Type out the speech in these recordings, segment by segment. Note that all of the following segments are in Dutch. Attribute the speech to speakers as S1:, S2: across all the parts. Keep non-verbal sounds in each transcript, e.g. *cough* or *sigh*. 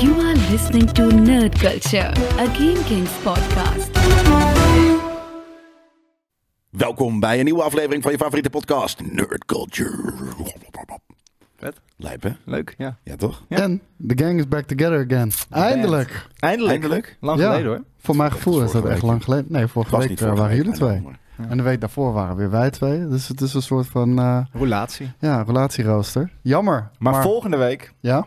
S1: You are listening to Nerd Culture, a Game Kings podcast.
S2: Welkom bij een nieuwe aflevering van je favoriete podcast, Nerd Culture.
S3: Vet.
S2: Lijp, hè?
S3: Leuk, ja.
S2: Ja, toch?
S3: Ja.
S4: En the gang is back together again. Eindelijk.
S3: Eindelijk.
S2: Eindelijk.
S3: Lang
S4: Ja.
S3: geleden hoor.
S4: Voor mijn gevoel is
S2: Vorige
S4: dat echt
S2: week.
S4: lang geleden. Nee, vorige
S2: Was
S4: week
S2: niet
S4: eh,
S2: vorige
S4: waren
S2: week,
S4: jullie
S2: maar
S4: twee.
S2: dan maar.
S4: En de week daarvoor waren weer wij twee. Dus het is een soort van eh
S3: Relatie.
S4: ja, relatierooster. Jammer.
S3: Maar, volgende week,
S4: Ja?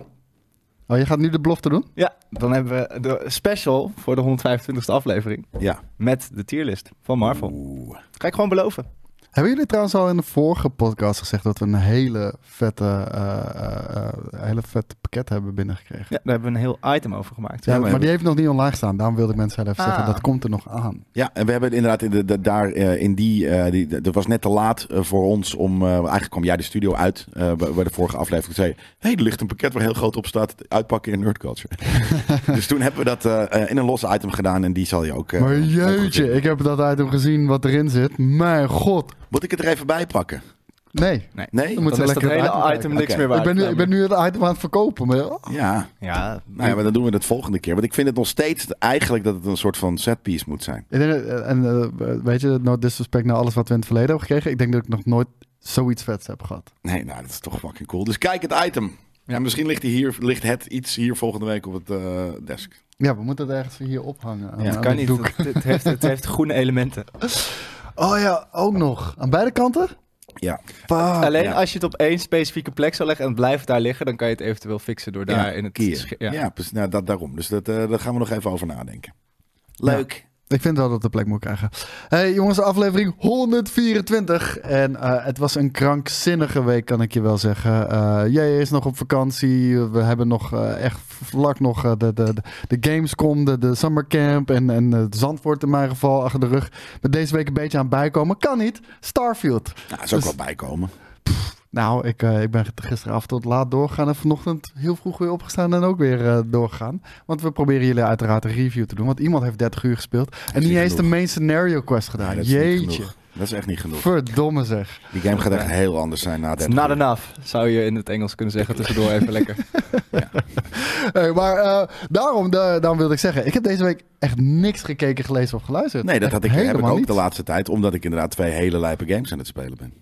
S4: Oh, je gaat nu de belofte doen?
S3: ja, dan hebben we de special voor de 125e aflevering.
S2: Ja.
S3: Met de tierlist van Marvel.
S2: Oeh.
S3: Ga ik gewoon beloven.
S4: Hebben jullie trouwens al in de vorige podcast gezegd dat we een hele vette, eh, eh, eh, hele vette pakket hebben binnengekregen?
S3: Ja, daar hebben we een heel item over gemaakt.
S4: Ja, maar,
S2: maar-
S4: die heeft nog niet online staan. Daarom wilde ik mensen wel even
S3: Ah.
S4: zeggen, dat komt er nog aan.
S2: Ja, en we hebben inderdaad in de, de- daar eh, in die, eh, die. de- Dat was net te laat eh, voor ons om. eh, eigenlijk kwam jij de studio uit eh, bij bij de vorige aflevering. Toen zei: je, hey, er ligt een pakket waar heel groot op staat. Uitpakken in Nerd
S4: *laughs*
S2: Culture. dus toen hebben we dat eh, eh, in een losse item gedaan. En die zal je ook. eh,
S4: Maar
S2: ook goed
S4: jeetje,
S2: vinden.
S4: ik heb dat item gezien wat erin zit. Mijn god.
S2: Moet ik het er even bij pakken?
S4: Nee.
S2: Nee?
S4: Dan moet
S3: Dan
S4: je
S3: is dat
S4: lekker het
S3: hele
S4: item
S3: item
S4: kijken.
S3: niks
S2: Oké.
S3: meer waard.
S4: Ik ben, nu, ik ben nu het item aan het verkopen. Maar,
S2: Ja.
S3: Ja,
S2: Nou ja, maar dan doen we het volgende keer. Want ik vind het nog steeds eigenlijk dat het een soort van setpiece moet zijn.
S4: Ik denk dat- en eh, weet je, no disrespect naar alles wat we in het verleden hebben gekregen. Ik denk dat ik nog nooit zoiets vets heb gehad.
S2: Nee, nou, dat is toch fucking cool. Dus kijk het item. Ja, misschien ligt, die hier, ligt het iets hier volgende week op het eh, desk.
S4: Ja, we moeten het ergens hier ophangen. aan-
S2: Ja,
S4: aan
S3: het kan
S4: dit
S3: niet.
S4: doek.
S3: Het, het heeft, het heeft groene elementen.
S4: Oh ja, ook nog. Aan beide kanten?
S2: Ja.
S4: Fuck.
S3: Alleen
S2: ja.
S3: als je het op één specifieke plek zou leggen en het blijft daar liggen, dan kan je het eventueel fixen door daar
S2: Ja,
S3: in het
S2: keer.
S3: sch-
S2: Ja,
S3: Ja.
S2: precies. Nou, dat, daarom. Dus dat, eh, daar gaan we nog even over nadenken. Leuk.
S4: Ik vind wel dat we de plek moet krijgen. Hey jongens, aflevering 124. En eh, het was een krankzinnige week, kan ik je wel zeggen. Eh, jij is nog op vakantie. We hebben nog eh, echt vlak nog eh, de, de, de, de Gamescom, de, de Summer Camp en, en het Zandvoort in mijn geval achter de rug. Met deze week een beetje aan het bijkomen. Kan niet. Starfield.
S2: Nou, dat is ook
S4: Dus-
S2: wel bijkomen.
S4: Nou, ik, eh, ik ben gisteravond tot laat doorgegaan en vanochtend heel vroeg weer opgestaan en ook weer eh, doorgegaan. Want we proberen jullie uiteraard een review te doen, want iemand heeft 30 uur gespeeld en
S2: is
S4: niet
S2: niet
S4: eens de
S2: genoeg.
S4: main scenario quest gedaan.
S2: Nee, dat is niet
S4: Jeetje,
S2: genoeg. Dat is echt niet genoeg.
S4: verdomme zeg.
S2: Die game gaat echt heel anders zijn na
S3: It's
S2: dit.
S3: not enough, zou je in het Engels kunnen zeggen tussendoor even lekker.
S4: Hey, maar eh, daarom, da- daarom wilde ik zeggen, ik heb deze week echt niks gekeken, gelezen of geluisterd.
S2: Nee, dat
S4: Echt
S2: had ik, heb ik
S4: helemaal
S2: ook
S4: niet.
S2: de laatste tijd. Omdat ik inderdaad twee hele lijpe games aan het spelen ben.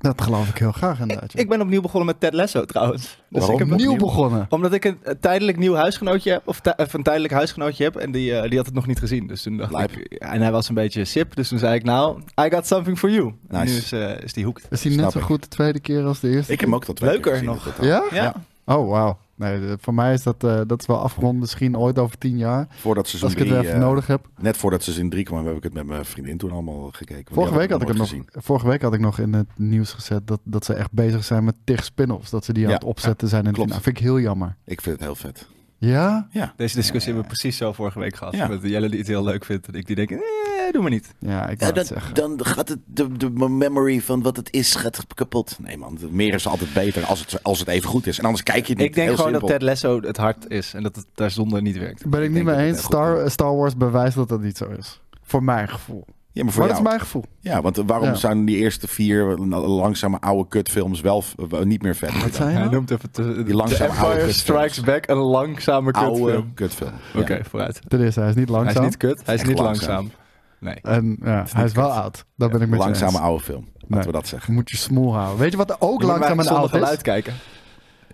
S4: Dat geloof ik heel graag inderdaad. ja.
S3: Ik ben opnieuw begonnen met Ted Lasso trouwens. Dus
S2: Waarom?
S3: ik heb
S4: Opnieuw begonnen.
S3: Omdat ik een eh, tijdelijk nieuw huisgenootje heb, of, ti- of een tijdelijk huisgenootje heb, en die, eh, die had het nog niet gezien. Dus toen dacht
S2: Lijp.
S3: ik, en hij was een beetje sip, dus toen zei ik, nou, I got something for you. En
S2: Nice.
S3: Nu is, eh, is die hoekt.
S4: Is hij
S2: Snap
S4: net zo
S2: ik.
S4: goed de tweede keer als de eerste?
S2: Ik heb hem ook tot twee
S3: Leuker
S2: keer gezien
S3: nog.
S2: in totaal.
S4: Ja?
S3: Ja.
S4: Oh, wauw. Nee, de- voor mij is dat, eh, dat is wel afgerond misschien ooit over tien jaar.
S2: Voordat seizoen
S4: Als ik het
S2: 3...
S4: weer even nodig heb.
S2: Net voordat seizoen 3 kwam, heb ik het met mijn vriendin toen allemaal gekeken. Want
S4: Vorige
S2: die
S4: week, had ik het
S2: nooit
S4: nog,
S2: gezien.
S4: vorige week had ik nog in het nieuws gezet dat, dat ze echt bezig zijn met tig spin-offs. Dat ze die aan
S2: Ja,
S4: het opzetten zijn. En
S2: klopt.
S4: dat vind ik heel jammer.
S2: Ik vind het heel vet.
S4: Ja?
S2: Ja.
S3: Deze discussie hebben we precies zo vorige week gehad.
S2: Ja.
S3: Dat Jelle die het heel leuk vindt en ik die denk, nee, doe maar niet.
S4: Ja, ik wou het zeggen.
S2: dan gaat het de, de memory van wat het is gaat kapot. Nee man, meer is altijd beter als het, als het even goed is. En anders kijk je het niet.
S3: Ik denk
S2: Heel
S3: gewoon
S2: simpel.
S3: dat Ted Lasso het hart is en dat het daar zonder niet werkt.
S4: Ben ik,
S2: Ik
S4: niet
S2: denk dat
S4: mee
S2: het
S4: eens.
S2: heel goed
S4: Star, Star Wars bewijst dat dat niet zo is. Voor mijn gevoel.
S2: Ja, maar voor
S4: maar dat
S2: jou.
S4: is mijn gevoel.
S2: Ja, want waarom
S4: Ja.
S2: zijn die eerste vier langzame oude kutfilms wel v- w- niet meer vet?
S4: Wat zei je
S3: Hij
S4: nou?
S3: noemt even te,
S2: Die langzame
S3: The Empire
S2: oude
S3: Strikes
S2: kutfilms.
S3: Back een langzame kutfilm.
S2: Oude kutfilm. Ja.
S3: Oké, vooruit.
S4: Ten eerste, hij is niet
S3: Hij is
S4: langzaam.
S3: niet kut, hij is
S2: Echt
S3: niet
S2: langzaam.
S3: langzaam. Nee.
S4: En ja, hij is wel oud. Dat ben ik met je eens.
S2: Langzame oude film. Laten
S4: Nee.
S2: we dat zeggen.
S4: Je moet je smoel houden. Weet je wat ook langzaam en oud is?
S3: geluid kijken.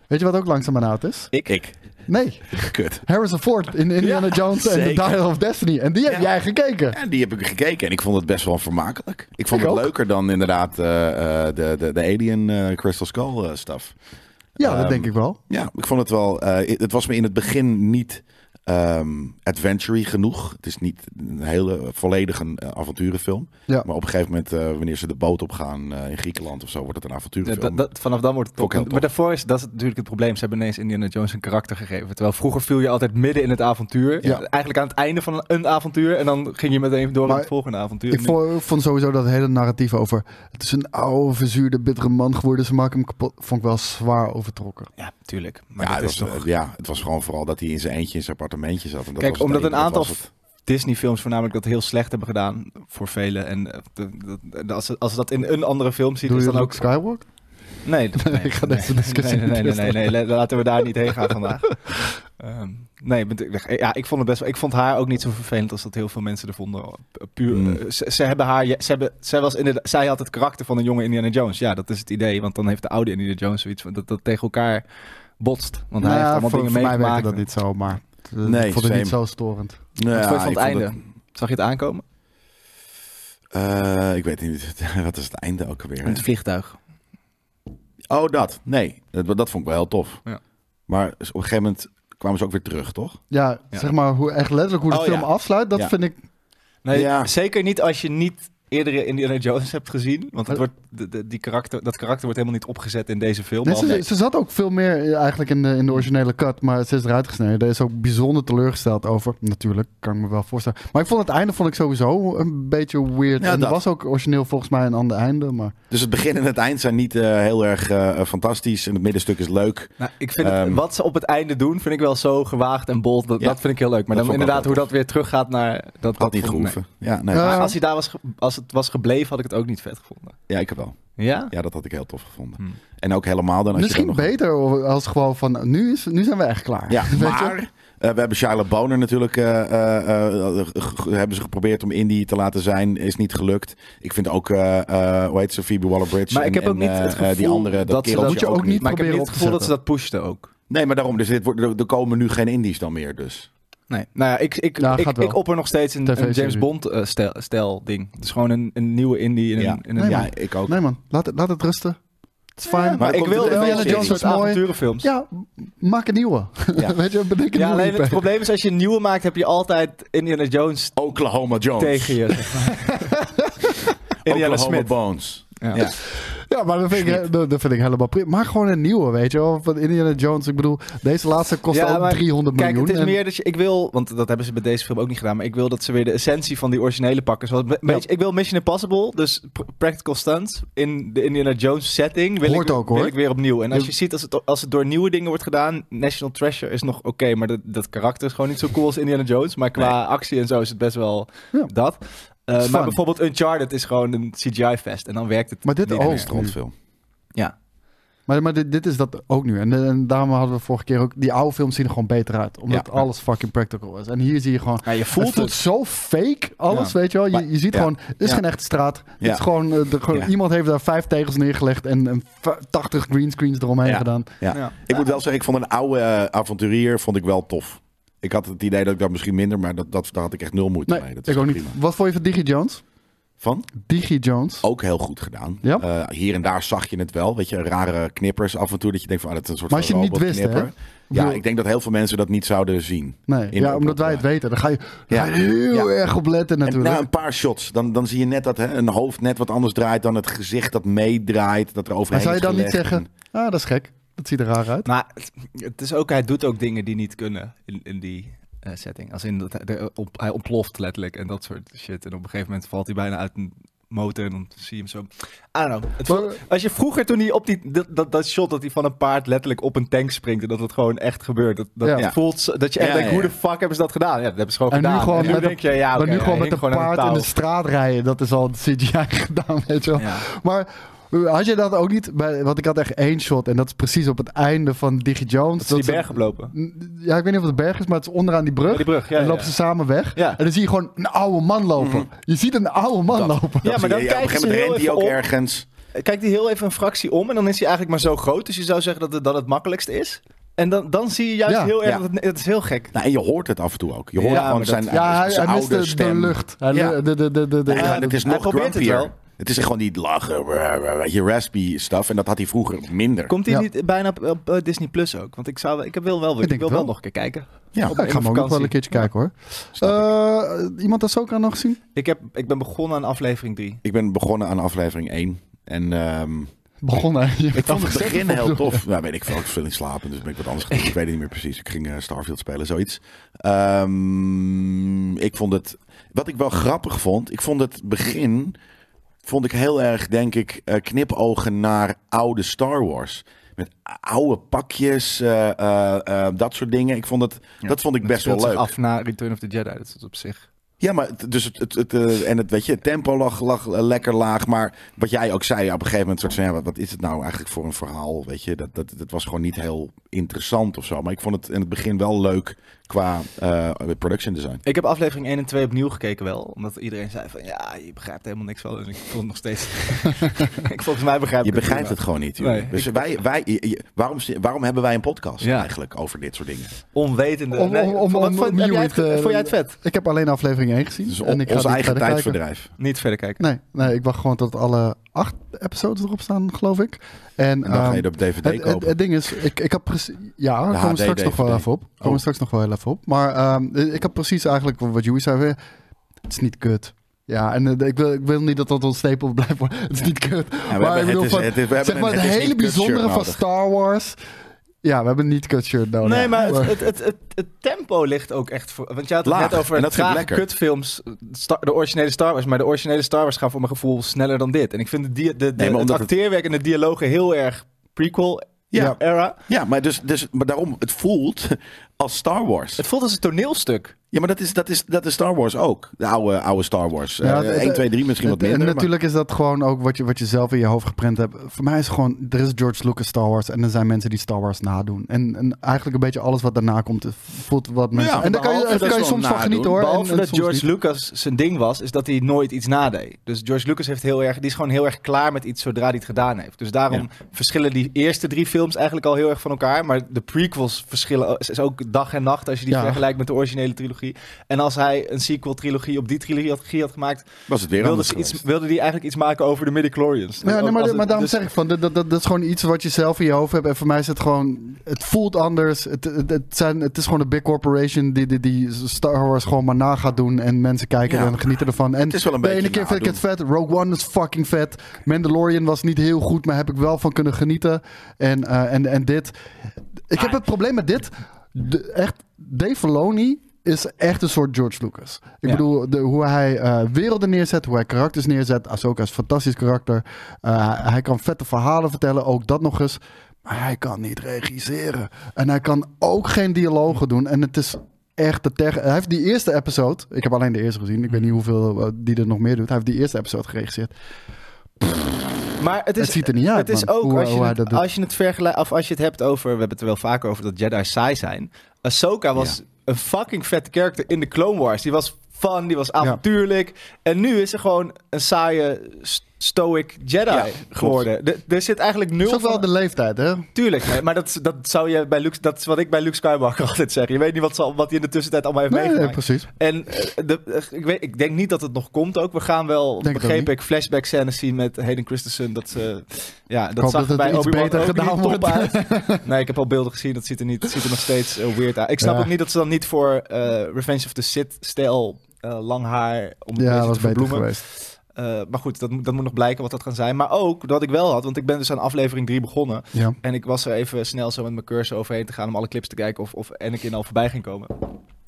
S4: Weet je wat ook langzaam en oud is?
S2: Ik? Ik.
S4: Nee.
S2: Kut.
S4: Harrison Ford in Indiana Jones en The
S2: zeker.
S4: Dial of Destiny. En die heb
S2: Ja.
S4: jij gekeken.
S2: En die heb ik gekeken en ik vond het best wel vermakelijk. Ik vond
S4: Ik
S2: het
S4: ook.
S2: leuker dan inderdaad eh, eh, de, de, de Alien eh, Crystal Skull eh, stuff.
S4: Ja,
S2: Ehm,
S4: dat denk ik wel.
S2: Ja, ik vond het wel. eh, het was me in het begin niet ehm adventure genoeg. Het is niet een hele volledige eh, avonturenfilm.
S4: Ja.
S2: Maar op een gegeven moment, eh, wanneer ze de boot op gaan eh, in Griekenland of zo, wordt het een
S3: Ja,
S2: avonturenfilm.
S3: dat, dat- vanaf dan wordt het
S2: Vond ik
S3: top.
S2: heel tof.
S3: Maar daarvoor is dat is natuurlijk het probleem. Ze hebben ineens Indiana Jones een karakter gegeven. Terwijl vroeger viel je altijd midden in het avontuur.
S4: Ja.
S3: Eigenlijk aan het einde van een avontuur. En dan ging je meteen door
S4: Maar
S3: naar het volgende avontuur.
S4: Ik
S3: Nu-
S4: vo- vond sowieso dat hele narratief over... het is een oude, verzuurde, bittere man geworden... ze maken hem kapot, vond ik wel zwaar overtrokken.
S3: Ja, tuurlijk. Maar
S2: ja,
S3: dat
S2: het
S3: is
S2: was,
S3: toch...
S2: eh, ja, het was gewoon vooral dat hij in zijn eentje in zijn appartementje zat. En dat
S3: Kijk,
S2: was het
S3: omdat
S2: enige,
S3: een
S2: dat was
S3: aantal
S2: het.
S3: Disney-films voornamelijk dat heel slecht hebben gedaan. Voor velen. En eh, de- de- de- als, ze, als ze dat in een andere film zien,
S4: Doe
S3: is
S4: je
S3: dan
S4: ook
S3: ook...
S4: Skywalk?
S3: Nee, dat- nee,
S4: *laughs* ik ga
S3: nee,
S4: deze discussie
S3: nee, nee,
S4: niet *laughs*
S3: nee, nee, nee, nee, laten we daar niet heen gaan vandaag. Ehm, nee, bent- ik- ja, ik vond het best wel. Ik vond haar ook niet zo vervelend als dat heel veel mensen er vonden. Pu- Puur,
S2: Mm.
S3: eh, ze, ze hebben haar. ja, Ze hebben, zij, was inderdaad, zij had het karakter van een jonge Indiana Jones. Ja, dat is het idee. Want dan heeft de oude Indiana Jones zoiets van dat dat tegen elkaar botst. Want hij
S4: Nou ja,
S3: heeft allemaal
S4: voor,
S3: dingen
S4: voor mij werkte
S3: meegemaakt.
S4: dat niet zo, maar eh,
S2: Nee,
S4: ik vond het niet
S2: same.
S4: zo storend.
S2: Nou,
S3: Wat vond je
S2: ja,
S3: van
S2: ik
S3: het
S2: vond
S3: einde? Zag je het aankomen?
S2: het- eh, ik weet niet, *laughs* wat is het einde ook alweer? hè?
S3: Met het vliegtuig.
S2: Oh, dat. Nee, dat, dat vond ik wel heel tof.
S3: Ja.
S2: Maar op een gegeven moment kwamen ze ook weer terug, toch?
S4: Ja,
S3: Ja.
S4: zeg maar hoe, echt letterlijk hoe de
S2: Oh,
S4: film
S2: ja.
S4: afsluit, dat
S2: Ja.
S4: vind ik...
S3: Nee,
S2: Ja.
S3: zeker niet als je niet eerdere Indiana Jones hebt gezien. Want het wordt, de, de- die karakter, dat karakter wordt helemaal niet opgezet in deze film.
S4: Nee,
S3: behalve-
S4: ze, ze zat ook veel meer eh, eigenlijk in de, in de originele cut, maar ze is eruit gesneden. Daar is ook bijzonder teleurgesteld over. Natuurlijk, kan ik me wel voorstellen. Maar ik vond het einde vond ik sowieso een beetje weird.
S2: Ja,
S4: en er
S2: dat.
S4: was ook origineel volgens mij een ander einde, maar...
S2: Dus het begin en het eind zijn niet eh, heel erg eh, fantastisch. En het middenstuk is leuk.
S3: Nou, ik vind het,
S2: Ehm.
S3: wat ze op het einde doen, vind ik wel zo gewaagd en bold. Dat,
S2: Ja.
S3: dat vind ik heel leuk. Maar
S2: Dat
S3: dan
S2: vond ik ook
S3: inderdaad hoe dat weer teruggaat naar... Dat, dat
S2: Had niet
S3: vond-
S2: gehoeven. Ja, nee.
S4: Ja.
S3: nee. Maar als, hij daar was ge- als het was gebleven, had ik het ook niet vet gevonden.
S2: ja, ik heb wel.
S3: Ja?
S2: Ja, dat had ik heel tof gevonden.
S3: Hmm.
S2: En ook helemaal dan als
S4: Misschien
S2: je dan nog...
S4: beter als gewoon van, nu, is, nu zijn we echt klaar.
S2: Ja,
S4: *laughs* Weet je?
S2: maar eh, we hebben Charlotte Boner natuurlijk. eh, eh, eh, g- g- hebben ze geprobeerd om Indie te laten zijn. Is niet gelukt. Ik vind ook, eh, eh, hoe heet ze, Phoebe Waller-Bridge.
S3: Maar ik heb
S2: en-
S3: ook niet
S2: en, eh,
S3: het gevoel
S2: eh, die andere, dat,
S3: dat ze
S2: kereltje
S3: dat- Moet
S4: je ook niet-
S3: Maar ik heb
S4: proberen
S3: niet
S4: op
S3: het
S4: te
S3: gevoel dat ze
S4: zetten.
S3: dat pushten ook.
S2: Nee, maar daarom. Dus dit wordt, er er komen nu geen Indies dan meer dus.
S3: Nee. Nou ja, ik, ik,
S4: Ja,
S3: ik,
S4: gaat wel.
S3: ik opper nog steeds een,
S4: TV-serie.
S3: een James Bond eh, stijl, stijl ding. Het is gewoon een, een nieuwe indie in een...
S2: Ja.
S3: in een
S4: Nee,
S2: ja,
S4: maar-
S2: ik ook.
S4: Nee man, laat het, laat het rusten. Het is fijn.
S2: maar
S3: maar ik
S2: komt
S3: wil
S2: het
S3: wel
S2: Indiana
S3: Indiana
S2: Jones
S3: Jones
S4: wordt
S3: soort
S4: mooi.
S3: avonturenfilms.
S4: Ja, m- maak een nieuwe.
S2: Ja.
S4: *laughs* Weet je, bedenk een
S3: Ja,
S4: nieuwe
S3: alleen het
S4: IP.
S3: probleem is als je een nieuwe maakt, heb je altijd Indiana Jones
S2: Oklahoma Jones.
S3: tegen je. zeg maar. Indiana
S2: Oklahoma
S3: Smith.
S2: Bones.
S3: Ja.
S2: Ja.
S4: Ja, maar dat vind, ik, dat, dat vind ik helemaal prima. Maar gewoon een nieuwe, weet je wel. Van Indiana Jones, ik bedoel, deze laatste kost
S3: Ja,
S4: al
S3: maar
S4: 300
S3: Kijk,
S4: miljoen.
S3: het is
S4: en-
S3: meer dat je, ik wil, want dat hebben ze bij deze film ook niet gedaan, maar ik wil dat ze weer de essentie van die originele pakken. Zoals, een beetje- ik wil Mission Impossible, dus pr- practical stunts in de Indiana Jones setting, wil,
S4: Hoort
S3: ik,
S4: ook, hoor.
S3: wil ik weer opnieuw. En als
S4: Ja.
S3: je ziet, als het, als het door nieuwe dingen wordt gedaan, National Treasure is nog oké, maar dat, dat karakter is gewoon niet zo cool als Indiana Jones. Maar qua actie en zo is het best wel
S4: Ja.
S3: dat. Eh,
S4: Is fun.
S3: maar bijvoorbeeld Uncharted is gewoon een CGI-fest en dan werkt het
S4: Maar dit
S3: niet
S4: ook.
S2: Oh,
S3: meer.
S2: Strandfilm.
S3: Ja.
S4: Maar, maar dit, dit is dat ook nu. En, en daarom hadden we vorige keer ook... Die oude films zien er gewoon beter uit. Omdat
S3: Ja.
S4: alles fucking practical is. En hier zie je gewoon...
S3: Ja,
S2: *laughs*
S3: je
S4: Voelt
S3: voelt
S4: het voelt
S3: het.
S4: zo fake, alles, weet je wel. Je,
S2: Maar-
S4: je ziet
S2: ja.
S4: gewoon, het is
S2: Ja.
S4: geen echte straat. Het
S2: Ja.
S4: is gewoon, eh, de- gewoon
S2: Ja.
S4: iemand heeft daar vijf tegels neergelegd en, en v- 80 greenscreens eromheen
S2: Ja.
S4: gedaan.
S2: Ja.
S3: Ja.
S2: Ik moet wel zeggen, ik vond een oude eh, avonturier vond ik wel tof. Ik had het idee dat ik dat misschien minder, maar dat, dat, daar had ik echt nul moeite
S4: Nee,
S2: mee. Dat is
S4: ik ook niet.
S2: prima. Oh,
S4: Wat vond je van Digi Jones?
S2: Van?
S4: Digi Jones.
S2: Ook heel goed gedaan.
S4: Ja?
S2: Eh, hier en daar zag je het wel. Weet je, rare knippers af en toe. Dat je denkt van, ah, dat is een soort
S4: Maar als
S2: van
S4: je het niet wist, hè?
S2: robotknipper. Ja,
S4: bedoel-
S2: ik denk dat heel veel mensen dat niet zouden zien.
S4: Nee,
S2: In
S4: ja,
S2: de
S4: omdat wij het
S2: opdracht.
S4: weten. Dan ga je,
S2: Ja.
S4: ga je heel
S2: Ja.
S4: erg op letten
S2: En
S4: natuurlijk.
S2: na een paar shots, dan, dan zie je net dat hè, een hoofd net wat anders draait dan het gezicht dat meedraait. Dat er
S4: maar
S2: overheen
S4: zou je
S2: is
S4: dan niet
S2: gelegd.
S4: zeggen, ah, dat is gek. Dat ziet er raar uit.
S3: Maar het, het is ook, hij doet ook dingen die niet kunnen in, in die eh, setting. Als in dat hij, de- op, hij ontploft letterlijk en dat soort shit. En op een gegeven moment valt hij bijna uit een motor en dan zie je hem zo. I don't know. Het
S4: Maar-
S3: voelt- als je vroeger toen hij op die, dat, dat, dat shot dat hij van een paard letterlijk op een tank springt en dat het gewoon echt gebeurt. Dat, dat
S4: Ja.
S3: voelt zo- dat je echt
S2: Ja,
S3: denkt,
S2: ja,
S3: hoe
S2: ja.
S3: de fuck hebben ze dat gedaan? Ja, dat hebben ze gewoon
S4: En nu
S3: gedaan.
S4: gewoon
S3: en nu
S4: met
S3: denk je, ja,
S4: maar
S3: oké,
S4: nu gewoon
S3: hij
S4: met een
S3: hing aan
S4: paard in
S3: touw.
S4: de straat rijden, dat is al een CGI *laughs* gedaan, weet je wel.
S3: Ja.
S4: Maar eh, had je dat ook niet? Bij, want ik had echt één shot en dat is precies op het einde van Digi Jones.
S3: Dat ze die
S4: ze-
S3: berg oplopen.
S4: Ja, ik weet niet of het een berg is, maar het is onderaan die brug.
S3: Bij die brug, ja,
S4: en lopen
S3: ja.
S4: ze samen weg.
S3: Ja. Mhm.
S4: En dan zie je gewoon een oude man lopen. Je ziet een oude man lopen.
S3: Ja,
S2: Dan
S3: maar
S2: zie
S3: dan
S2: je, op een
S3: kijken ze
S2: gegeven moment
S3: heel
S2: rent hij
S3: even
S2: ook
S3: op.
S2: ergens.
S3: Kijk die heel even een fractie om en dan is hij eigenlijk maar zo groot. Dus je zou zeggen dat het, dat het makkelijkste is. En dan, dan zie je juist
S4: Ja,
S3: heel erg
S2: ja.
S3: dat het, het is heel gek.
S2: Nou, en je hoort het af en toe ook. Je hoort
S3: Ja,
S2: gewoon
S3: maar
S2: zijn,
S4: Ja, hij,
S2: zijn
S4: hij mist
S2: oude
S4: de, de
S2: stem.
S4: lucht. Hij-
S2: Ja.
S4: de, de, de, de, de-
S2: Ja, en het is
S3: Hij
S2: nog
S3: probeert het
S2: grumpier. Het,
S3: wel.
S2: is gewoon die lachen, brr, brr, weet je raspy stuff. En dat had hij vroeger minder.
S3: Komt hij
S4: Ja.
S3: niet bijna op, op, eh, Disney Plus ook? Want ik, zou, wel- ik wil wel, weer-
S4: Ik
S3: ik
S4: denk
S3: wil
S4: het
S3: wel.
S4: wel.
S3: nog een keer kijken.
S2: Ja,
S3: Op
S4: Ja, ik ga
S3: één
S4: hem ook nog wel
S3: vakantie.
S4: een keertje kijken hoor.
S2: Snap ik.
S4: Eh, iemand Ahsoka nog gezien?
S3: Ik, heb, ik ben begonnen aan aflevering 3.
S2: Ik ben begonnen aan aflevering 1. En ehm,
S4: Begonnen. *laughs*
S2: ik vond het begin heel tof. Nou, weet ik veel. Ik was veel in slapen, dus ben ik wat anders gaan doen. Ik weet het niet meer precies. Ik ging eh, Starfield spelen, zoiets. Ehm, ik vond het... Wat ik wel grappig vond, ik vond het begin... Vond ik heel erg, denk ik, eh, knipogen naar oude Star Wars. Met oude pakjes, eh, eh, eh, dat soort dingen. Ik vond het, dat vond ik
S3: Het
S2: best wel
S3: speelt zich
S2: leuk.
S3: af na Return of the Jedi. Dat is op zich.
S2: Ja, maar het- dus het, het, het, eh, en het, weet je, het tempo lag, lag eh, lekker laag. Maar wat jij ook zei, ja, op een gegeven moment soort van, ja, wat, wat is het nou eigenlijk voor een verhaal? Weet je, dat, dat, dat was gewoon niet heel interessant of zo. Maar ik vond het in het begin wel leuk qua eh, production design.
S3: Ik heb aflevering 1 en 2 opnieuw gekeken wel. Omdat iedereen zei van, ja, je begrijpt helemaal niks van. En ik vond het nog
S4: *laughs*
S3: steeds... *laughs* ik, volgens mij begrijp
S2: Je
S3: ik
S2: begrijpt het
S3: prima.
S2: gewoon niet. joh.
S3: Nee,
S2: dus wij, wij, je- je- waarom, waarom hebben wij een podcast
S3: Ja.
S2: eigenlijk over dit soort dingen?
S3: Onwetende.
S4: Om-
S3: Nee,
S4: om- om-
S3: wat
S4: om-
S3: vond- heb
S4: om-
S3: jij het ge-
S4: eh,
S3: vond jij het vet?
S4: Ik heb alleen aflevering 1 gezien.
S2: Dus
S4: en ik ga
S2: ons eigen
S4: niet verder kijken.
S2: tijdsverdrijf.
S3: Niet verder kijken.
S4: Nee, nee, ik wacht gewoon tot alle acht episodes erop staan, geloof ik. En,
S2: En dan ga
S4: ehm,
S2: je dat op DVD
S4: het, het,
S2: kopen.
S4: het ding is, ik, ik had precies. Ja, daar komen we
S2: HD,
S4: straks nog wel
S2: DVD.
S4: even op. Komen we
S2: Oh.
S4: straks nog wel even op. Maar ehm, ik had precies eigenlijk wat jullie zei. weer, Het is niet kut. Ja, en eh, ik, wil, ik wil niet dat dat ons stapel *laughs* blijft worden. Het is niet kut.
S2: Ja, we
S4: maar
S2: hebben-
S4: ik bedoel,
S2: het is-
S4: van,
S2: het is- we hebben
S4: zeg maar
S2: een-
S4: het,
S2: het is
S4: hele
S2: niet kut shirt
S4: bijzondere van
S2: nodig.
S4: Star Wars. Ja, we hebben een niet kut shirt nodig.
S3: nee, maar het, het, het, het, het tempo ligt ook echt voor. Want je had het
S2: Laag,
S3: net over
S2: en dat vind ik
S3: trage
S2: lekker.
S3: kutfilms, Star- de originele Star Wars. Maar de originele Star Wars gaan voor mijn gevoel sneller dan dit. En ik vind de, dia- de, de,
S2: maar
S3: het
S2: omdat het-
S3: acteerwerk en de dialogen heel erg
S2: Ja.
S3: prequel-era.
S2: Ja, maar, dus, dus, maar daarom, het voelt *laughs* als Star Wars.
S3: Het voelt als een toneelstuk.
S2: Ja, maar dat is, dat is, dat is Star Wars ook. De oude, oude Star Wars. Eh
S4: Ja, het-
S2: 1, 2, 3 misschien wat
S4: Het-
S2: minder.
S4: En
S2: maar-
S4: natuurlijk is dat gewoon ook wat je, wat je zelf in je hoofd geprent hebt. Voor mij is het gewoon, er is George Lucas Star Wars en er zijn mensen die Star Wars nadoen. En, en eigenlijk een beetje alles wat daarna komt, eh, voelt wat mensen...
S2: Ja,
S4: en daar kan je,
S2: behalve dat
S4: daar kan je
S2: ze wel
S4: soms van
S2: nadoen,
S4: genieten hoor. en-
S3: Behalve
S4: en
S3: dat
S4: soms
S3: George
S4: niet.
S3: Lucas zijn ding was, is dat hij nooit iets nadeed. Dus George Lucas heeft heel erg, die is gewoon heel erg klaar met iets zodra hij het gedaan heeft. Dus daarom verschillen die eerste drie films eigenlijk al heel erg van elkaar. Maar de prequels verschillen is ook dag en nacht als je die
S4: Ja.
S3: vergelijkt met de originele trilogie. En als hij een sequel trilogie op die trilogie had, trilogie had gemaakt,
S2: was het weer
S3: wilde,
S2: anders
S3: ze iets,
S2: geweest.
S3: wilde hij eigenlijk iets maken over de midichlorians.
S4: Ja, nee,
S3: Ook als
S4: maar,
S3: het-
S4: maar daarom
S3: dus-
S4: zeg ik van, dat, dat, dat dat is gewoon iets wat je zelf in je hoofd hebt. En voor mij is het gewoon, het voelt anders. Het, het, het zijn, het is gewoon een big corporation die, die, die Star Wars gewoon maar na gaat doen. En mensen kijken
S2: Ja.
S4: en genieten ervan. En
S2: Het is wel een
S4: de
S2: beetje
S4: ene keer vind ik het
S2: nadoen.
S4: vet, Rogue One is fucking vet. Mandalorian was niet heel goed, maar heb ik wel van kunnen genieten. En, eh, en, en dit. Ik heb het probleem met dit. De- echt, Dave Filoni is echt een soort George Lucas. Ik
S3: Ja.
S4: bedoel, de, hoe hij eh, werelden neerzet, hoe hij karakters neerzet. Ahsoka is een fantastisch karakter. Eh, hij kan vette verhalen vertellen, ook dat nog eens. Maar hij kan niet regisseren. En hij kan ook geen dialogen doen. En het is echt de ter... Hij heeft die eerste episode... Ik heb alleen de eerste gezien. Ik weet niet
S3: Mhm.
S4: hoeveel eh, die er nog meer doet. Hij heeft die eerste episode geregisseerd.
S3: Maar het, is,
S4: Het ziet er niet uit,
S3: Het is
S4: man,
S3: ook
S4: hoe-
S3: als, je
S4: hoe hij
S3: het,
S4: dat doet.
S3: als je het vergelijkt, of als je het hebt over, we hebben het er wel vaker over dat Jedi saai zijn. Ahsoka was een fucking vette character in de Clone Wars. Die was fun, die was avontuurlijk. En nu is ze gewoon een saaie s- stoic Jedi
S2: Ja,
S3: geworden. De- er zit eigenlijk nul
S4: Het is ook wel
S3: van-
S4: de leeftijd, hè?
S3: Tuurlijk, nee, maar dat, is- dat zou je bij Luke, dat is wat ik bij Luke Skywalker *laughs* altijd zeg. Je weet niet wat, ze, al- wat hij in de tussentijd allemaal heeft
S4: Nee, nee,
S3: meegemaakt.
S4: precies.
S3: En eh, de, eh, ik, weet, ik denk niet dat het nog komt ook. We gaan wel,
S4: Denk het ook
S3: begreep
S4: niet.
S3: ik, flashback scènes zien met Hayden Christensen. Dat, ze, ja, dat
S4: hoop
S3: zag
S4: dat
S3: er
S4: het
S3: bij
S4: iets
S3: Obi-Wan
S4: beter
S3: ook
S4: gedaan
S3: niet top
S4: wordt. *laughs*
S3: uit. Nee, ik heb al beelden gezien. Dat ziet er, niet, het ziet er nog steeds eh, weird uit. Ik snap
S4: Ja.
S3: ook niet dat ze dan niet voor eh, Revenge of the Sith-stijl... eh, lang haar om het
S4: Ja,
S3: beetje
S4: dat was
S3: te
S4: beter
S3: verbloemen.
S4: geweest.
S3: Eh, maar goed, dat, moet- dat moet nog blijken wat dat gaan zijn. Maar ook, wat ik wel had, want ik ben dus aan aflevering 3 begonnen.
S4: Ja.
S3: En ik was er even snel zo met mijn cursor overheen te gaan om alle clips te kijken of, of Anakin al voorbij ging komen.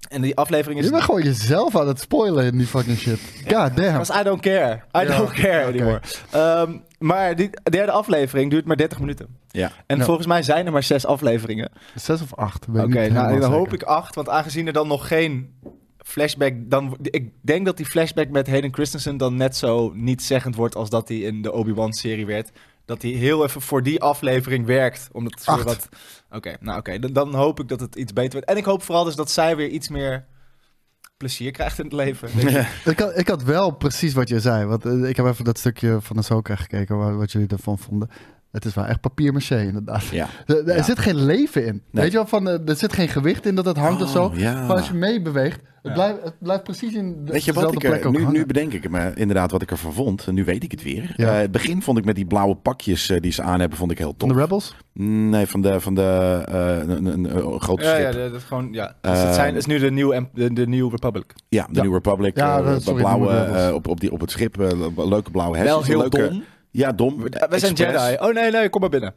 S3: En die aflevering is...
S4: Je bent gewoon jezelf aan het spoilen in die fucking shit. God damn.
S3: was I don't care. I
S4: Ja,
S3: don't care anymore. Ehm, maar die derde aflevering duurt maar 30 minuten.
S2: Ja.
S3: En
S4: Ja.
S3: volgens mij zijn er maar zes afleveringen.
S4: Zes of acht, weet
S3: Oké,
S4: ik niet
S3: nou, dan
S4: helemaal
S3: hoop
S4: zeker.
S3: ik acht. Want aangezien er dan nog geen flashback... Dan, ik denk dat die flashback met Hayden Christensen dan net zo niet zeggend wordt... als dat hij in de Obi-Wan-serie werd. Dat hij heel even voor die aflevering werkt. Omdat het weer
S4: Acht.
S3: wat... Oké, nou oké. dan, dan hoop ik dat het iets beter wordt. En ik hoop vooral dus dat zij weer iets meer plezier krijgt in het leven. Weet je?
S4: Ik had, ik had wel precies wat je zei. Want eh, ik heb even dat stukje van Ahsoka gekeken, wa- wat jullie ervan vonden. Het is wel echt papier-maché, inderdaad.
S2: Ja.
S4: *laughs* Er, er
S2: Ja.
S4: zit geen leven in.
S2: Nee.
S4: Weet je wel, van, eh, er zit geen gewicht in dat het hangt of zo.
S2: Oh, ja.
S4: Maar als je meebeweegt, het, blijft, het blijft precies in de,
S2: Weet je wat
S4: dezelfde
S2: ik
S4: plek
S2: er,
S4: ook
S2: nu,
S4: hangen.
S2: nu bedenk ik me inderdaad wat ik ervan vond. En nu weet ik het weer.
S4: Ja.
S2: Eh, het begin vond ik met die blauwe pakjes eh, die ze aan hebben, vond ik heel
S4: Van
S2: tof.
S4: de Rebels?
S2: Nee, van de, van de eh, een, een, een grote
S3: Ja,
S2: schip.
S3: ja,
S2: Ja, de,
S3: dat, dat gewoon, ja. Dus het
S2: Ehm,
S3: zijn, is nu de New, Em- de, de New Republic.
S4: Ja.
S2: New Republic.
S4: Ja,
S2: eh,
S4: dat- sorry,
S2: blauwe,
S4: New Rebels.
S2: eh, op, op, die, op het schip. eh, leuke blauwe hersens. leuke,
S3: dom.
S2: Ja, dom.
S3: We,
S2: Eh,
S3: we zijn
S2: expres.
S3: Jedi. Oh nee, nee, kom maar binnen.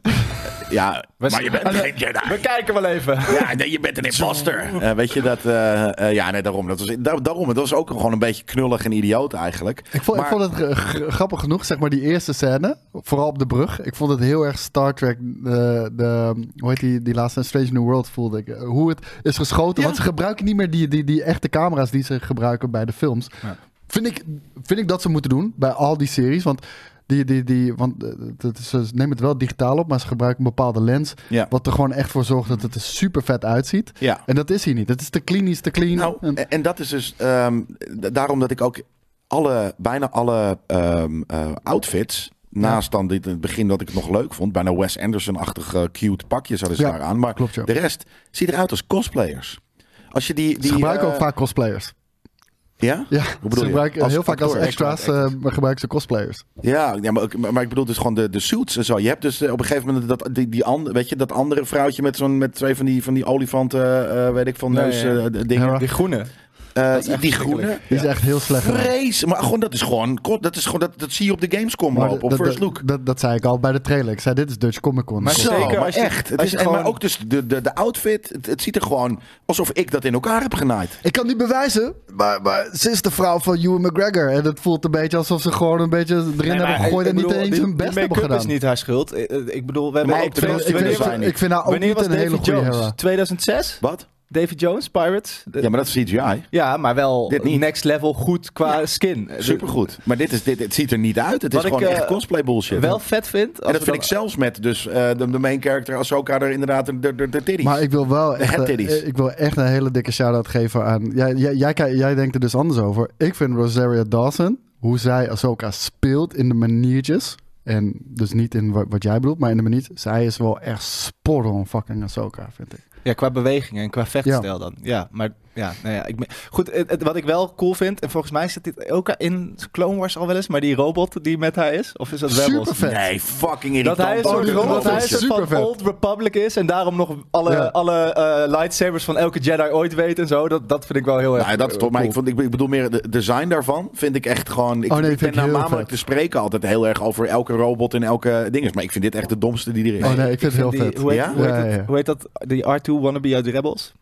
S2: Ja,
S3: We
S2: maar
S3: zijn-
S2: je bent
S3: Ah, nee.
S2: geen Jedi.
S3: *laughs* We kijken wel even.
S2: Ja, nee, je bent een imposter. Eh, weet je dat? eh, eh, ja, nee, daarom. Dat was, da- daarom. Het was ook gewoon een beetje knullig en idioot eigenlijk.
S4: Ik vond,
S2: Maar-
S4: ik vond het eh, g- grappig genoeg, zeg maar, die eerste scène. Vooral op de brug. Ik vond het heel erg Star Trek. De, de, hoe heet die, die laatste? Strange New World voelde ik. eh, Hoe het is geschoten.
S2: Ja.
S4: Want ze gebruiken niet meer die, die, die echte camera's die ze gebruiken bij de films.
S3: Ja.
S4: Vind, ik, vind ik dat ze moeten doen bij al die series. Want, die, die, die, want eh, dat is- ze nemen het wel digitaal op, maar ze gebruiken een bepaalde lens.
S2: Ja.
S4: Wat er gewoon echt voor zorgt dat het er super vet uitziet.
S2: Ja.
S4: En dat is hier niet. Het is te clean, is te clean.
S2: Nou,
S4: En-
S2: en, en dat is dus ehm, d- daarom dat ik ook alle, bijna alle ehm, eh, outfits. Naast dan dit in het begin dat ik het nog leuk vond. Bijna Wes Anderson-achtige eh, cute pakjes hadden ze
S4: Ja,
S2: daar aan. Maar
S4: klopt, ja.
S2: de rest ziet eruit als cosplayers. Als je die, die
S4: ze gebruiken
S2: eh,
S4: ook vaak cosplayers.
S2: Ja?
S4: Ja,
S2: bedoel
S4: ze
S2: je?
S4: gebruiken
S2: Als
S4: heel vaak als
S2: acteur.
S4: extra's eh, gebruiken ze cosplayers.
S2: Ja, ja maar, ook- maar, maar ik bedoel dus gewoon de, de suits en zo. Je hebt dus eh, op een gegeven moment dat, die, die an- weet je, dat andere vrouwtje met, zo'n met twee van die, van die olifanten, eh, weet ik van
S3: Nee,
S2: neus
S3: ja.
S2: eh, d- dingen.
S4: Hera.
S3: Die groene.
S2: Eh,
S3: is echt
S2: die groene.
S3: verschrikkelijk.
S4: Die is echt heel slecht. gedaan.
S2: Vrees. Maar gewoon, dat is gewoon, kort, dat, is gewoon dat, dat zie je op de Gamescom
S4: Maar
S2: lopen,
S4: dat-
S2: op First
S4: dat-
S2: Look.
S4: Dat, dat zei ik al bij de trailer. Ik zei, dit is Dutch Comic Con.
S3: Maar
S4: Kom.
S2: Zo,
S3: zeker
S2: maar
S3: als je-
S2: echt. Het
S3: als
S2: is,
S3: je
S2: en maar
S3: gewoon-
S2: ook dus de, de, de outfit, het, het ziet er gewoon alsof ik dat in elkaar heb genaaid.
S4: Ik kan niet bewijzen, maar, maar ze is de vrouw van Ewan McGregor. En het voelt een beetje alsof ze gewoon een beetje erin
S3: nou,
S4: hebben gegooid en niet eens hun best hebben
S3: make-up
S4: gedaan.
S3: is niet haar schuld. Eh, eh, Ik bedoel, we hebben
S2: Maar
S3: ook
S2: ik bedoel,
S3: twee-
S2: ik
S4: ik,
S2: Wanneer
S4: vind,
S2: was-
S4: ik vind haar ook
S3: Wanneer
S4: niet
S3: was
S4: een hele
S3: David
S4: goede
S3: Jones?
S4: hera.
S3: 2006?
S2: Wat?
S3: David Jones, Pirates? De-
S2: Ja, maar dat is CGI.
S3: Ja, maar wel
S2: Dit niet.
S3: next level goed qua skin.
S2: Supergoed. Maar dit, is, dit, het ziet er niet uit. Het
S3: Wat
S2: is
S3: ik,
S2: gewoon echt
S3: eh,
S2: cosplay bullshit.
S3: Wel vet vind.
S2: En
S3: als
S2: dat
S3: we
S2: vind
S3: dan-
S2: ik zelfs met dus eh, de, de main character Ahsoka er inderdaad de, de, de titties.
S4: Maar ik wil wel echt,
S2: headtitties.
S4: eh, ik wil echt een hele dikke shout-out geven aan... Jij, jij, jij, ki- jij denkt er dus anders over. Ik vind Rosaria Dawson, hoe zij Ahsoka speelt in de maniertjes... En dus niet in wat, wat jij bedoelt, maar in de manier. Zij is wel echt spot on fucking Ahsoka, vind ik.
S3: Ja, qua bewegingen en qua vechtstijl dan. Ja, maar ja, nou ja. Ik, me- goed, het, het- wat ik wel cool vind, en volgens mij zit dit ook in Clone Wars al wel eens, maar die robot die met haar is, of is dat Rebels?
S4: Super vet.
S2: Nee, fucking
S3: Dat
S2: irritant.
S3: hij een soort,
S4: die
S2: Oh,
S4: robot
S3: dat hij een
S4: is
S3: soort van
S4: supervet.
S3: Old Republic is en daarom nog alle,
S4: Ja.
S3: alle eh, lightsabers van elke Jedi ooit weet en zo. Dat, dat vind ik wel heel erg eh,
S2: Nou, dat is toch, maar
S3: cool.
S2: ik, vond, ik, ik bedoel meer het design daarvan vind ik echt gewoon... Ik,
S4: Oh, nee,
S2: ik
S4: vind
S2: ben
S4: ik heel
S2: namelijk
S4: vet.
S2: te spreken altijd heel erg over elke robot en elke ding. Maar ik vind dit echt de domste die er is.
S4: Oh nee, ik vind het heel
S3: die-
S4: vet.
S3: Hoe heet,
S2: Ja?
S3: hoe heet
S4: Ja,
S3: het-
S4: ja.
S3: hoe heet dat? Die R2 wannabe uit de Rebels?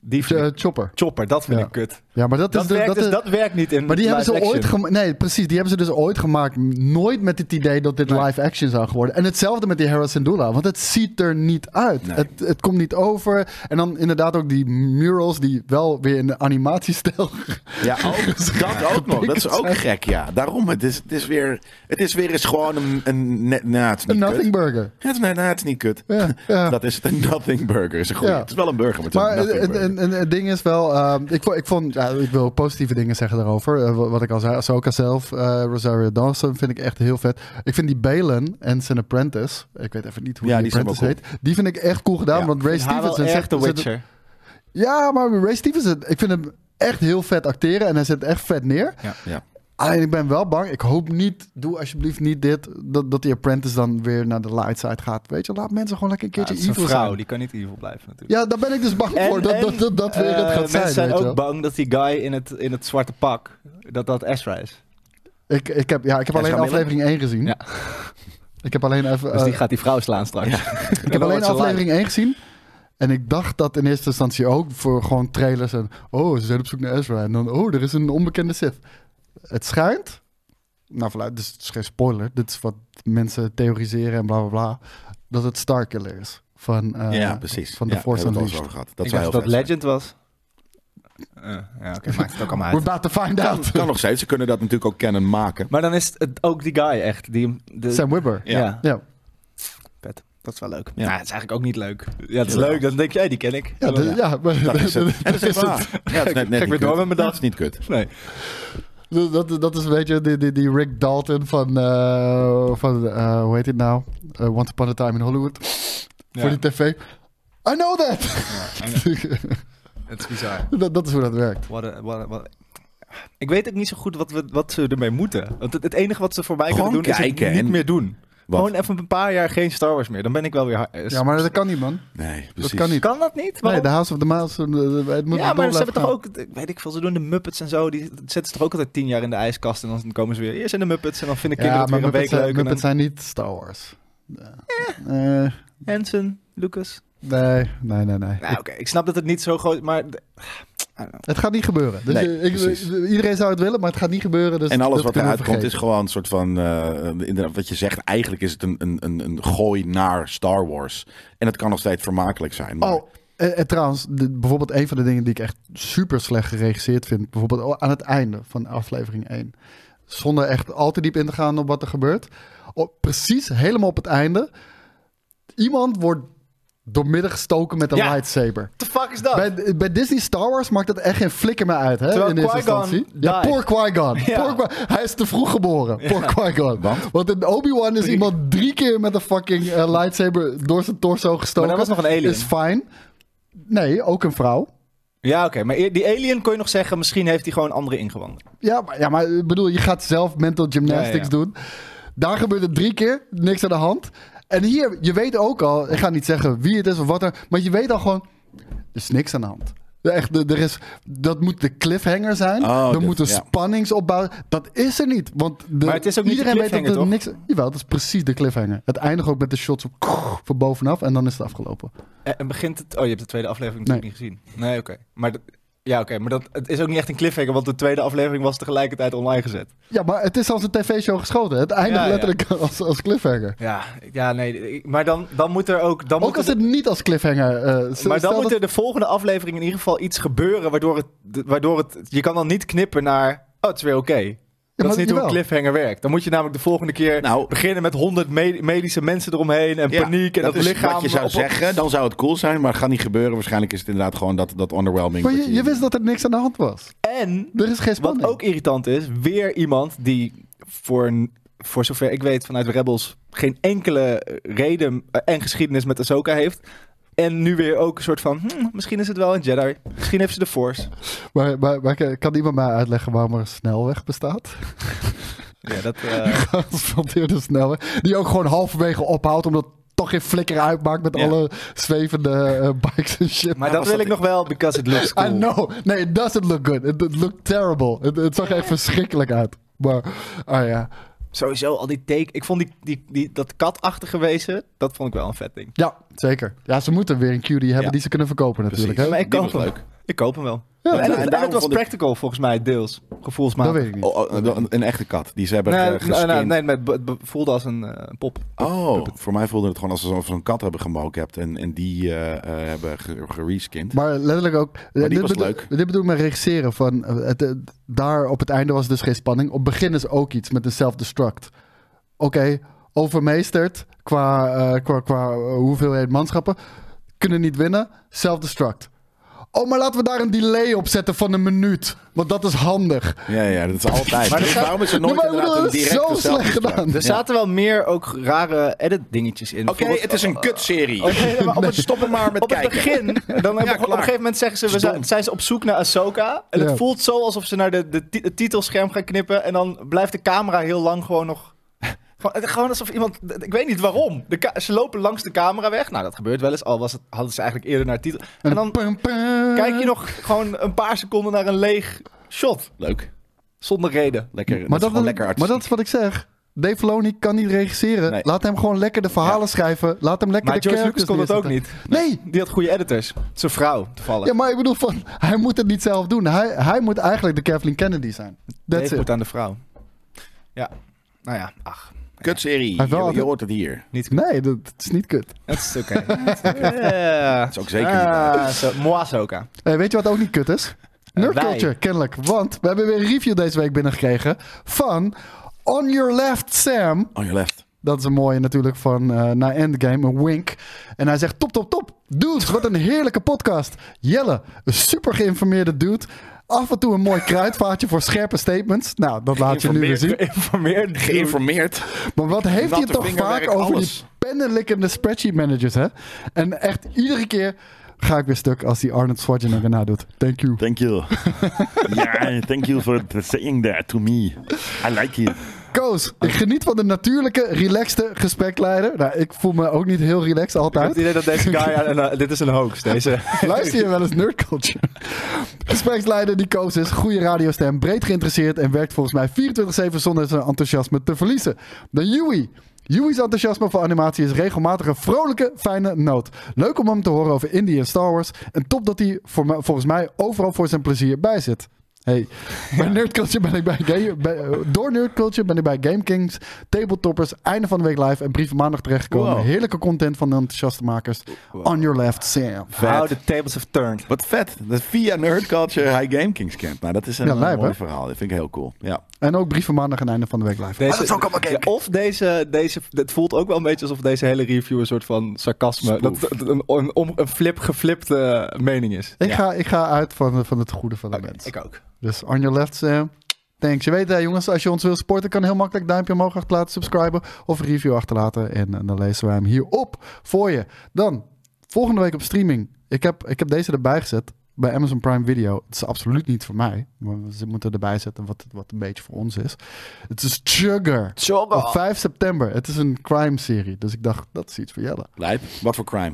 S3: Die vind
S4: Eh,
S3: ik-
S4: Chopper.
S3: Chopper, dat vind
S4: Ja.
S3: ik kut.
S4: Ja, maar dat,
S3: Dat,
S4: is... de-
S3: werkt,
S4: dat
S3: dus,
S4: is-
S3: dat werkt niet in
S4: maar die hebben ze
S3: live
S4: ooit
S3: action.
S4: gemaakt. Nee, precies. Die hebben ze dus ooit gemaakt. Nooit met het idee dat dit
S3: Nee.
S4: live action zou geworden. En hetzelfde met die Hera Syndulla. Want het ziet er niet uit.
S2: Nee.
S4: Het, het komt niet over. En dan inderdaad ook die murals die wel weer in de animatiestijl.
S2: Ja,
S4: *laughs*
S2: ook, dat ook nog. Dat is ook gek, ja. Daarom, het is, het is, weer, het is weer eens gewoon een... een net, nou, het is
S4: Een
S2: niet
S4: *laughs* nothing
S2: kut.
S4: burger.
S2: Het is, nee, nou, het is niet kut.
S4: Ja, ja.
S2: *laughs* Dat is het, een nothing burger. Is een goeie.
S4: Ja.
S2: Het is wel een burger, maar het is
S4: Maar
S2: een nothing
S4: het,
S2: burger.
S4: het- het- het ding is wel, ehm, ik vond, ik, vond ja, ik wil positieve dingen zeggen daarover. Eh, wa- wat ik al zei, Ahsoka zelf, eh, Rosario Dawson vind ik echt heel vet. Ik vind die Balen en zijn apprentice, ik weet even niet hoe
S2: Ja,
S4: die,
S2: die zijn wel
S4: apprentice heet, die vind ik echt cool gedaan,
S2: Ja.
S4: want Ray
S3: Ik vind haar wel
S4: Stevenson
S3: echt de
S4: zit- zit-
S3: Witcher.
S4: Ja, maar Ray Stevenson, ik vind hem echt heel vet acteren en hij zit echt vet neer.
S2: ja.
S4: Alleen ik ben wel bang, ik hoop niet, doe alsjeblieft niet dit, dat, dat die apprentice dan weer naar de light side gaat. Weet je, laat mensen gewoon lekker een
S3: Ja, het
S4: keertje
S3: is een
S4: evil
S3: vrouw,
S4: zijn.
S3: die kan niet evil blijven natuurlijk.
S4: Ja, daar ben ik dus bang voor, dat, dat, dat, dat weer het
S3: eh,
S4: gaat zijn.
S3: Mensen zijn
S4: weet je wel.
S3: ook bang dat die guy in het, in het zwarte pak, dat dat Ezra is.
S4: Ik, ik heb, ja, ik heb
S2: Ja,
S4: alleen
S2: Schamille?
S4: aflevering 1 gezien.
S3: Ja.
S4: *laughs* Ik heb alleen, even,
S3: Dus die
S4: eh,
S3: gaat die vrouw slaan straks.
S4: ik heb alleen aflevering 1 gezien. En ik dacht dat in eerste instantie ook voor gewoon trailers. En, oh, ze zijn op zoek naar Ezra. En dan, oh, er is een onbekende Sith. Het schijnt... Nou, vanuit, dus het is geen spoiler. Dit is wat mensen theoriseren en bla, bla, bla. Dat het Starkiller is. Van, eh,
S2: ja, precies.
S4: van de
S2: Ja,
S4: Force
S2: daar hebben we het
S4: Unleashed.
S2: al over gehad. Dat
S3: ik
S2: zou
S3: dacht
S2: heel
S3: dat
S2: vet zijn.
S3: Legend was. Eh, ja, oké, maakt het ook allemaal
S4: We're
S3: uit.
S4: about to find out.
S2: Kan, kan nog steeds. Ze kunnen dat natuurlijk ook kennen
S3: *laughs*
S2: maken.
S3: Maar dan is het ook die guy echt. Die, hem- de,
S4: Sam Wibber.
S3: ja.
S2: Ja.
S4: Ja,
S3: vet. Dat is wel leuk.
S2: Ja.
S3: Ja, het is eigenlijk ook niet leuk. Ja, het is
S2: Ja.
S3: leuk. Dan denk jij, die ken ik.
S4: ja, de- ja, maar-
S2: Dat
S4: *laughs*
S2: is het. En dat is
S4: is
S2: waar. Ja, het is net, net
S3: Ga ik
S2: niet
S3: weer door
S2: kut.
S3: met mijn dag?
S2: Dat is niet kut.
S3: Nee.
S4: Dus Dat, dat is een beetje die, die, die Rick Dalton van, eh, van eh, hoe heet het nou? Eh, Once Upon a Time in Hollywood. Voor die tv. I know that! *laughs*
S3: het is bizar.
S4: dat, dat is hoe dat werkt.
S3: What a- what a- what a- Ik weet ook niet zo goed wat, we, wat ze ermee moeten. Want het, het enige wat ze voor mij
S2: Gewoon
S3: kunnen doen
S2: kijken
S3: is het
S2: en-
S3: niet meer doen.
S2: Wat?
S3: Gewoon even een paar jaar geen Star Wars meer. Dan ben ik wel weer... ha- eh,
S4: Ja, maar dat kan niet, man.
S2: Nee, precies.
S4: Dat kan niet.
S3: Kan dat niet?
S4: Nee,
S3: Waarom?
S4: de House of the Mouse. eh, eh, Het moet
S3: ja, maar ze
S4: door
S3: hebben toch
S4: blijven
S3: ook, eh, weet ik veel, ze doen de Muppets en zo. Die zetten ze toch ook altijd tien jaar in de ijskast. En dan komen ze weer eerst in de Muppets. En dan vinden
S4: gaan. Ja,
S3: kinderen
S4: maar
S3: het weer
S4: Muppets
S3: een
S4: zijn,
S3: week leuk. En
S4: Muppets zijn niet Star Wars. Eh, eh,
S3: dan Hanson, Lucas.
S4: nee, nee, nee, nee.
S3: Nou, oké. Ik snap dat het niet zo groot maar d-
S4: Het gaat niet gebeuren. Dus
S2: Nee,
S4: eh, ik-
S2: precies.
S4: eh, iedereen zou het willen, maar het gaat niet gebeuren. Dus
S2: En alles
S4: dat
S2: wat
S4: kunnen we
S2: eruit komt is
S4: vergeten.
S2: gewoon een soort van, eh, inderdaad, wat je zegt, eigenlijk is het een, een, een, een gooi naar Star Wars. En het kan nog steeds vermakelijk zijn. maar-
S4: Oh, eh, eh, trouwens, de- bijvoorbeeld een van de dingen die ik echt super slecht geregisseerd vind. Bijvoorbeeld oh, aan het einde van aflevering 1. Zonder echt al te diep in te gaan op wat er gebeurt. Op, precies, helemaal op het einde. Iemand wordt doormidden gestoken met een
S3: Ja.
S4: lightsaber.
S3: the fuck is dat?
S4: Bij, bij Disney Star Wars maakt dat echt geen flikker meer uit, hè?
S3: Terwijl
S4: in eerste
S3: Qui-Gon
S4: instantie. Ja,
S3: died.
S4: poor Qui-Gon.
S3: *laughs* Ja.
S4: Poor Qui- hij is te vroeg geboren. Poor Qui-Gon. Want in Obi-Wan is iemand drie keer met een fucking eh, lightsaber door zijn torso gestoken.
S3: Maar dat was nog een alien.
S4: Is fijn. Nee, ook een vrouw.
S3: Ja, oké. Maar e- die alien kon je nog zeggen, misschien heeft hij gewoon andere ingewanden.
S4: Ja, maar, ja, maar eh, bedoel, je gaat zelf mental gymnastics
S3: Ja, ja.
S4: doen. Daar gebeurt het drie keer, niks aan de hand. En hier, je weet ook al, ik ga niet zeggen wie het is of wat er, maar je weet al gewoon, er is niks aan de hand. Echt, er er is, dat moet de cliffhanger zijn.
S2: Oh,
S4: er
S2: dit-
S4: moet een
S2: ja.
S4: spanningsopbouw. Dat is er niet. Want de,
S3: Maar het is ook niet de
S4: iedereen weet dat er
S3: cliffhanger,
S4: niks. Jawel, dat is precies de cliffhanger. Het eindigt ook met de shots op, van bovenaf en dan is het afgelopen.
S3: En, en begint het... Oh, je hebt de tweede aflevering natuurlijk niet gezien. Nee, oké. Maar... dat- Ja, oké, maar dat, het is ook niet echt een cliffhanger, want de tweede aflevering was tegelijkertijd online gezet.
S4: Ja, maar het is als een tv-show geschoten. Het eindigt
S3: Ja, ja.
S4: letterlijk als, als cliffhanger.
S3: Ja, ja nee, ik- maar dan, dan moet er ook... Dan
S4: Ook
S3: moet
S4: als
S3: er-
S4: het niet als cliffhanger. eh, stel
S3: maar dan
S4: dat-
S3: moet er de volgende aflevering in ieder geval iets gebeuren waardoor het, de- waardoor het... Je kan dan niet knippen naar, oh, het is weer oké. dat
S4: maar
S3: is niet hoe een
S4: jawel.
S3: cliffhanger werkt. Dan moet je namelijk de volgende keer
S2: Nou-
S3: beginnen met honderd medische mensen eromheen en
S2: Ja,
S3: paniek en dat,
S2: is
S3: lichaam...
S2: Wat je zou
S3: op-
S2: zeggen, dan zou het cool zijn, maar het gaat niet gebeuren. Waarschijnlijk is het inderdaad gewoon dat, dat underwhelming.
S4: Maar
S2: wat
S4: je, je wist dat er niks aan de hand was.
S3: En
S4: Er is geen
S3: Wat
S4: spanning.
S3: ook irritant is, weer iemand die voor, voor zover ik weet vanuit Rebels geen enkele reden eh, en geschiedenis met Ahsoka heeft. En nu weer ook een soort van, hmm, misschien is het wel een Jedi. Misschien heeft ze de Force.
S4: Maar, maar, maar kan iemand mij uitleggen waarom er een snelweg bestaat? *laughs*
S3: Ja, dat,
S4: Geasfalteerde snelweg. Die ook gewoon halverwege ophoudt omdat het toch geen flikker uitmaakt met
S3: Ja.
S4: alle zwevende eh, bikes en shit.
S3: maar dat wil ik nog wel, because it looks
S4: I
S3: cool.
S4: know. Nee, it doesn't look good. It, it looked terrible. Het het zag echt verschrikkelijk uit. Maar, ah ja.
S3: Sowieso al die take. Ik vond die, die, die, dat katachtige wezen, dat vond ik wel een vet ding.
S4: Ja, zeker. Ja, ze moeten weer een QD hebben
S2: Ja.
S4: die ze kunnen verkopen natuurlijk.
S2: Precies.
S4: Hè?
S3: Maar ik
S2: Die
S3: koop
S2: was
S3: hem.
S2: leuk.
S3: Ik koop hem wel.
S4: Ja,
S3: en,
S2: en
S3: het, en
S2: daarom
S3: het was
S2: vond ik-
S3: practical volgens mij, deels. Gevoelsmatig.
S4: Dat weet ik niet.
S2: Oh, oh, een- een echte kat. Die ze hebben
S3: Nee,
S2: eh,
S3: nee,
S2: geskind.
S3: nee, nee, maar het be- voelde als een eh, pop.
S2: Oh, voor mij voelde het gewoon alsof ze zo'n kat hebben gemocapt en, en die eh, eh, hebben ge- gereskind.
S4: Maar letterlijk ook.
S2: die
S4: dit,
S2: was
S4: bedoel,
S2: leuk.
S4: dit bedoel ik met regisseren. Van, eh, het, eh, daar op het einde was dus geen spanning. Op het begin is ook iets met een self-destruct. Oké, overmeesterd qua, eh, qua, qua eh, hoeveelheid manschappen. Kunnen niet winnen. Self-destruct. Oh, maar laten we daar een delay op zetten van een minuut. Want dat is handig.
S2: Ja, ja, dat is altijd.
S4: Maar
S2: Maar
S4: dat gaat-
S2: waarom is er
S4: Nee,
S2: nooit
S4: maar ik
S2: inderdaad
S4: bedoel,
S2: een
S4: dat is
S2: directe
S4: zo slecht
S2: zelfdestruct?
S4: gedaan.
S3: Er zaten wel meer ook rare edit dingetjes in.
S2: Oké, het is een kutserie.
S3: op het, stoppen maar
S2: met
S3: Oh, op het
S2: kijken.
S3: begin, dan hebben we- op een
S2: klaar.
S3: gegeven moment zeggen ze, we zijn, zijn ze op zoek naar Ahsoka. En
S4: Ja.
S3: het voelt zo alsof ze naar de, de ti- het titelscherm gaan knippen. En dan blijft de camera heel lang gewoon nog... Gewoon, gewoon alsof iemand... Ik weet niet waarom. De ka- ze lopen langs de camera weg. Nou, dat gebeurt wel eens. Al was het, hadden ze eigenlijk eerder naar het titel... En dan
S4: Pum, pum.
S3: kijk je nog gewoon een paar seconden naar een leeg shot.
S2: Leuk.
S3: Zonder reden.
S2: Lekker.
S4: Maar dat,
S2: is gewoon lekker
S4: maar
S2: artistiek.
S4: dat is wat ik zeg. Dave Filoni kan niet regisseren.
S2: Nee.
S4: Laat hem gewoon lekker de verhalen
S2: Ja.
S4: schrijven. Laat hem lekker
S3: Maar
S4: de
S3: George Lucas
S4: characters
S3: kon dat ook
S4: neerzetten.
S3: niet.
S4: Nee,
S3: Die had goede editors. Zijn vrouw, toevallig.
S4: Ja, maar ik bedoel, van, hij moet het niet zelf doen. Hij, hij moet eigenlijk de Kathleen Kennedy zijn. That's
S3: Dave
S4: it.
S3: moet aan de vrouw. Ja. Nou ja, ach.
S2: Kutserie.
S4: Hij heeft wel
S2: Je, je
S4: altijd-
S2: hoort het hier.
S3: Niet
S4: Nee, dat, dat is niet kut.
S3: Dat is oké.
S4: *laughs*
S3: Ah, Dat
S2: is ook zeker niet
S3: Moasoka.
S4: Eh, weet je wat ook niet kut is? Nerd
S3: Eh, wij.
S4: culture, kennelijk. Want we hebben weer een review deze week binnengekregen van On Your Left Sam.
S2: On your left.
S4: Dat is een mooie natuurlijk van eh na Endgame, een wink. En hij zegt top, top, top. Dudes, wat een heerlijke podcast. Jelle, een super geïnformeerde dude. Af en toe een mooi kruidvaatje voor scherpe statements. Nou, dat laat je nu weer zien.
S3: Geïnformeerd.
S2: Geïnformeerd.
S4: Maar wat heeft hij
S2: Natte
S4: het toch vaak
S2: vingerwerk,
S4: over
S2: alles.
S4: die pennenlikkende spreadsheet managers, hè? En echt iedere keer ga ik weer stuk als die Arnold
S2: *laughs*
S4: Schwarzenegger nadoet. Thank you.
S2: Thank you. yeah, thank you for saying that to me. I like you.
S4: Koos, ik geniet van de natuurlijke, relaxte gesprekleider. Nou, ik voel me ook niet heel relaxed
S3: Ik heb het
S4: altijd.
S3: idee dat deze guy... ja, nou, dit is een hoax, deze.
S4: Luister je wel eens nerd culture? Gespreksleider die Koos is, goede radiostem, breed geïnteresseerd en werkt volgens mij 24-7 zonder zijn enthousiasme te verliezen. Dan Yui. Yui's enthousiasme voor animatie is regelmatig een vrolijke, fijne noot. Leuk om hem te horen over Indie en Star Wars. En top dat hij voor me- volgens mij overal voor zijn plezier bij zit. Hey, bij Nerd Culture ben ik bij, Ga- bij- door Nerd Culture ben ik bij Game Kings, Tabletoppers, einde van de week live en brief maandag terechtgekomen.
S2: Wow.
S4: Heerlijke content van de enthousiaste makers. On your left, Sam.
S3: How
S2: Vet.
S3: the tables have turned.
S2: Wat vet. Dat is via Nerd Culture High Game Kings Camp. Nou, dat is een
S4: Ja,
S2: eh,
S4: lijp,
S2: mooi
S4: hè?
S2: verhaal. Dat vind ik heel cool. Ja.
S4: En ook brieven maandag en einde van de week live.
S3: Deze,
S2: dat is ook allemaal
S3: ja,
S2: gek.
S3: Of deze, deze, het voelt ook wel een beetje alsof deze hele review een soort van sarcasme, dat,
S2: Spoof.
S3: dat een, een, om- een flip geflipte eh, mening is.
S4: Ik,
S2: Ja.
S4: ga, ik ga uit van, van het goede van de mens.
S3: Ik ook.
S4: Dus on your left, Sam. Thanks. Je weet hè, jongens, als je ons wil supporten, kan heel makkelijk duimpje omhoog achterlaten, subscriben of een review achterlaten. En, eh, dan lezen we hem hier op voor je. Dan, volgende week op streaming. Ik heb, ik heb deze erbij gezet bij Amazon Prime Video. Het is absoluut niet voor mij, maar ze moeten erbij zetten wat, wat een beetje voor ons is. Het is Sugar. Op 5 september. Het is een crime serie, dus ik dacht, dat is iets voor Jelle.
S2: Lijp. Wat voor crime.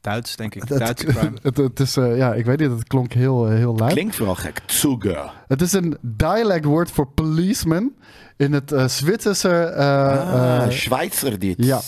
S3: Duits, denk ik.
S4: Het,
S3: Duitse crime.
S4: *laughs* het, het is, eh, ja, ik weet niet, het klonk heel, eh, heel luid.
S2: Klinkt vooral gek. Tsuga.
S4: Het is een dialectwoord voor policeman in het eh, Zwitserse. eh,
S2: Ah,
S4: eh,
S2: Zwitser dit.
S4: ja.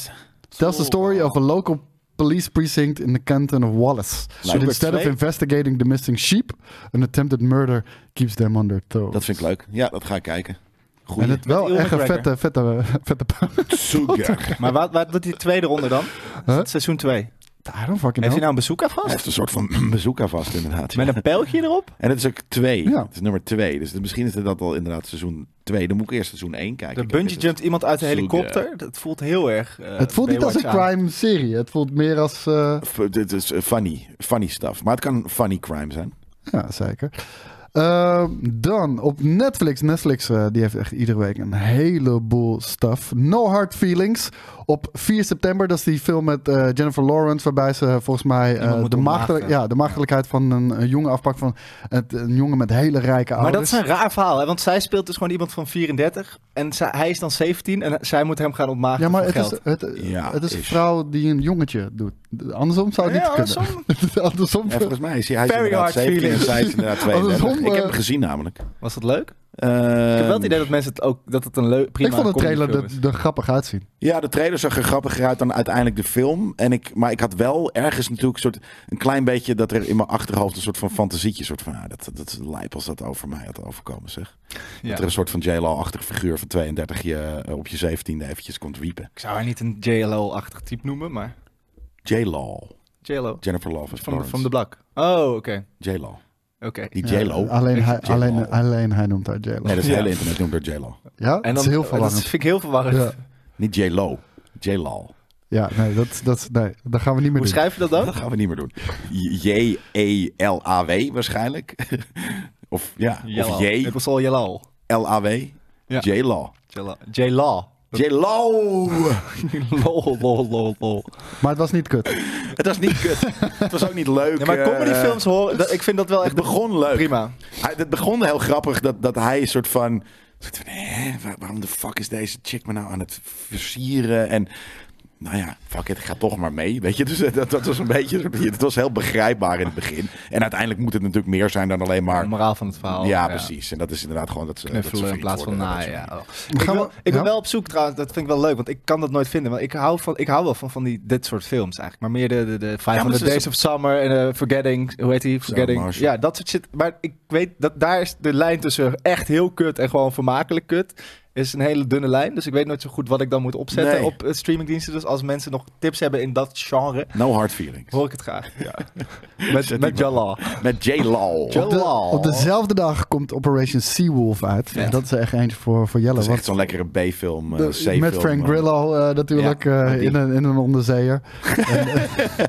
S4: tells the story of a local police precinct in the canton of Wallace.
S2: Super
S4: And instead of
S3: twee.
S4: investigating the missing sheep, an attempted murder keeps them under tow.
S2: Dat vind ik leuk. Ja, dat ga ik kijken.
S4: En
S2: Goed.
S4: het wel
S3: Ewan
S4: echt een vette,
S3: McGregor.
S4: vette, vette. *laughs*
S2: Tsuga. Hij
S3: Maar wat, wat doet die tweede ronde dan?
S4: Huh?
S3: Seizoen 2. Heeft
S4: I don't fucking
S3: hij
S4: know.
S3: nou een bezoeker vast?
S2: heeft een soort van bezoeker vast inderdaad. ja.
S3: Met een pijltje erop?
S2: En het is ook twee.
S4: Ja.
S2: Het is nummer twee. Dus misschien is het dat al inderdaad seizoen twee. Dan moet ik eerst seizoen één kijken.
S3: De
S2: Kijk,
S3: bungee
S2: dit is-
S3: jumpt iemand uit de
S2: Zoek,
S3: helikopter. Dat voelt heel erg. eh,
S4: Het voelt niet als een
S3: Baywatch aan.
S4: crime serie. Het voelt meer als. eh,
S2: F- Dit is eh, funny. Funny stuff. Maar het kan funny crime zijn.
S4: Ja, zeker. Ehm, dan op Netflix. Netflix eh, die heeft echt iedere week een heleboel stuff. No Hard Feelings. Op 4 september, dat is die film met eh, Jennifer Lawrence, waarbij ze eh, volgens mij eh,
S3: Iemand moet
S4: de, maagdelijk,
S3: ontmaagden.
S4: ja, de maagdelijkheid van een, een jongen afpakt van het, een jongen met hele rijke
S3: Maar dat
S4: ouders.
S3: is een raar verhaal, hè? want zij speelt dus gewoon iemand van 34 en zij- hij is dan 17 en zij moet hem gaan ontmaken
S4: ja, maar
S3: voor
S4: het
S3: geld.
S4: is, het,
S2: Ja,
S4: het is een
S2: is.
S4: vrouw die een jongetje doet. Andersom zou *laughs* het
S3: Ja,
S4: niet kunnen.
S3: andersom.
S4: andersom,
S2: En volgens mij is hij, hij is
S3: Very
S2: inderdaad
S3: hard
S2: 17 en
S3: feelings.
S2: zij is inderdaad
S4: *laughs* Andersom,
S2: 32. Ik heb hem
S4: eh,
S2: gezien namelijk.
S3: Was dat leuk?
S2: Eh,
S3: ik heb wel het idee dat mensen het ook dat het een leuk prima
S4: Ehm, ik vond de
S3: comedyfilm
S4: trailer
S3: is.
S4: er, er grappig uitzien.
S2: Ja, de trailer zag er grappiger uit dan uiteindelijk de film. En ik, maar ik had wel ergens natuurlijk een, soort, een klein beetje dat er in mijn achterhoofd een soort van fantasietje. Soort van, ah, dat, dat is lijp als dat over mij had overkomen zeg.
S3: Ja.
S2: Dat er een soort van JLO-achtige figuur van 32 je eh, op je 17e eventjes komt wiepen.
S3: Ik zou haar niet een JLO-achtig type noemen, maar
S2: J-Law.
S3: JLO
S2: Jennifer Love is
S3: van de,
S2: Florence.
S3: van de Black. Oh, oké.
S2: J-Lo.
S3: Oké.
S2: Die
S4: Ja,
S2: J-Lo.
S4: alleen, hij,
S2: J-Lo.
S4: alleen, alleen hij noemt haar J-Lo.
S2: Nee, dat is het
S3: Ja.
S2: hele internet noemt door J-Lo.
S4: ja,
S3: En
S4: dat is heel
S3: oh, dat
S4: verwarrend.
S3: vind ik heel verwarrend.
S4: Ja.
S2: Niet J-Lo. J-Law.
S4: Ja, nee, dat, dat, nee, dat gaan we niet meer
S3: Hoe
S4: doen.
S3: schrijf je dat
S4: *laughs*
S3: dan?
S2: Dat gaan we niet meer doen. J-E-L-A-W waarschijnlijk. *laughs* of ja, of
S3: Het was al JLO.
S2: J-L-A-W.
S3: Ja.
S2: J-Law.
S3: JLO. JLO.
S2: J-Lo!
S3: *laughs* lol, lol, lol, lol.
S4: Maar het was niet kut.
S2: Het was niet kut. Het was ook niet leuk.
S3: Ja, maar
S2: eh,
S3: comedyfilms horen, dat- ik vind dat wel echt
S2: Het begon leuk.
S3: prima.
S2: Hij, het begon heel grappig dat, dat hij een soort van. soort van, hè, waar- waarom de fuck is deze chick me nou aan het versieren? En. Nou ja, fuck it, ga toch maar mee. Weet je, dus eh, dat, dat was een beetje. Het was heel begrijpbaar in het begin. En uiteindelijk moet het natuurlijk meer zijn dan alleen maar.
S3: De moraal van het verhaal.
S2: ja, precies. En dat is inderdaad gewoon dat ze. dat ze
S3: Knuffelen eh, in
S2: vriend
S3: plaats van
S2: worden, dat
S3: naaien.
S2: soort
S3: Ja.
S2: dingen.
S3: Ik,
S4: Gaan
S3: wil-
S4: we-
S3: ik ben
S4: ja?
S3: wel op zoek trouwens, dat vind ik wel leuk, want ik kan dat nooit vinden. Want ik hou, van, ik hou wel van, van die, dit soort films eigenlijk. Maar meer de, de, de 500
S2: ze-
S3: Days
S2: ze-
S3: of Summer en eh, Forgetting, hoe heet die? Forgetting.
S2: Marshall.
S3: Ja, dat soort shit. Maar ik weet, dat, daar is de lijn tussen echt heel kut en gewoon vermakelijk kut. Is een hele dunne lijn, dus ik weet nooit zo goed wat ik dan moet opzetten
S2: Nee.
S3: op eh, streamingdiensten. Dus als mensen nog tips hebben in dat genre,
S2: No hard feelings.
S3: hoor ik het graag.
S2: *laughs*
S3: *laughs* Met, met
S2: maar. *laughs* Oh,
S3: Jalla.
S2: Met J-Law.
S3: J-
S4: Op, de-
S3: Lol.
S4: op dezelfde dag komt Operation Seawolf uit.
S3: Ja.
S4: Dat is echt eentje voor, voor Jelle.
S2: Dat is echt
S4: want
S2: zo'n lekkere B-film. eh,
S4: de-
S2: C-film,
S4: met Frank
S2: eh.
S4: Grillo eh, natuurlijk
S2: Ja,
S4: eh,
S2: die.
S4: in, een, in een onderzeeër.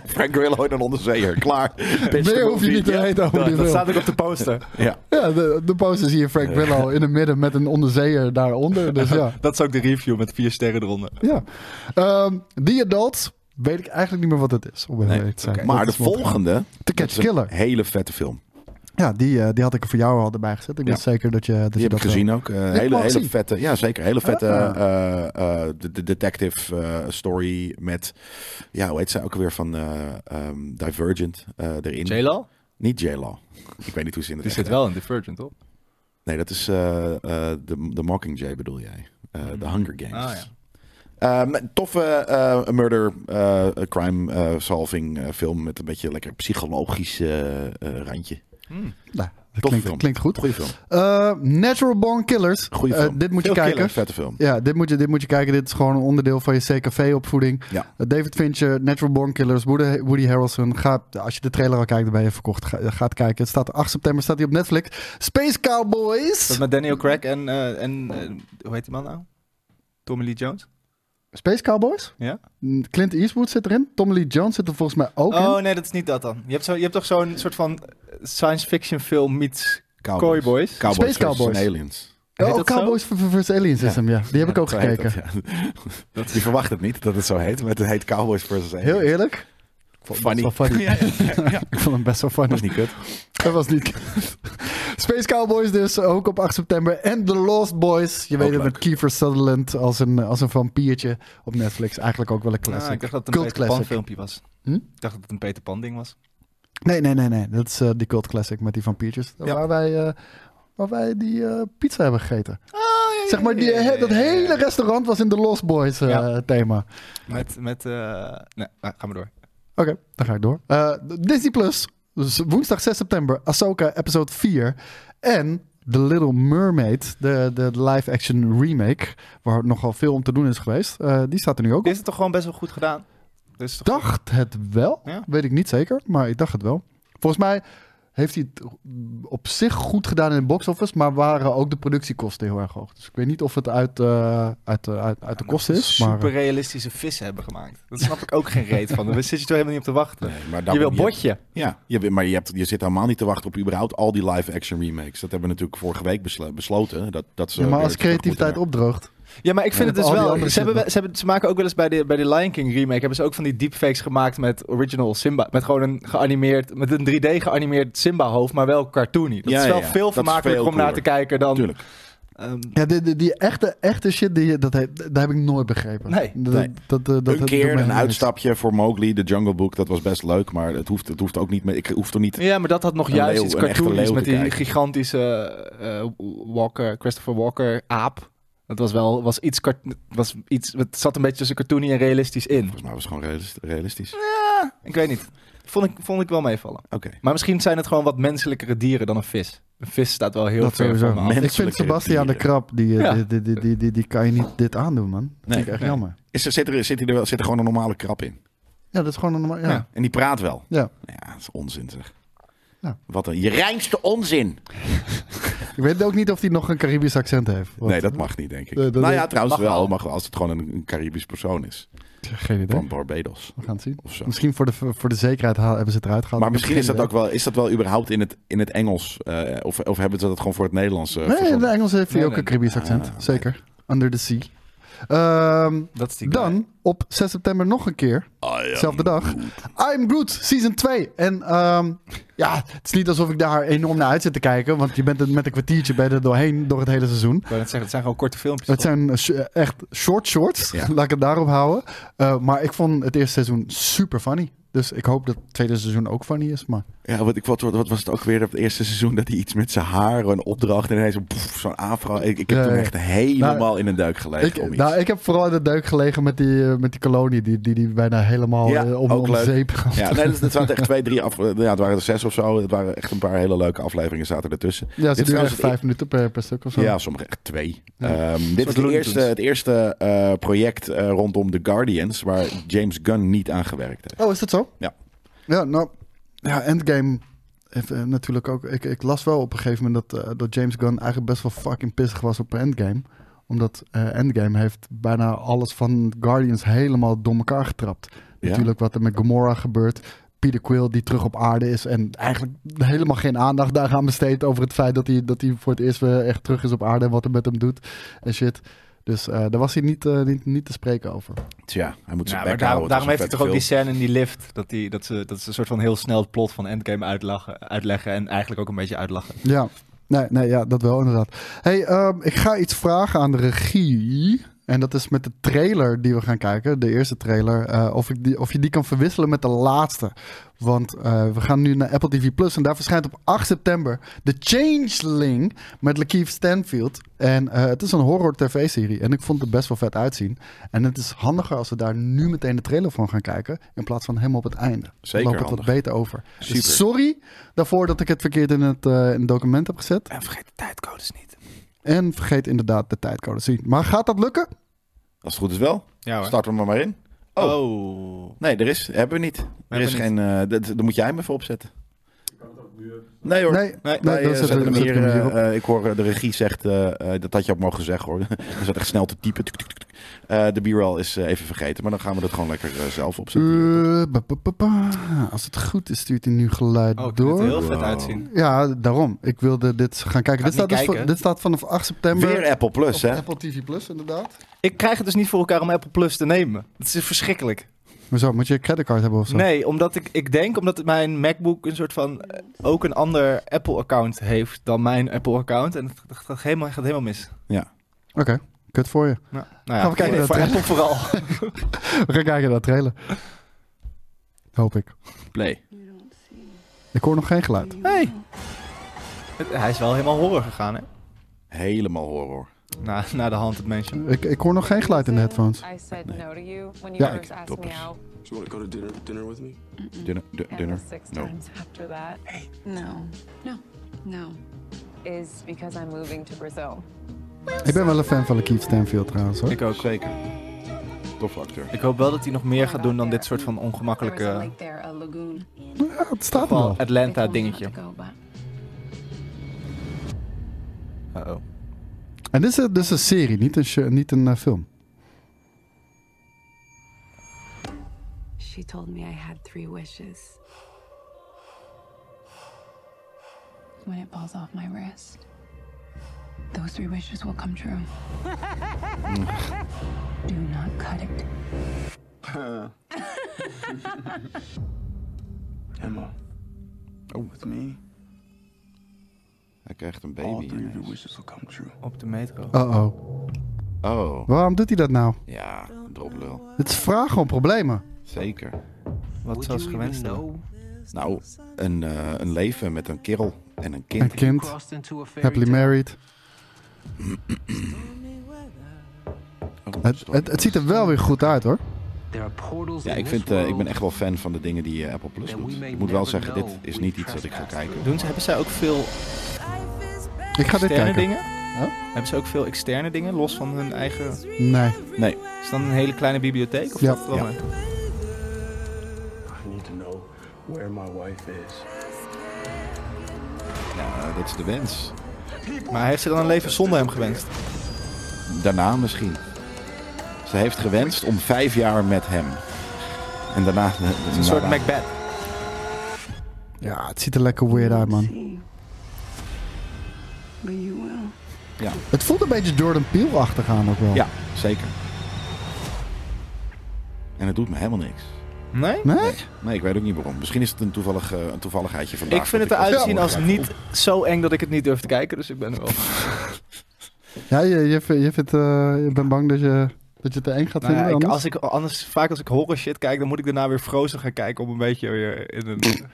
S2: Frank Grillo in een onderzeeër. Klaar.
S4: *laughs* Meer hoef je niet te
S2: Ja,
S4: weten over die
S3: Dat
S4: film.
S3: staat ook op de poster.
S2: Ja.
S4: Ja, de, de poster zie je Frank Grillo in het midden met een onderzeeër daaronder. Dus ja.
S2: *laughs*
S3: Dat is ook de review met vier sterren eronder.
S4: ja. Ehm The Adults weet ik eigenlijk niet meer wat het is. Om heel
S2: Nee,
S4: eerlijk te zijn.
S2: Maar
S4: Dat
S2: de
S4: is wat-
S2: volgende.
S4: To Catch
S2: dat is een
S4: Killer.
S2: Hele vette film.
S4: Ja, die, eh, die had ik er voor jou al erbij gezet. Ik
S2: Ja.
S4: weet zeker dat je dat,
S2: Die
S4: je
S2: heb ik
S4: dat
S2: gezien ook. Eh, hele
S4: mag
S2: hele
S4: zien.
S2: vette, ja zeker, hele vette
S4: Ah.
S2: eh, eh, de, de detective eh, story met, ja hoe heet zij ook alweer van eh, ehm, Divergent eh, erin.
S3: J-Lo?
S2: Niet J-Lo. Ik weet niet hoe ze in de
S3: Die
S2: echte-
S3: zit wel in Divergent, toch?
S2: Nee, dat is eh, eh, de, de Mockingjay bedoel jij. Eh, De Hunger Games.
S3: Ah, ja.
S2: Ehm, toffe eh, murder, eh, crime eh, solving eh, film met een beetje lekker psychologisch eh, eh, randje.
S3: Hmm.
S4: Nou, dat
S2: Tof
S4: klinkt,
S2: film.
S4: klinkt goed.
S2: Goeie film.
S4: Eh, Natural Born Killers.
S2: Goeie
S4: Eh,
S2: film.
S4: dit moet je
S2: Veel
S4: kijken.
S2: killer, vette film.
S4: Ja, dit moet, je, dit moet je kijken. Dit is gewoon een onderdeel van je CKV-opvoeding.
S2: Ja.
S4: Eh, David Fincher, Natural Born Killers, Woody, Woody Harrelson. Ga, als je de trailer al kijkt, dan ben je verkocht. Ga, eh, gaat kijken. Het staat 8 september staat hij op Netflix. Space
S3: Dat
S4: Cowboys.
S3: met Daniel Craig en, eh, en eh, hoe heet die man nou? Tommy Lee Jones?
S4: Space Cowboys?
S3: Ja?
S4: Clint Eastwood zit erin. Tommy Lee Jones zit er volgens mij ook
S3: Oh
S4: in.
S3: nee, dat is niet dat dan. Je hebt, zo, je hebt toch zo'n soort van science fiction film meets Cowboys. Boys.
S2: Cowboys
S4: Space
S2: versus
S4: Cowboys.
S2: Aliens.
S3: heet
S4: Oh,
S3: dat zo?
S4: Cowboys vs. Aliens is
S2: Ja.
S4: hem, ja. Die heb ik ook
S2: Zo heet
S4: gekeken.
S2: dat, ja. Je verwacht het niet dat het zo heet, maar het heet Cowboys versus Aliens.
S4: Heel eerlijk.
S2: Funny.
S4: Dat
S2: *laughs*
S4: was wel funny. *laughs* ik vond hem best wel funny.
S2: Dat is niet kut.
S4: Dat was niet. Space Cowboys dus ook op 8 september. En The Lost Boys. Je
S2: Ook
S4: weet het
S2: leuk.
S4: met Kiefer Sutherland als een, eh, als een vampiertje op Netflix. Eigenlijk ook wel een
S3: Ah, ik
S4: classic.
S3: dacht dat het een
S4: Cult
S3: Peter Pan
S4: classic.
S3: filmpje was.
S4: Hm? Ah,
S3: Ik dacht dat het een Peter Pan ding was.
S4: nee, nee, nee, nee. Dat is eh, die cult classic met die vampiertjes.
S2: Ja.
S4: Waar, wij, eh, waar wij die eh, pizza hebben gegeten.
S3: ja,
S4: zeg maar, die,
S3: ja, ja,
S4: dat
S3: ja, ja, ja.
S4: hele restaurant was in The Lost Boys eh,
S3: Ja.
S4: thema.
S3: Met, met eh, nee, ah, ga maar door.
S4: Oké, dan ga ik door. Eh, Disney Plus. Dus woensdag 6 september. Ahsoka episode 4. En The Little Mermaid. De, de live-action remake. Waar nogal veel om te doen is geweest. eh, die staat er nu ook
S3: Dit
S4: op.
S3: is het toch gewoon best wel goed gedaan? Dus toch
S4: dacht het wel.
S3: Ja.
S4: Weet ik niet zeker. Maar ik dacht het wel. Volgens mij heeft hij het op zich goed gedaan in de box office. Maar waren ook de productiekosten heel erg hoog. Dus ik weet niet of het uit, eh, uit, eh, uit, uit de kosten is. Maar,
S3: super realistische vissen hebben gemaakt. Dat snap ik ook geen reet van. Daar zit je toch helemaal niet op te wachten.
S2: Nee, maar
S3: je wil
S2: daarom-
S3: botje.
S2: Ja, je, hebt- maar je, hebt, je zit helemaal niet te wachten op überhaupt al die live-action remakes. Dat hebben we natuurlijk vorige week beslo- besloten. Dat, dat ze
S4: ja, maar
S2: weer
S4: als
S2: terug moeten
S4: creativiteit
S2: naar-
S4: opdroogt.
S3: Ja, maar ik
S4: Ja,
S3: vind het dus
S4: al die
S3: wel.
S4: andere
S3: Ze, hebben,
S4: shit
S3: wel- ze, hebben, ze maken ook wel eens bij de, bij de Lion King remake. Hebben ze ook van die deepfakes gemaakt met original Simba. Met gewoon een geanimeerd. Met een 3D geanimeerd Simba hoofd, maar wel cartoony. Dat
S2: Ja,
S3: is
S2: ja,
S3: wel
S2: ja. Dat
S3: veel
S2: is
S3: vermakelijker
S2: veel
S3: om naar te
S2: cooler.
S3: kijken dan.
S2: Tuurlijk.
S3: ehm,
S4: Ja, die, die, die echte, echte shit, die, dat, he- dat heb ik nooit begrepen.
S3: Nee,
S4: Dat,
S2: nee.
S4: Dat, dat, dat,
S2: een
S4: doet mij
S2: keer een
S4: niks.
S2: uitstapje voor Mowgli, The Jungle Book. Dat was best leuk, maar het hoeft, het hoeft ook niet meer. Ik hoef er niet.
S3: ja, maar dat had nog
S2: Een
S3: juist
S2: leeuw,
S3: iets
S2: een echte
S3: cartoonies
S2: leeuw
S3: met
S2: te
S3: die
S2: kijken.
S3: gigantische eh, Walker, Christopher Walker aap. Dat was wel was iets, cart- was iets. Het zat een beetje tussen cartoony en realistisch in.
S2: Volgens mij was het gewoon realis- realistisch.
S3: Ik weet niet. Vond ik, vond ik wel meevallen.
S2: Oké.
S3: Maar misschien zijn het gewoon wat menselijkere dieren dan een vis. Een vis staat wel heel
S4: Dat
S3: ver
S4: sowieso.
S3: van me af.
S2: Mensen-
S4: Ik vind
S2: Menselijke
S4: Sebastian de
S2: dieren.
S4: Krab, die, eh,
S3: Ja.
S4: die, die, die, die, die, die kan je niet dit aandoen, man. Dat vind
S2: Nee,
S4: ik echt
S3: nee.
S4: jammer.
S2: Is er, zit, er, zit, er wel, zit er gewoon een normale krab in?
S4: Ja, dat is gewoon een normaal... Ja.
S3: Ja.
S2: En die praat wel. Nou
S4: Ja.
S2: Ja, dat is onzin zeg.
S4: Ja.
S2: Wat een. Je reinste onzin!
S4: Ik weet ook niet of hij nog een Caribisch accent heeft. want-
S2: Nee, dat mag niet, denk ik.
S4: Nee, dat-
S2: nou ja,
S4: dat-
S2: trouwens
S3: mag
S2: wel,
S3: wel.
S2: maar als het gewoon een, een Caribisch persoon is.
S4: Geen idee.
S2: Van Barbados
S4: We gaan het zien.
S2: of zo.
S4: Misschien voor de, voor de zekerheid haal- hebben ze het eruit gehaald.
S2: Maar misschien is
S4: Geen
S2: dat ook wel, is dat wel überhaupt in het, in het Engels? eh, of, of hebben ze dat gewoon voor het Nederlands? eh,
S4: idee. Nee, in
S2: verzonnen?
S4: de Engels heeft hij
S3: Nee,
S4: ook
S3: nee.
S4: een Caribisch accent.
S2: Ah,
S4: Zeker. Under the sea. Ehm,
S3: Dat is die guy.
S4: dan, op 6 september nog een keer.
S3: Ah,
S2: I am
S4: Zelfde dag. I'm Groot, season 2. En ehm, ja, het is niet alsof ik daar enorm naar uit zit te kijken. Want je bent er met een kwartiertje bij er doorheen door het hele seizoen.
S3: Ik wou net zeggen, het zijn gewoon korte filmpjes.
S4: Het
S3: toch?
S4: zijn eh, sh- echt short shorts.
S2: Ja.
S4: *laughs* Laat ik het daarop houden. Eh, maar ik vond het eerste seizoen super funny. Dus ik hoop dat het tweede seizoen ook funny is. Maar
S2: Ja, wat, ik, wat, wat was het ook weer op het eerste seizoen dat hij iets met zijn haar een opdracht en ineens zo'n poef, zo'n afro. Ik, ik heb
S4: Ja,
S2: toen
S4: ja. Nou,
S2: echt helemaal in een duik gelegen om
S4: ik,
S2: iets.
S4: nou, ik heb vooral in de duik gelegen met die, eh, met die kolonie. Die, die, die bijna helemaal
S2: Ja,
S4: eh, om,
S2: ook
S4: om
S2: leuk.
S4: zeep gaat.
S2: ja, nee, dat, dat waren echt twee, drie af, ja, het waren er zes of zo. Het waren echt een paar hele leuke afleveringen zaten ertussen.
S4: Ja, ze
S2: Dit
S4: duren
S2: was
S4: echt
S2: het-
S4: vijf minuten per, per stuk of zo.
S2: Ja, sommige echt twee.
S4: Ja.
S2: Ehm, dit
S3: soort
S2: is het
S3: Looney
S2: eerste,
S3: Tunes.
S2: het eerste eh, project eh, rondom The Guardians waar James Gunn niet aan gewerkt heeft.
S4: Oh, is dat zo?
S2: Ja.
S4: Ja, nou, ja, Endgame heeft eh, natuurlijk ook... Ik, ik las wel op een gegeven moment dat, eh, dat James Gunn eigenlijk best wel fucking pissig was op Endgame. Omdat eh, Endgame heeft bijna alles van Guardians helemaal door elkaar getrapt.
S2: Ja.
S4: Natuurlijk wat er met Gamora gebeurt... Peter Quill die terug op aarde is en eigenlijk helemaal geen aandacht daaraan besteedt over het feit dat hij, dat hij voor het eerst weer echt terug is op aarde en wat er met hem doet en shit. Dus eh, daar was hij niet, eh, niet, niet te spreken over.
S2: Tja, hij moet
S3: Ja,
S2: zijn
S3: maar
S2: bek
S3: daarom-
S2: houden.
S3: daarom
S2: Het
S3: heeft
S2: was
S3: hij
S2: een
S3: toch ook die
S2: vette
S3: scène in die lift. Dat, die, dat, ze, dat ze een soort van heel snel het plot van Endgame uitlachen, uitleggen. En eigenlijk ook een beetje uitlachen.
S4: Ja, nee, nee, ja, dat wel inderdaad. Hey, ehm, ik ga iets vragen aan de regie. En dat is met de trailer die we gaan kijken, de eerste trailer, eh, of, ik die, of je die kan verwisselen met de laatste. Want eh, we gaan nu naar Apple TV Plus en daar verschijnt op 8 september The Changeling met Lakeith Stanfield. En eh, het is een horror tv-serie en ik vond het best wel vet uitzien. En het is handiger als we daar nu meteen de trailer van gaan kijken, in plaats van helemaal op het einde. Dan
S2: Zeker
S4: loopt het wat
S2: handig.
S4: beter over. Dus
S2: Super.
S4: sorry daarvoor dat ik het verkeerd in het, eh, in het document heb gezet.
S3: En vergeet de tijdcodes niet.
S4: En vergeet inderdaad de tijdcode te zien. Maar gaat dat lukken?
S2: Als het goed is wel,
S3: Ja hoor.
S2: starten we maar maar in.
S3: Oh.
S2: Oh, nee, er is, hebben we niet. er
S3: hebben
S2: is
S3: niet.
S2: geen, eh dat, dat moet jij hem even opzetten. Nee hoor.
S4: Nee,
S3: nee,
S4: nee,
S2: Wij,
S4: dan
S2: eh,
S4: zetten we
S2: zetten
S4: hem
S2: hem
S4: zetten
S2: hier,
S4: we hem hier op.
S2: eh, eh, ik hoor eh, de regie zegt, eh, eh, dat had je ook mogen zeggen hoor. *laughs* Hij zat echt snel te typen. Tuk, tuk, tuk, tuk. Eh, de b-roll is eh, even vergeten, maar dan gaan we dat gewoon lekker eh, zelf opzetten.
S4: Eh, ba, ba, ba, ba. Als het goed is, stuurt hij nu geluid
S3: Oh, ik vind
S4: door.
S3: het heel vet
S2: Wow.
S3: uitzien.
S4: Ja, daarom. Ik wilde dit gaan kijken. Dit
S3: niet
S4: staat, dus
S3: kijken.
S4: van- dit staat vanaf 8 september.
S2: Weer Apple Plus,
S4: op
S2: hè?
S4: Eh, Apple TV Plus, inderdaad.
S3: Ik krijg het dus niet voor elkaar om Apple Plus te nemen. Dat is verschrikkelijk.
S4: Hoezo? Moet je een creditcard hebben of zo?
S3: Nee, omdat ik, ik denk omdat het mijn MacBook een soort van eh, ook een ander Apple-account heeft dan mijn Apple-account. En het gaat- gaat helemaal, gaat helemaal mis.
S4: Oké, kut voor je.
S3: Nou, nou ja,
S4: Gaan we kijken
S3: voor,
S4: naar
S3: voor
S4: het
S3: Apple vooral.
S4: We gaan kijken naar de trailer. Hoop ik.
S2: Play.
S4: Ik hoor nog geen geluid.
S3: Hey. Het- Hij is wel helemaal horror gegaan, hè?
S2: Helemaal horror.
S3: Na, na de hand het mensen.
S4: Ik, ik hoor nog geen geluid in de headphones.
S5: I said no to you when you
S4: Ja,
S5: first
S2: ik-
S5: asked me
S2: doppels.
S5: out.
S6: So you want to go to dinner dinner with me?
S2: Dunner, du-
S5: And
S2: dunner.
S5: the six
S2: No.
S5: times after that
S7: No, no, no.
S5: is because I'm moving to Brazil.
S4: Ik ben wel een fan van Lakeith Stanfield trouwens hoor.
S3: Ik ook.
S2: Zeker. Tof acteur.
S3: Ik hoop wel dat hij nog meer gaat doen dan dit soort van ongemakkelijke
S7: Like there, a lagoon.
S4: Ja, het staat er wel.
S7: They told me not
S3: Atlanta-dingetje.
S7: to go, but-
S3: Uh-oh.
S4: En dit is, dit is een serie, niet een, show- niet een eh, film.
S7: She told me I had three wishes. When it falls off my wrist, those three wishes will come true. Do not cut it.
S6: Emma. Oh. With me,
S2: Hij krijgt een
S6: all
S2: baby.
S6: three of your
S2: ineens.
S6: wishes will come true.
S3: Op de metro.
S4: Uh-oh.
S2: Oh,
S4: Waarom doet hij dat nou?
S2: ja, droplul.
S4: Het is vragen om problemen.
S2: Zeker.
S3: Wat zou ze gewenst hebben?
S2: Nou, een, eh, een leven met een kerel en een
S4: Een
S2: kind.
S4: kind,
S8: crossed into a fairy
S4: happily
S8: tale.
S4: married.
S2: Oh,
S4: Het,
S2: sorry.
S4: het, het ziet er wel weer goed uit hoor.
S8: There are portals
S2: Ja,
S8: in
S2: ik,
S8: this
S2: vind, eh, ik ben
S8: world
S2: echt wel fan van de dingen die eh, Apple Plus doet. Ik moet wel zeggen, dit is niet iets dat ik ga kijken.
S3: Doen ze, hebben zij ook veel
S4: Ik ga dit
S3: externe
S4: kijken.
S3: dingen? Hebben ze ook veel externe dingen, los van hun eigen...
S4: Nee.
S2: Nee,
S3: Is het dan een hele kleine bibliotheek? Of
S4: Ja.
S3: wat
S2: Ja.
S3: dan?
S6: I need to know where my wife is.
S2: ja, Eh, dat is de wens.
S3: Maar heeft ze dan een leven zonder hem gewenst?
S2: Daarna misschien. Ze heeft gewenst om vijf jaar met hem. En daarna...
S4: Nou,
S3: Een soort Macbeth.
S4: Ja, het ziet er lekker weird uit man.
S7: See. But you will.
S4: Het voelt een beetje Jordan Peele-achtig aan ook wel.
S2: Ja, zeker. En het doet me helemaal niks.
S3: Nee?
S4: Nee?
S2: Nee, ik weet ook niet waarom. Misschien is het een, toevallig, eh, een toevalligheidje vandaag.
S3: Ik vind het
S2: dat
S3: eruit
S2: dat
S3: zien als
S2: morgen
S3: niet zo eng dat ik het niet durf te kijken, dus ik ben er wel.
S4: Ja, je, je, vindt- je, vindt, eh, je bent bang dat je, dat je het te eng gaat
S3: Nou
S4: vinden
S3: ja, ik,
S4: anders?
S3: als ik, anders, vaak als ik horror shit kijk, dan moet ik daarna weer Frozen gaan kijken om een beetje weer in een...
S4: *laughs*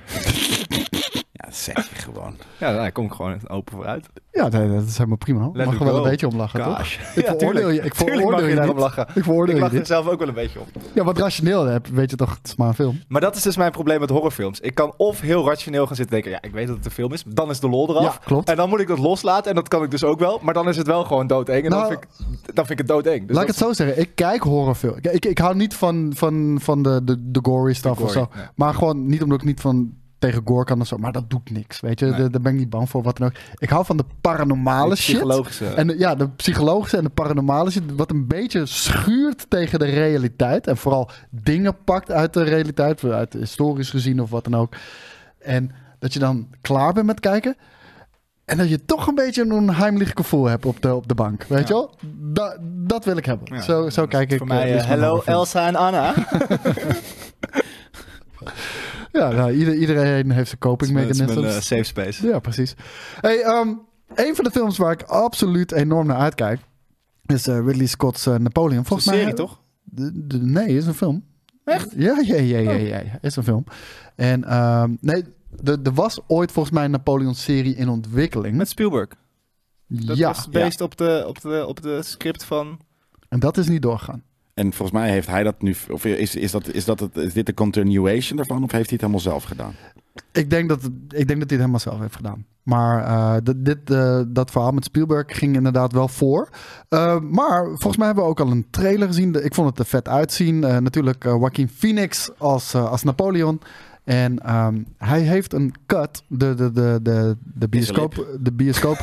S2: Ja, zeg je gewoon.
S3: Ja, daar kom ik gewoon open vooruit.
S4: Ja, nee, dat is helemaal prima.
S3: Let
S4: mag
S3: it
S4: er wel
S3: go.
S4: een beetje om lachen toch?
S3: Gosh. *laughs*
S4: Ik
S3: Ja,
S4: veroordeel
S3: tuurlijk.
S4: je, ik
S3: Tuurlijk
S4: veroordeel
S3: mag je
S4: je
S3: daarom
S4: niet.
S3: lachen.
S4: Ik
S3: Ik
S4: veroordeel je
S3: lach er
S4: dit.
S3: zelf ook wel een beetje op.
S4: Ja, wat rationeel hebt, weet je toch, het is maar een film.
S3: Maar dat is dus mijn probleem met horrorfilms. Ik kan of heel rationeel gaan zitten denken, ja, ik weet dat het een film is, dan is de lol eraf.
S4: Ja, klopt.
S3: En dan moet ik dat loslaten, en dat kan ik dus ook wel. Maar dan is het wel gewoon doodeng, en dan,
S4: Nou,
S3: vind ik, dan vind ik het doodeng. Dus
S4: Laat ik het
S3: dat-
S4: zo zeggen, ik kijk horrorfilms. Ik, ik, ik hou niet van, van, van de, de, de gory stuff
S3: gory,
S4: of zo.
S3: nee.
S4: Maar gewoon niet omdat ik niet van tegen gore kan of zo. Maar dat doet niks, weet je.
S3: Nee.
S4: Daar- Daar ben ik niet bang voor, wat dan ook. Ik hou van de paranormale
S3: De
S4: shit.
S3: psychologische.
S4: En de- ja, de psychologische en de paranormale shit. Wat een beetje schuurt tegen de realiteit. En vooral dingen pakt uit de realiteit. Uit historisch gezien of wat dan ook. En dat je dan klaar bent met kijken. En dat je toch een beetje een onheimelijk gevoel hebt op de, op de bank.
S3: Ja.
S4: Weet je wel? Da- dat wil ik hebben.
S3: Ja,
S4: zo
S3: dat
S4: zo
S3: is
S4: kijk ik.
S3: Voor
S4: eh,
S3: mij, eh,
S4: Lisbon
S3: hello
S4: Harbour.
S3: Elsa en
S4: *laughs*
S3: Anna.
S4: Ja, nou, ieder- iedereen heeft zijn coping
S3: Dat is mijn eh,
S4: mechanisms.
S3: safe space.
S4: Ja, precies. Hey, ehm, een van de films waar ik absoluut enorm naar uitkijk is eh, Ridley Scott's eh, Napoleon.
S3: Een
S4: Volgens mij
S3: serie, toch?
S4: De- de- nee, is een film. Echt? Ja, ja, ja, ja, ja, ja, is een film. En ehm, nee, er er was ooit volgens mij een Napoleon-serie in ontwikkeling.
S3: Met Spielberg. Dat
S4: ja,
S3: was based op, de, op, de, op de script van...
S4: en dat is niet doorgegaan.
S2: En volgens mij heeft hij dat nu. Of is, is, dat, is, dat het, is dit de continuation daarvan? Of heeft hij het helemaal zelf
S3: *laughs*
S2: gedaan?
S4: Ik denk dat, ik denk dat hij het helemaal zelf heeft gedaan. Maar eh, dat- dit, eh, dat verhaal met Spielberg ging inderdaad wel voor. Eh, maar volgens mij hebben we ook al een trailer gezien. De- Ik vond het er vet uitzien. Eh, natuurlijk eh, Joaquin Phoenix als, eh, als Napoleon. En ehm, hij heeft een cut. De, de, de, de, de bioscoop... De bioscoop...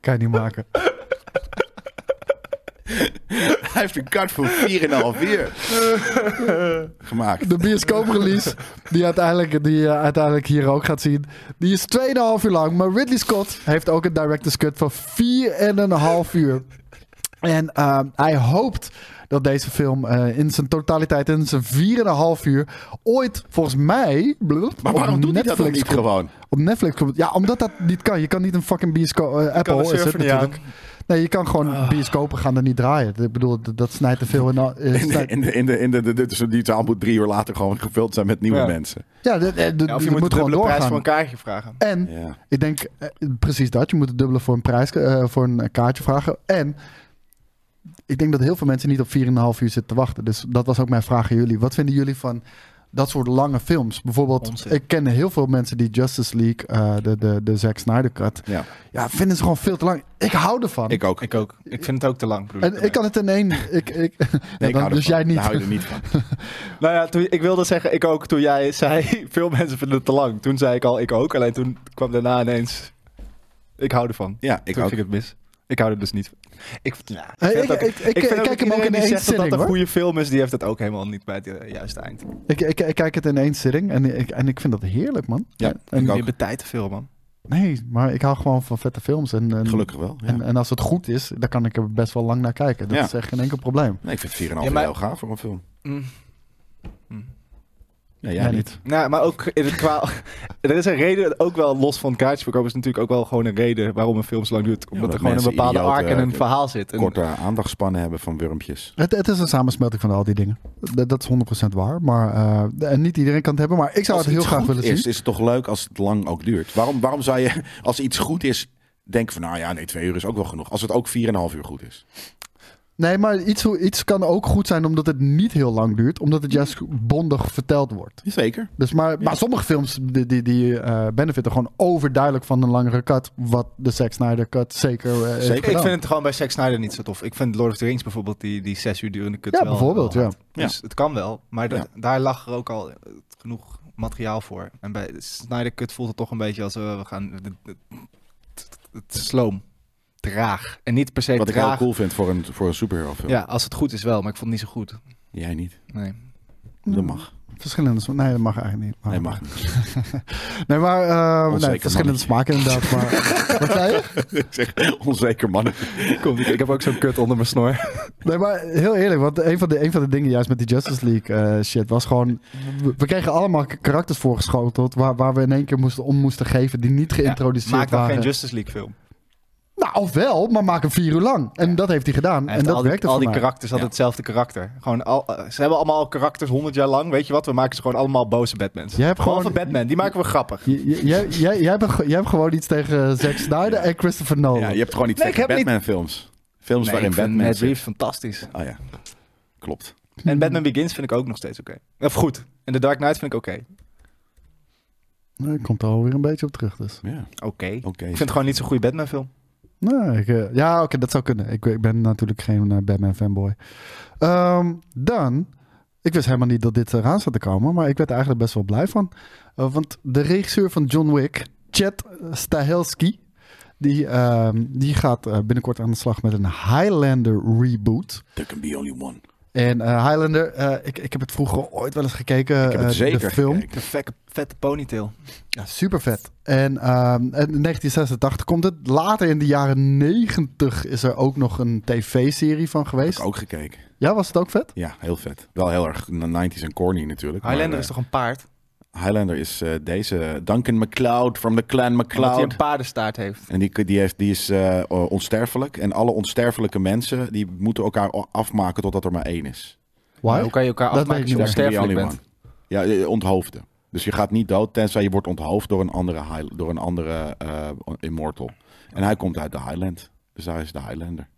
S4: kan je niet maken.
S2: Hij heeft een kaart van 4,5 uur *laughs* gemaakt.
S4: De bioscooprelease, die, uiteindelijk, die je uiteindelijk hier ook gaat zien, die is 2,5 uur lang. Maar Ridley Scott heeft ook een director's cut van 4,5 uur. En ehm, hij hoopt dat deze film eh, in zijn totaliteit, in zijn 4,5 uur, ooit volgens mij. blub,
S2: Maar waarom
S4: op
S2: doet hij dat dan
S4: Netflix
S2: niet
S4: komt-
S2: gewoon?
S4: Op Netflix komt. Ja, omdat dat niet kan. Je kan niet een fucking bioscoop. eh, Apple
S3: de
S4: is het
S3: server niet
S4: natuurlijk. Nee, je kan gewoon
S2: Ah.
S4: bioscopen gaan er niet draaien. Ik bedoel, dat, dat snijdt te veel
S2: *laughs*
S4: in. eh,
S2: In de,
S4: snijdt-
S2: in de, in de, in de, de- dus die zaal moet drie uur later gewoon gevuld zijn met nieuwe
S3: Ja.
S2: mensen.
S4: Ja, de- de- de-
S3: Ja,
S4: je moet, gewoon
S3: dubbele prijs
S4: doorgaan.
S3: voor een kaartje vragen.
S4: En
S2: Ja.
S4: ik denk eh, precies dat. Je moet het dubbele voor een, prijs, eh, voor een kaartje vragen. En ik denk dat heel veel mensen niet op 4,5 uur zitten te wachten. Dus dat was ook mijn vraag aan jullie. Wat vinden jullie van dat soort lange films? Bijvoorbeeld,
S3: Onzin.
S4: ik ken heel veel mensen die Justice League, eh, de, de, de Zack Snyder cut,
S2: Ja.
S4: ja, vinden ze gewoon veel te lang. Ik hou ervan.
S2: Ik ook.
S3: Ik ook. Ik vind het ook te lang, broer.
S4: en ik kan het in één. Ik, *laughs* ik,
S2: Nee,
S4: dan-
S2: ik hou
S4: dus
S2: ervan.
S4: jij niet.
S2: Daar hou je er niet van.
S4: *laughs*
S3: Nou ja, toen, ik wilde zeggen, ik ook. Toen jij zei, *laughs* veel mensen vinden het te lang. Toen zei ik al, ik ook. Alleen toen kwam daarna ineens, ik hou ervan.
S2: Ja, ik
S3: toen
S2: ook.
S3: ging het mis. Ik hou er dus niet van. Ik, ja, ik,
S4: Hey,
S3: vind
S4: ik-
S3: het ook-
S4: ik- ik- ik
S3: vind ook
S4: kijk hem ook
S3: iedereen
S4: in
S3: die
S4: één
S3: zegt dat
S4: zitting,
S3: dat een
S4: hoor.
S3: goede film is, die heeft het ook helemaal niet bij het eh, juiste eind.
S4: Ik, ik, ik kijk het in één zitting en ik, en ik vind dat heerlijk, man.
S2: Ja,
S4: en,
S2: ik
S3: Je
S2: ook.
S3: hebt tijd te veel, man.
S4: Nee, maar ik hou gewoon van vette films. En, en,
S2: Gelukkig wel. Ja.
S4: En, eh, en als het goed is, dan kan ik er best wel lang naar kijken. Dat
S2: Ja.
S4: is echt geen enkel probleem.
S2: Nee, ik vind 4,5
S3: Ja, maar- Mm.
S2: heel gaaf voor een film. Ja, jij
S4: Jij
S2: niet.
S3: Nou, maar ook in het qua... *laughs* er is een reden, ook wel los van het kaartje verkopen, is natuurlijk ook wel gewoon een reden waarom een film zo lang duurt. Omdat
S2: dat
S3: er gewoon een
S2: mensen
S3: bepaalde
S2: idioten,
S3: arc en een
S2: eh,
S3: verhaal zit. En-
S2: Korte aandachtspannen hebben van wurmpjes.
S4: Het, het is een samensmelting van al die dingen. Dat, dat is 100% waar. Maar eh, en niet iedereen kan het hebben. Maar ik zou
S2: Als
S4: het heel
S2: iets
S4: graag
S2: goed
S4: willen
S2: is,
S4: zien.
S2: Is het toch leuk als het lang ook duurt? Waarom, waarom zou je, als iets goed is, denken van nou ja, nee, twee uur is ook wel genoeg. Als het ook 4,5 uur goed is.
S4: Nee, maar iets, iets kan ook goed zijn omdat het niet heel lang duurt. Omdat het juist bondig verteld wordt.
S2: Zeker.
S4: Dus maar, maar sommige films die, die, die eh, benefiten gewoon overduidelijk van een langere cut. Wat de Zack Snyder cut zeker, eh, heeft
S2: Zeker.
S3: Ik
S4: gedaan.
S3: vind het gewoon bij Zack Snyder niet zo tof. Ik vind Lord of the Rings bijvoorbeeld, die, die zes uur durende kut
S4: Ja,
S3: wel-
S4: bijvoorbeeld,
S2: eh,
S3: wel
S4: ja.
S3: hard. Dus het kan wel, maar dat- daar lag er ook al eh, genoeg materiaal voor. En bij Snyder kut voelt het toch een beetje als eh, we gaan... Het, het, het sloom. Traag. En niet per se
S2: Wat ik
S3: traag.
S2: heel cool vind voor een, voor een superhero film.
S3: Ja, als het goed is wel, maar ik vond het niet zo goed.
S2: Jij niet.
S3: Nee.
S2: Dat mag.
S4: Verschillende sma- Nee, dat mag eigenlijk niet. Maar,
S2: Nee, mag niet.
S4: Nee, maar eh,
S2: Onzeker
S4: nee, verschillende
S2: mannetje.
S4: smaken
S3: *laughs*
S4: inderdaad. Maar, wat zei
S2: *laughs*
S4: je?
S2: ik zeg onzeker
S4: *laughs*
S2: mannen.
S3: Kom, ik, ik heb ook zo'n kut onder mijn snor.
S4: Nee, maar heel eerlijk, want een van de, een van de dingen juist met die Justice League eh, shit was gewoon... We, we kregen allemaal k- karakters voorgeschoteld waar, waar we in één keer moesten, om moesten geven die niet geïntroduceerd
S3: Maak dan
S4: waren.
S3: geen Justice League film.
S4: Nou, of wel, maar maak hem vier uur lang. En dat heeft hij gedaan.
S3: Hij
S4: en
S3: heeft
S4: dat
S3: al die,
S4: werkte
S3: al
S4: voor
S3: die
S4: mij.
S3: karakters hadden hetzelfde karakter. Gewoon al, eh, ze hebben allemaal al karakters honderd jaar lang. Weet je wat? We maken ze gewoon allemaal boze Batmans.
S4: Jij hebt
S3: gewoon
S4: gewoon-
S3: van Batman. Die maken we grappig.
S4: J- j- Jij, jij, jij, hebt, ge- jij hebt gewoon iets tegen eh, Zack Snyder en Christopher Nolan.
S2: Ja, je hebt gewoon niet
S3: Nee,
S2: tegen
S3: ik heb niet-
S2: Batman films. Films
S3: Nee,
S2: waarin
S3: ik vind
S2: Batman
S3: Matt
S2: zit.
S3: Reeves fantastisch.
S2: Oh ja, klopt.
S3: En Batman Begins vind ik ook nog steeds oké. Of goed. En The Dark Knight vind ik oké.
S4: Nee, ik kom er alweer een beetje op terug dus.
S2: Ja,
S3: Oké. Ik
S2: oké.
S3: vind het gewoon niet zo'n goede Batman film.
S4: Nee, ik, eh, ja, oké, dat zou kunnen. Ik, ik ben natuurlijk geen eh, Batman fanboy. Ehm, dan, ik wist helemaal niet dat dit eraan zat te komen, maar ik werd er eigenlijk best wel blij van. Eh, want de regisseur van John Wick, Chad eh, Stahelski, Die, ehm, die gaat eh, binnenkort aan de slag met een Highlander reboot.
S2: There can be only one.
S4: En eh, Highlander, eh, ik, ik heb het vroeger ooit wel eens gekeken.
S2: Ik heb het
S4: eh,
S2: zeker
S4: de film.
S2: gekeken.
S3: De vette, vette ponytail.
S4: Ja, super vet. En ehm, en in 1986 komt het. Later in de jaren 90 is er ook nog een tv-serie van
S2: Heb
S4: geweest.
S2: ik ook gekeken.
S4: Ja, was het ook vet?
S2: Ja, heel vet. Wel heel erg 90s en corny natuurlijk. maar,
S3: Highlander
S2: eh,
S3: is toch een paard?
S2: Highlander is eh, deze Duncan MacLeod from the clan
S3: Omdat hij
S2: MacLeod.
S3: een paardenstaart heeft.
S2: En die, die, heeft, die is eh, onsterfelijk. En alle onsterfelijke mensen die moeten elkaar afmaken totdat er maar één is.
S4: Why?
S3: Hoe kan je elkaar
S4: Dat
S3: afmaken als
S4: weet
S3: je
S4: ik niet
S2: There can be
S3: onsterfelijk
S2: only
S3: bent?
S2: one. Ja, eh, onthoofden. Dus je gaat niet dood, tenzij je wordt onthoofd door een andere, High- door een andere eh, immortal. En hij komt uit de Highland. Dus hij is de Highlander.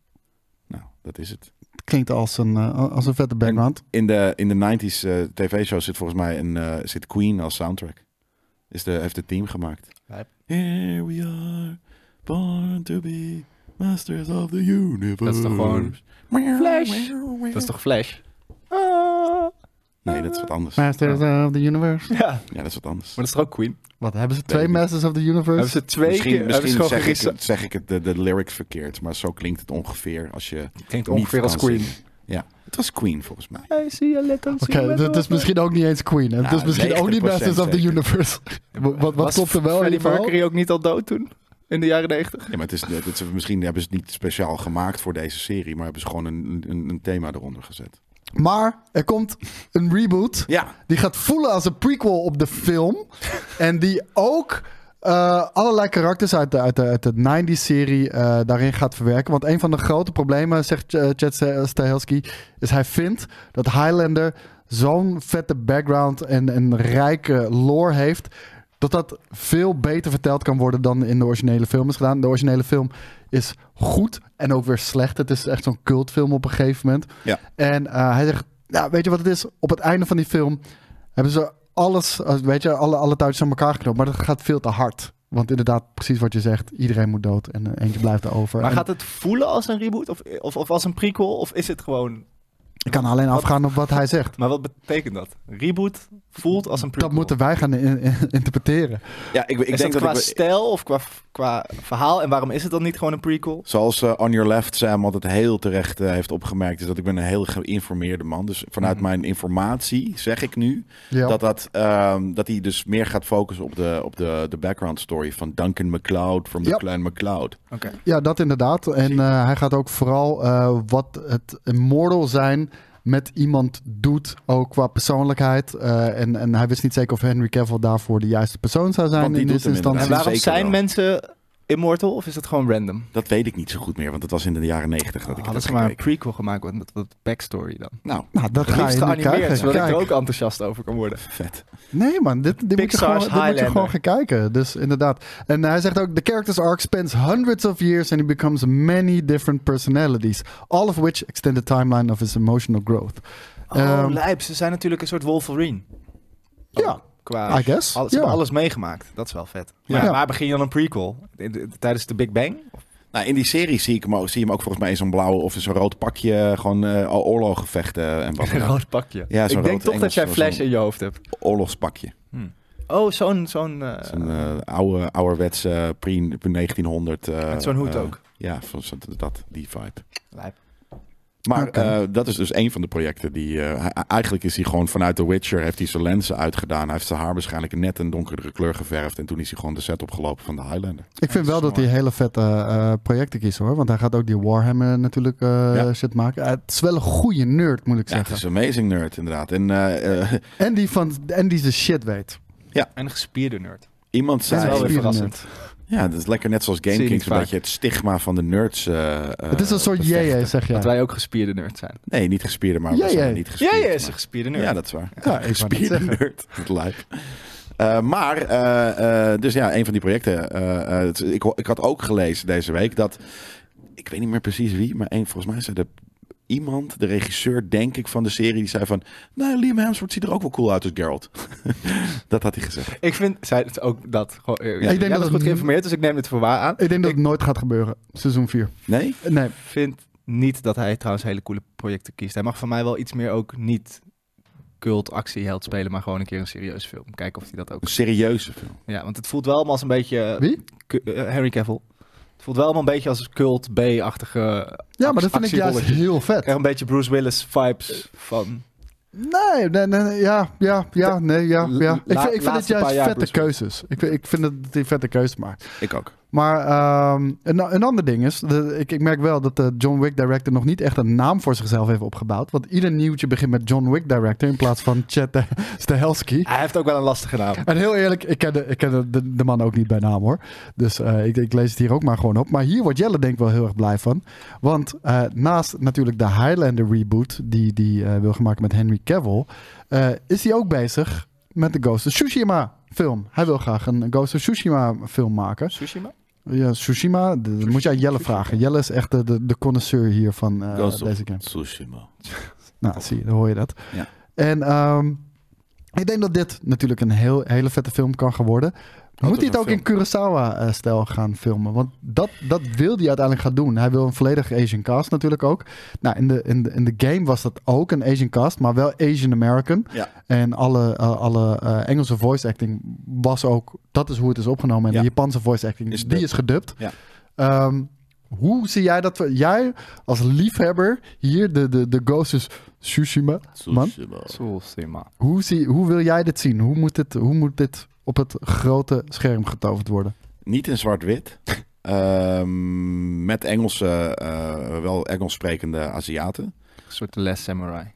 S2: Nou, dat is het.
S4: Klinkt als een, eh, als een vette background.
S2: In de, in de 90s eh, tv-show zit volgens mij een, eh, zit Queen als soundtrack. Is de, heeft het team gemaakt.
S3: Lijp.
S2: Here we are, born to be masters of the universe.
S3: Dat is toch gewoon- Flash? Dat is toch Flash?
S2: Nee, dat is wat anders. Ja,
S4: Masters of the Universe.
S3: Ja. Maar
S2: dat is wat anders.
S3: dat is toch ook Queen?
S4: Wat, hebben ze twee
S2: ik niet.
S4: Masters of the Universe?
S3: Hebben ze twee
S2: misschien
S3: keer... Misschien
S2: misschien
S3: hebben
S2: zeg,
S3: ze gewoon
S2: ik,
S3: gerisa-
S2: het- zeg ik het, de, de lyrics verkeerd, maar zo klinkt het ongeveer als je...
S3: Klinkt
S2: niet
S3: ongeveer als
S2: kan
S3: Queen.
S2: zingen. Ja, het was Queen volgens mij.
S3: I see a little
S4: Oké, dat is misschien ook niet eens Queen. Het
S2: Ja,
S4: is misschien ook niet
S2: 90%
S4: Masters of the
S2: zeker.
S4: Universe. *laughs* wat wat klopt er wel in
S3: Freddie
S4: ieder geval?
S3: Mercury ook niet al dood toen? In de jaren negentig?
S2: Ja, maar het is, het is- misschien hebben ze het niet speciaal gemaakt voor deze serie, maar hebben ze gewoon een, een, een thema eronder gezet.
S4: Maar er komt een reboot.
S2: Ja,
S4: Die gaat voelen als een prequel op de film. en die ook eh, allerlei karakters uit de, uit de, uit de 90s-serie eh, daarin gaat verwerken. Want een van de grote problemen, zegt eh, Chad Sta- Stahelski, is hij vindt dat Highlander zo'n vette background en een rijke lore heeft. Dat dat veel beter verteld kan worden dan in de originele film is gedaan. De originele film is goed en ook weer slecht. Het is echt zo'n cultfilm op een gegeven moment.
S2: Ja.
S4: En eh, hij zegt, nou, weet je wat het is? Op het einde van die film hebben ze alles, eh, weet je, alle, alle touwtjes aan elkaar geknoopt. Maar dat gaat veel te hard. Want inderdaad, precies wat je zegt, iedereen moet dood en eh, eentje blijft over.
S3: Maar
S4: En
S3: gaat het voelen als een reboot? Of, of, of als een prequel? Of is het gewoon...
S4: Ik kan alleen afgaan op wat hij zegt.
S3: Maar wat betekent dat? Reboot voelt als een prequel.
S4: Dat moeten wij gaan in- in- interpreteren.
S2: ja ik, ik
S3: is
S2: denk
S3: dat
S2: dat,
S3: qua
S2: ik-
S3: stijl of qua, qua verhaal? En waarom is het dan niet gewoon een prequel?
S2: Zoals eh, On Your Left Sam altijd heel terecht eh, heeft opgemerkt, is dat ik ben een heel geïnformeerde man. Dus vanuit
S3: Mhm.
S2: mijn informatie zeg ik nu
S4: Ja.
S2: dat, dat, ehm, dat hij dus meer gaat focussen op de, op de, de background story van Duncan MacLeod from the
S4: Ja.
S2: Clan MacLeod.
S3: Oké.
S4: Ja, dat inderdaad. En eh, hij gaat ook vooral eh, wat het immortal zijn met iemand doet, ook qua persoonlijkheid. Eh, en, en hij wist niet zeker of Henry Cavill daarvoor de juiste persoon zou zijn
S2: Want die
S4: in
S2: doet
S4: deze
S2: hem
S4: instantie.
S3: En
S2: inderdaad.
S3: waarom
S2: zeker
S3: zijn
S2: wel.
S3: mensen immortal? Of is dat gewoon random?
S2: Dat weet ik niet zo goed meer, want dat was in de jaren negentig dat ik het
S3: Hadden
S2: heb
S3: ze Ah, maar een
S2: gekeken.
S3: prequel gemaakt met wat- wat backstory dan?
S2: Nou,
S4: Nou, dat
S3: Het
S4: ga
S3: liefst
S4: je nu
S3: geanimeerd,
S4: krijgen.
S3: zodat ik er
S4: Kijk.
S3: ook enthousiast over kan worden.
S2: vet.
S4: Nee man, dit, dit, moet je
S3: Pixar's
S4: gewoon, dit moet je
S3: Highlander.
S4: gewoon gaan kijken. Dus inderdaad. En hij zegt ook, the character's arc spans hundreds of years and he becomes many different personalities. All of which extend the timeline of his emotional growth.
S3: Oh,
S4: Ehm,
S3: lijp. Ze zijn natuurlijk een soort Wolverine.
S4: Ja,
S3: Ook Qua,
S4: I guess.
S3: Alles,
S4: Ja.
S3: Ah, Ze hebben alles meegemaakt. Dat is wel vet.
S4: Ja.
S3: Maar
S4: Ja.
S3: waar begin je dan een prequel? In de- Tijdens de Big Bang?
S2: Nou, in die serie zie ik hem ook, zie je hem ook volgens mij in zo'n blauw of in zo'n rood pakje gewoon eh oorlogen vechten en wat
S3: Een *laughs*
S2: dan ook.
S3: rood pakje.
S2: Ja, zo'n
S3: ik denk
S2: rood
S3: toch dat
S2: Engels,
S3: jij
S2: zo'n-
S3: Flash in je hoofd hebt.
S2: Oorlogspakje.
S3: Oh, zo'n... zo'n eh,
S2: Zo'n eh, oude, ouderwetse eh, pre 1900. eh,
S3: Met zo'n hoed
S2: eh,
S3: ook.
S2: Ja, van zo- dat, die vibe.
S3: lijp.
S2: Maar
S4: Oké.
S2: eh, dat is dus een van de projecten die. eh, hij- eigenlijk is hij gewoon vanuit The Witcher. Heeft hij zijn lenzen uitgedaan. Hij heeft zijn haar waarschijnlijk net een donkerdere kleur geverfd. En toen is hij gewoon de set opgelopen van de Highlander.
S4: Ik vind wel dat hij hele vette eh, projecten kiest hoor. Want hij gaat ook die Warhammer natuurlijk eh,
S2: Ja.
S4: shit maken. Eh, het is wel een goede nerd, moet ik
S2: Ja, het
S4: zeggen.
S2: is een amazing nerd, inderdaad. En eh, eh,
S4: En die, van, en die zijn shit weet.
S3: En een gespierde nerd.
S2: iemand
S3: Dat is wel
S2: zei.
S3: weer
S4: Spieren
S3: verrassend.
S2: Ja, dat is lekker net zoals Game
S3: Zie je
S2: Kings.
S3: niet
S2: Een
S3: vaak.
S2: beetje het stigma van de nerds. eh, eh,
S4: het is een soort
S2: bevechten.
S4: JJ, zeg jij.
S3: Dat wij ook gespierde nerd zijn.
S2: Nee, niet gespierde, maar we
S4: JJ.
S2: zijn niet
S3: Jij
S2: gespierd.
S3: is
S2: maar-
S3: een gespierde nerd.
S2: Ja, dat is waar.
S4: Ja, ik wou net
S2: Gespierde
S4: zeggen.
S2: *laughs* nerd. Dat lijkt. Eh, maar, eh, eh, dus ja, een van die projecten. eh, eh, het- ik, ho- ik had ook gelezen deze week dat, ik weet niet meer precies wie, maar een, volgens mij zei de, iemand, de regisseur, denk ik, van de serie, die zei van, nou, Liam Hemsworth ziet er ook wel cool uit als Geralt. *laughs* dat had hij gezegd.
S3: Ik vind... Zij het ook dat... Gewoon, eh,
S4: denk
S3: jij
S4: dat
S3: was
S4: het-
S3: goed geïnformeerd, dus ik neem het voor waar aan.
S4: Ik denk dat het nooit gaat gebeuren. Seizoen 4.
S2: Nee?
S4: Nee,
S3: vind niet dat hij trouwens hele coole projecten kiest. Hij mag van mij wel iets meer ook niet cult actieheld spelen, maar gewoon een keer een serieuze film. Kijken of hij dat ook.
S2: Een serieuze film.
S3: Ja, want het voelt wel allemaal als een beetje eh,
S4: wie?
S3: ku- eh, Henry Cavill. Het Het voelt wel allemaal een beetje als cult B-achtige
S4: Ja, maar dat vind ik juist
S3: actierolletjes.
S4: heel
S3: Ik krijg
S4: vet.
S3: een beetje Bruce Willis vibes van.
S4: Nee, nee, nee, nee, ja, ja, ja, nee, ja, ja. Ik
S3: La-
S4: vind, ik vind het
S3: laatste paar
S4: juist
S3: jaar
S4: vette
S3: Bruce Willis.
S4: keuzes. Ik, vind- ik vind dat hij vette keuzes maakt.
S2: Ik ook.
S4: Maar ehm, een, een ander ding is, de- ik, ik merk wel dat de John Wick director nog niet echt een naam voor zichzelf heeft opgebouwd. Want ieder nieuwtje begint met John Wick director in plaats van Chad de- Stahelski.
S3: Hij heeft ook wel een lastige naam.
S4: En heel eerlijk, ik ken de, ik ken de- de, de man ook niet bij naam hoor. Dus eh, ik, ik lees het hier ook maar gewoon op. Maar hier wordt Jelle denk ik wel heel erg blij van. Want eh, naast natuurlijk de Highlander reboot die, die eh, wil gemaakt met Henry Cavill, eh, is hij ook bezig met de Ghost of Tsushima film. Hij wil graag een Ghost of Tsushima film maken.
S3: Tsushima?
S4: Ja, Tsushima, d- dat moet je aan Jelle vragen. Jelle is echt de, de, de connoisseur hier van eh,
S2: Ghost of
S4: deze game.
S2: Tsushima.
S4: Nou, zie je, dan hoor je dat.
S2: Ja.
S4: En ehm, ik denk dat dit natuurlijk een heel, hele vette film kan gaan worden. Moet
S2: is
S4: hij het
S2: een
S4: ook in Kurosawa-stijl gaan filmen? Want dat, dat wil hij uiteindelijk gaan doen. Hij wil een volledig Asian cast natuurlijk ook. Nou, in de, in de, in de game was dat ook een Asian cast, maar wel Asian-American.
S2: Ja.
S4: En alle, eh, alle eh, Engelse voice acting was ook... Dat is hoe het is opgenomen. En
S2: Ja.
S4: de Japanse voice acting,
S2: Is
S4: die
S2: dubbed.
S4: is gedubt.
S2: Ja.
S4: Ehm, hoe zie jij dat? we- Jij als liefhebber hier, de, de, de Ghost is Tsushima, man.
S2: Tsushima.
S3: Tsushima.
S4: Hoe, zie, hoe wil jij dit zien? Hoe moet dit, hoe moet dit op het grote scherm getoverd worden?
S2: Niet in zwart-wit. Ehm, met Engelse, eh, wel Engels sprekende Aziaten.
S3: Een soort Les Samurai.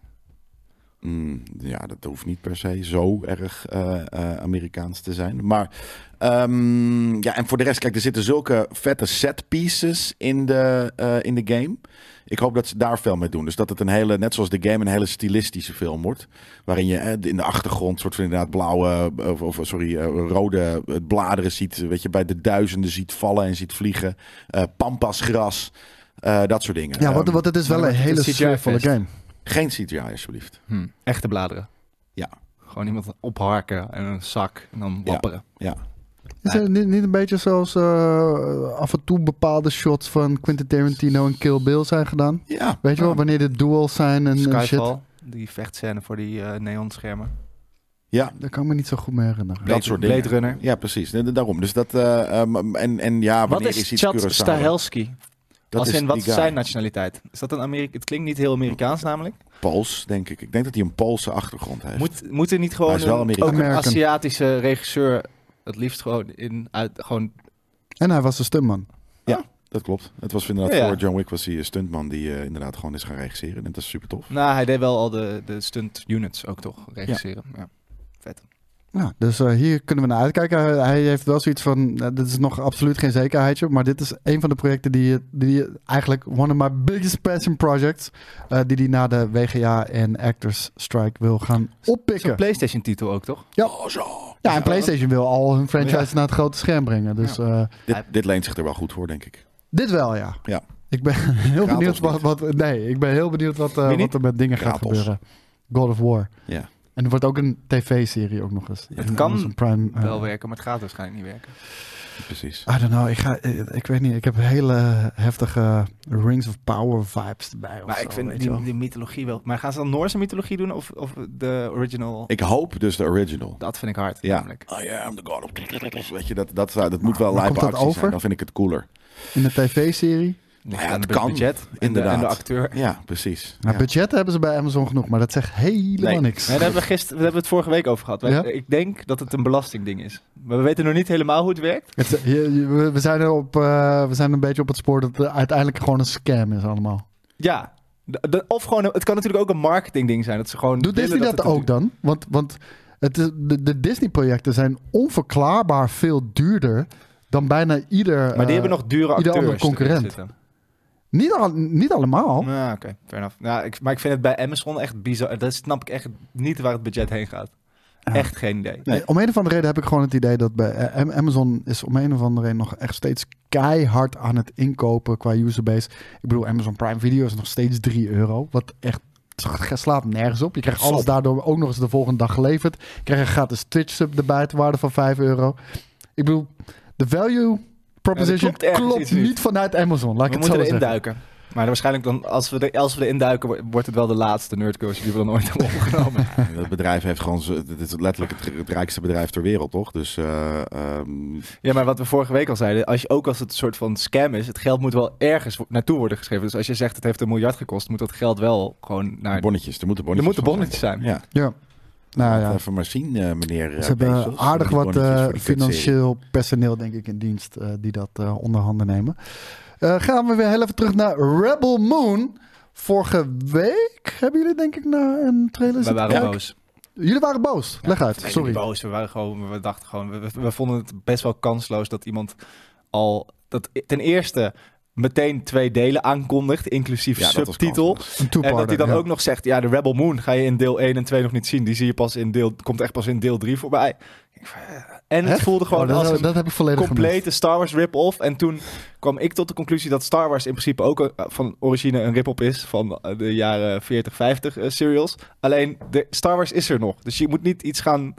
S2: Mm, ja, dat hoeft niet per se zo erg eh, eh, Amerikaans te zijn. Maar ehm, ja, en voor de rest, kijk, er zitten zulke vette set pieces in de, eh, in de game. Ik hoop dat ze daar veel mee doen. Dus dat het een hele, net zoals de game, een hele stilistische film wordt. Waarin je eh, in de achtergrond soort van inderdaad blauwe, eh, of, of sorry, eh, rode eh, bladeren ziet. Weet je, bij de duizenden ziet vallen en ziet vliegen. Eh pampasgras, eh, dat soort dingen.
S4: Ja, want,
S2: Ehm,
S4: want het is wel
S3: maar
S4: een
S3: het is
S4: hele
S3: een CGI
S4: sfeervolle
S3: fest.
S4: game.
S2: Geen CGI, alsjeblieft.
S4: Hmm.
S3: Hm. Echte bladeren.
S2: Ja.
S3: Gewoon iemand opharken en een zak en dan
S2: Ja.
S3: wapperen.
S2: Ja.
S4: Is het niet, niet een beetje zoals eh, af en toe bepaalde shots van Quentin Tarantino en Kill Bill zijn gedaan?
S2: Ja.
S4: Weet je wel,
S2: Ja.
S4: wanneer dit duels zijn en, en shit.
S3: Skyfall, die vechtscène voor die eh, neonschermen.
S2: Ja,
S4: Dat kan ik me niet zo goed meer herinneren.
S2: dat soort dingen.
S3: Blade Runner.
S2: Ja, precies. Da- da- Daarom. Dus dat. eh, ehm, en, en ja,
S3: Wat
S2: wanneer
S3: is
S2: iets
S3: Chad
S2: Kurosawa?
S3: Stahelski?
S2: Dat
S3: Als
S2: is
S3: in, wat
S2: die
S3: is
S2: guy.
S3: zijn nationaliteit? Is dat een Amerika? Het klinkt niet heel Amerikaans namelijk.
S2: Pools, denk ik. Ik denk dat hij een Poolse achtergrond heeft.
S3: Moet, moet er niet gewoon
S2: Hij is wel
S3: een- ook
S2: Amerikaan.
S3: een
S4: American.
S3: Aziatische regisseur, het liefst gewoon in, uit, gewoon
S4: En hij was de stuntman.
S2: Dat klopt. Het was inderdaad
S3: Ja.
S2: voor John Wick was hij een stuntman die eh, inderdaad gewoon is gaan regisseren. En dat is super tof.
S3: Nou, hij deed wel al de, de stunt units ook toch regisseren. Ja.
S4: Ja, dus eh, hier kunnen we naar uitkijken. Hij, hij heeft wel zoiets van, eh, dit is nog absoluut geen zekerheidje, maar dit is een van de projecten die, die eigenlijk one of my biggest passion projects, eh, die hij na de WGA en Actors Strike wil gaan
S3: Zo'n
S4: oppikken.
S3: PlayStation titel ook toch?
S4: Ja.
S2: Oh, zo.
S4: Ja, en PlayStation wil al hun franchise naar het grote scherm brengen. Dus eh,
S2: Dit, dit leent zich er wel goed voor, denk ik.
S4: dit wel, ja.
S2: Ja.
S4: Ik ben *laughs* heel
S2: Kratos
S4: benieuwd
S2: niet.
S4: wat, wat, nee, ik ben heel benieuwd wat, eh,
S3: Wie niet?
S4: wat er met dingen gaat
S2: Kratos.
S4: gebeuren. God of War.
S2: Ja.
S4: En er wordt ook een tv-serie ook nog eens.
S3: Het kan
S4: Amazon Prime, eh,
S3: Wel werken, maar het gaat waarschijnlijk niet werken.
S2: Precies.
S4: I don't know, ik, ga, ik, ik weet niet. Ik heb hele heftige Rings of Power vibes erbij. of
S3: Maar
S4: zo,
S3: ik
S4: weet
S3: vind
S4: je wel.
S3: die, die mythologie wel. Maar gaan ze dan Noorse mythologie doen of, of de original?
S2: Ik hoop dus de original.
S3: Dat vind ik hard.
S2: Oh, Ja.
S3: Namelijk.
S2: I am the god of... Weet je, dat, dat, zou- dat moet wel
S4: Maar
S2: live
S4: komt dat
S2: actie
S4: over?
S2: zijn. Dan vind ik het cooler.
S4: In de tv-serie.
S3: Ligt
S2: Nou ja,
S3: aan
S2: het
S3: de
S2: kan,
S3: budget en de- en de
S2: inderdaad.
S3: acteur.
S2: Ja, precies.
S4: Nou,
S2: Ja.
S4: budget hebben ze bij Amazon genoeg, maar dat zegt helemaal
S2: Nee.
S4: niks.
S3: Nee, daar hebben we, gister, daar hebben we het vorige week over gehad. Wij-
S4: Ja?
S3: Ik denk dat het een belastingding is. Maar we weten nog niet helemaal hoe het werkt.
S4: Het, eh, je- je- we- we, zijn er op, eh, we zijn een beetje op het spoor dat het uiteindelijk gewoon een scam is allemaal.
S3: Ja. De- de- of gewoon, een- het kan natuurlijk ook een marketingding zijn. Dat ze gewoon
S4: Doet
S3: willen
S4: Disney dat,
S3: het-
S4: ook dan? Want, want het is, de, de Disney-projecten zijn onverklaarbaar veel duurder dan bijna ieder...
S3: Maar die
S4: eh,
S3: hebben nog dure acteurs.
S4: ieder andere
S3: erin
S4: concurrent.
S3: zitten.
S4: Niet, al- niet allemaal.
S3: Nou, oké, fair enough. Nou, ik, maar ik vind het bij Amazon echt bizar. Dat snap ik echt niet waar het budget heen gaat. Echt geen idee.
S4: Nee, om een of andere reden heb ik gewoon het idee dat bij eh, Am- Amazon is om een of andere reden nog echt steeds keihard aan het inkopen qua userbase. Ik bedoel, Amazon Prime Video is nog steeds 3 euro. Wat echt het slaat nergens op. Je krijgt alles
S2: Sop.
S4: daardoor ook nog eens de volgende dag geleverd. Je krijgt een gratis Twitch sub erbij te waarde van 5 euro. Ik bedoel, de value proposition
S3: klopt ergens
S4: klopt,
S3: iets
S4: niet.
S3: niet.
S4: vanuit Amazon. Laat ik
S3: We
S4: het zo
S3: moeten erin
S4: zeggen.
S3: duiken. Maar waarschijnlijk dan, als we, er, als we erin duiken, wo- wordt het wel de laatste nerdcoach die we dan ooit hebben opgenomen.
S2: Dat bedrijf heeft gewoon... z- Dit is letterlijk het, het rijkste bedrijf ter wereld, toch? Dus eh, ehm,
S3: ja, maar wat we vorige week al zeiden, als je, ook als het een soort van scam is, het geld moet wel ergens wo- naartoe worden geschreven. Dus als je zegt het heeft een miljard gekost, moet dat geld wel gewoon naar...
S2: bonnetjes. Er moeten
S3: er
S2: bonnetjes
S3: moeten
S2: van
S3: bonnetjes zijn.
S2: Ja.
S4: Ja. Nou ja,
S2: Laat Even maar zien, eh, meneer eh,
S4: ze hebben
S2: Bezos.
S4: aardig
S2: Die
S4: wat
S2: bonnetjes
S4: eh,
S2: voor die kutserie.
S4: financieel personeel, denk ik, in dienst eh, die dat eh onder handen nemen. Eh, gaan we weer heel even terug naar Rebel Moon. Vorige week hebben jullie denk ik naar een trailer
S3: We
S4: zitten
S3: waren
S4: kijken.
S3: boos.
S4: Jullie waren boos. Leg uit,
S3: Nee,
S4: sorry.
S3: niet boos. We waren gewoon, we dachten gewoon, we, we- we vonden het best wel kansloos dat iemand al dat ten eerste meteen twee delen aankondigt, inclusief
S2: Ja, dat was
S3: subtitel.
S2: kansloos.
S4: Een
S3: En
S4: two-parter,
S3: dat hij dan
S4: ja.
S3: ook nog zegt, ja, de Rebel Moon ga je in deel 1 en 2 nog niet zien. Die zie je pas in deel, komt echt pas in deel 3 voorbij. Ik van, eh. En het
S4: Echt?
S3: voelde gewoon
S4: Oh, dat,
S3: als een
S4: dat heb ik volledig gemist.
S3: complete Star Wars rip-off. En toen kwam ik tot de conclusie dat Star Wars in principe ook eh, van origine een rip-off is van eh, de jaren 40, 50 eh, serials. Alleen de Star Wars is er nog. Dus je moet niet iets gaan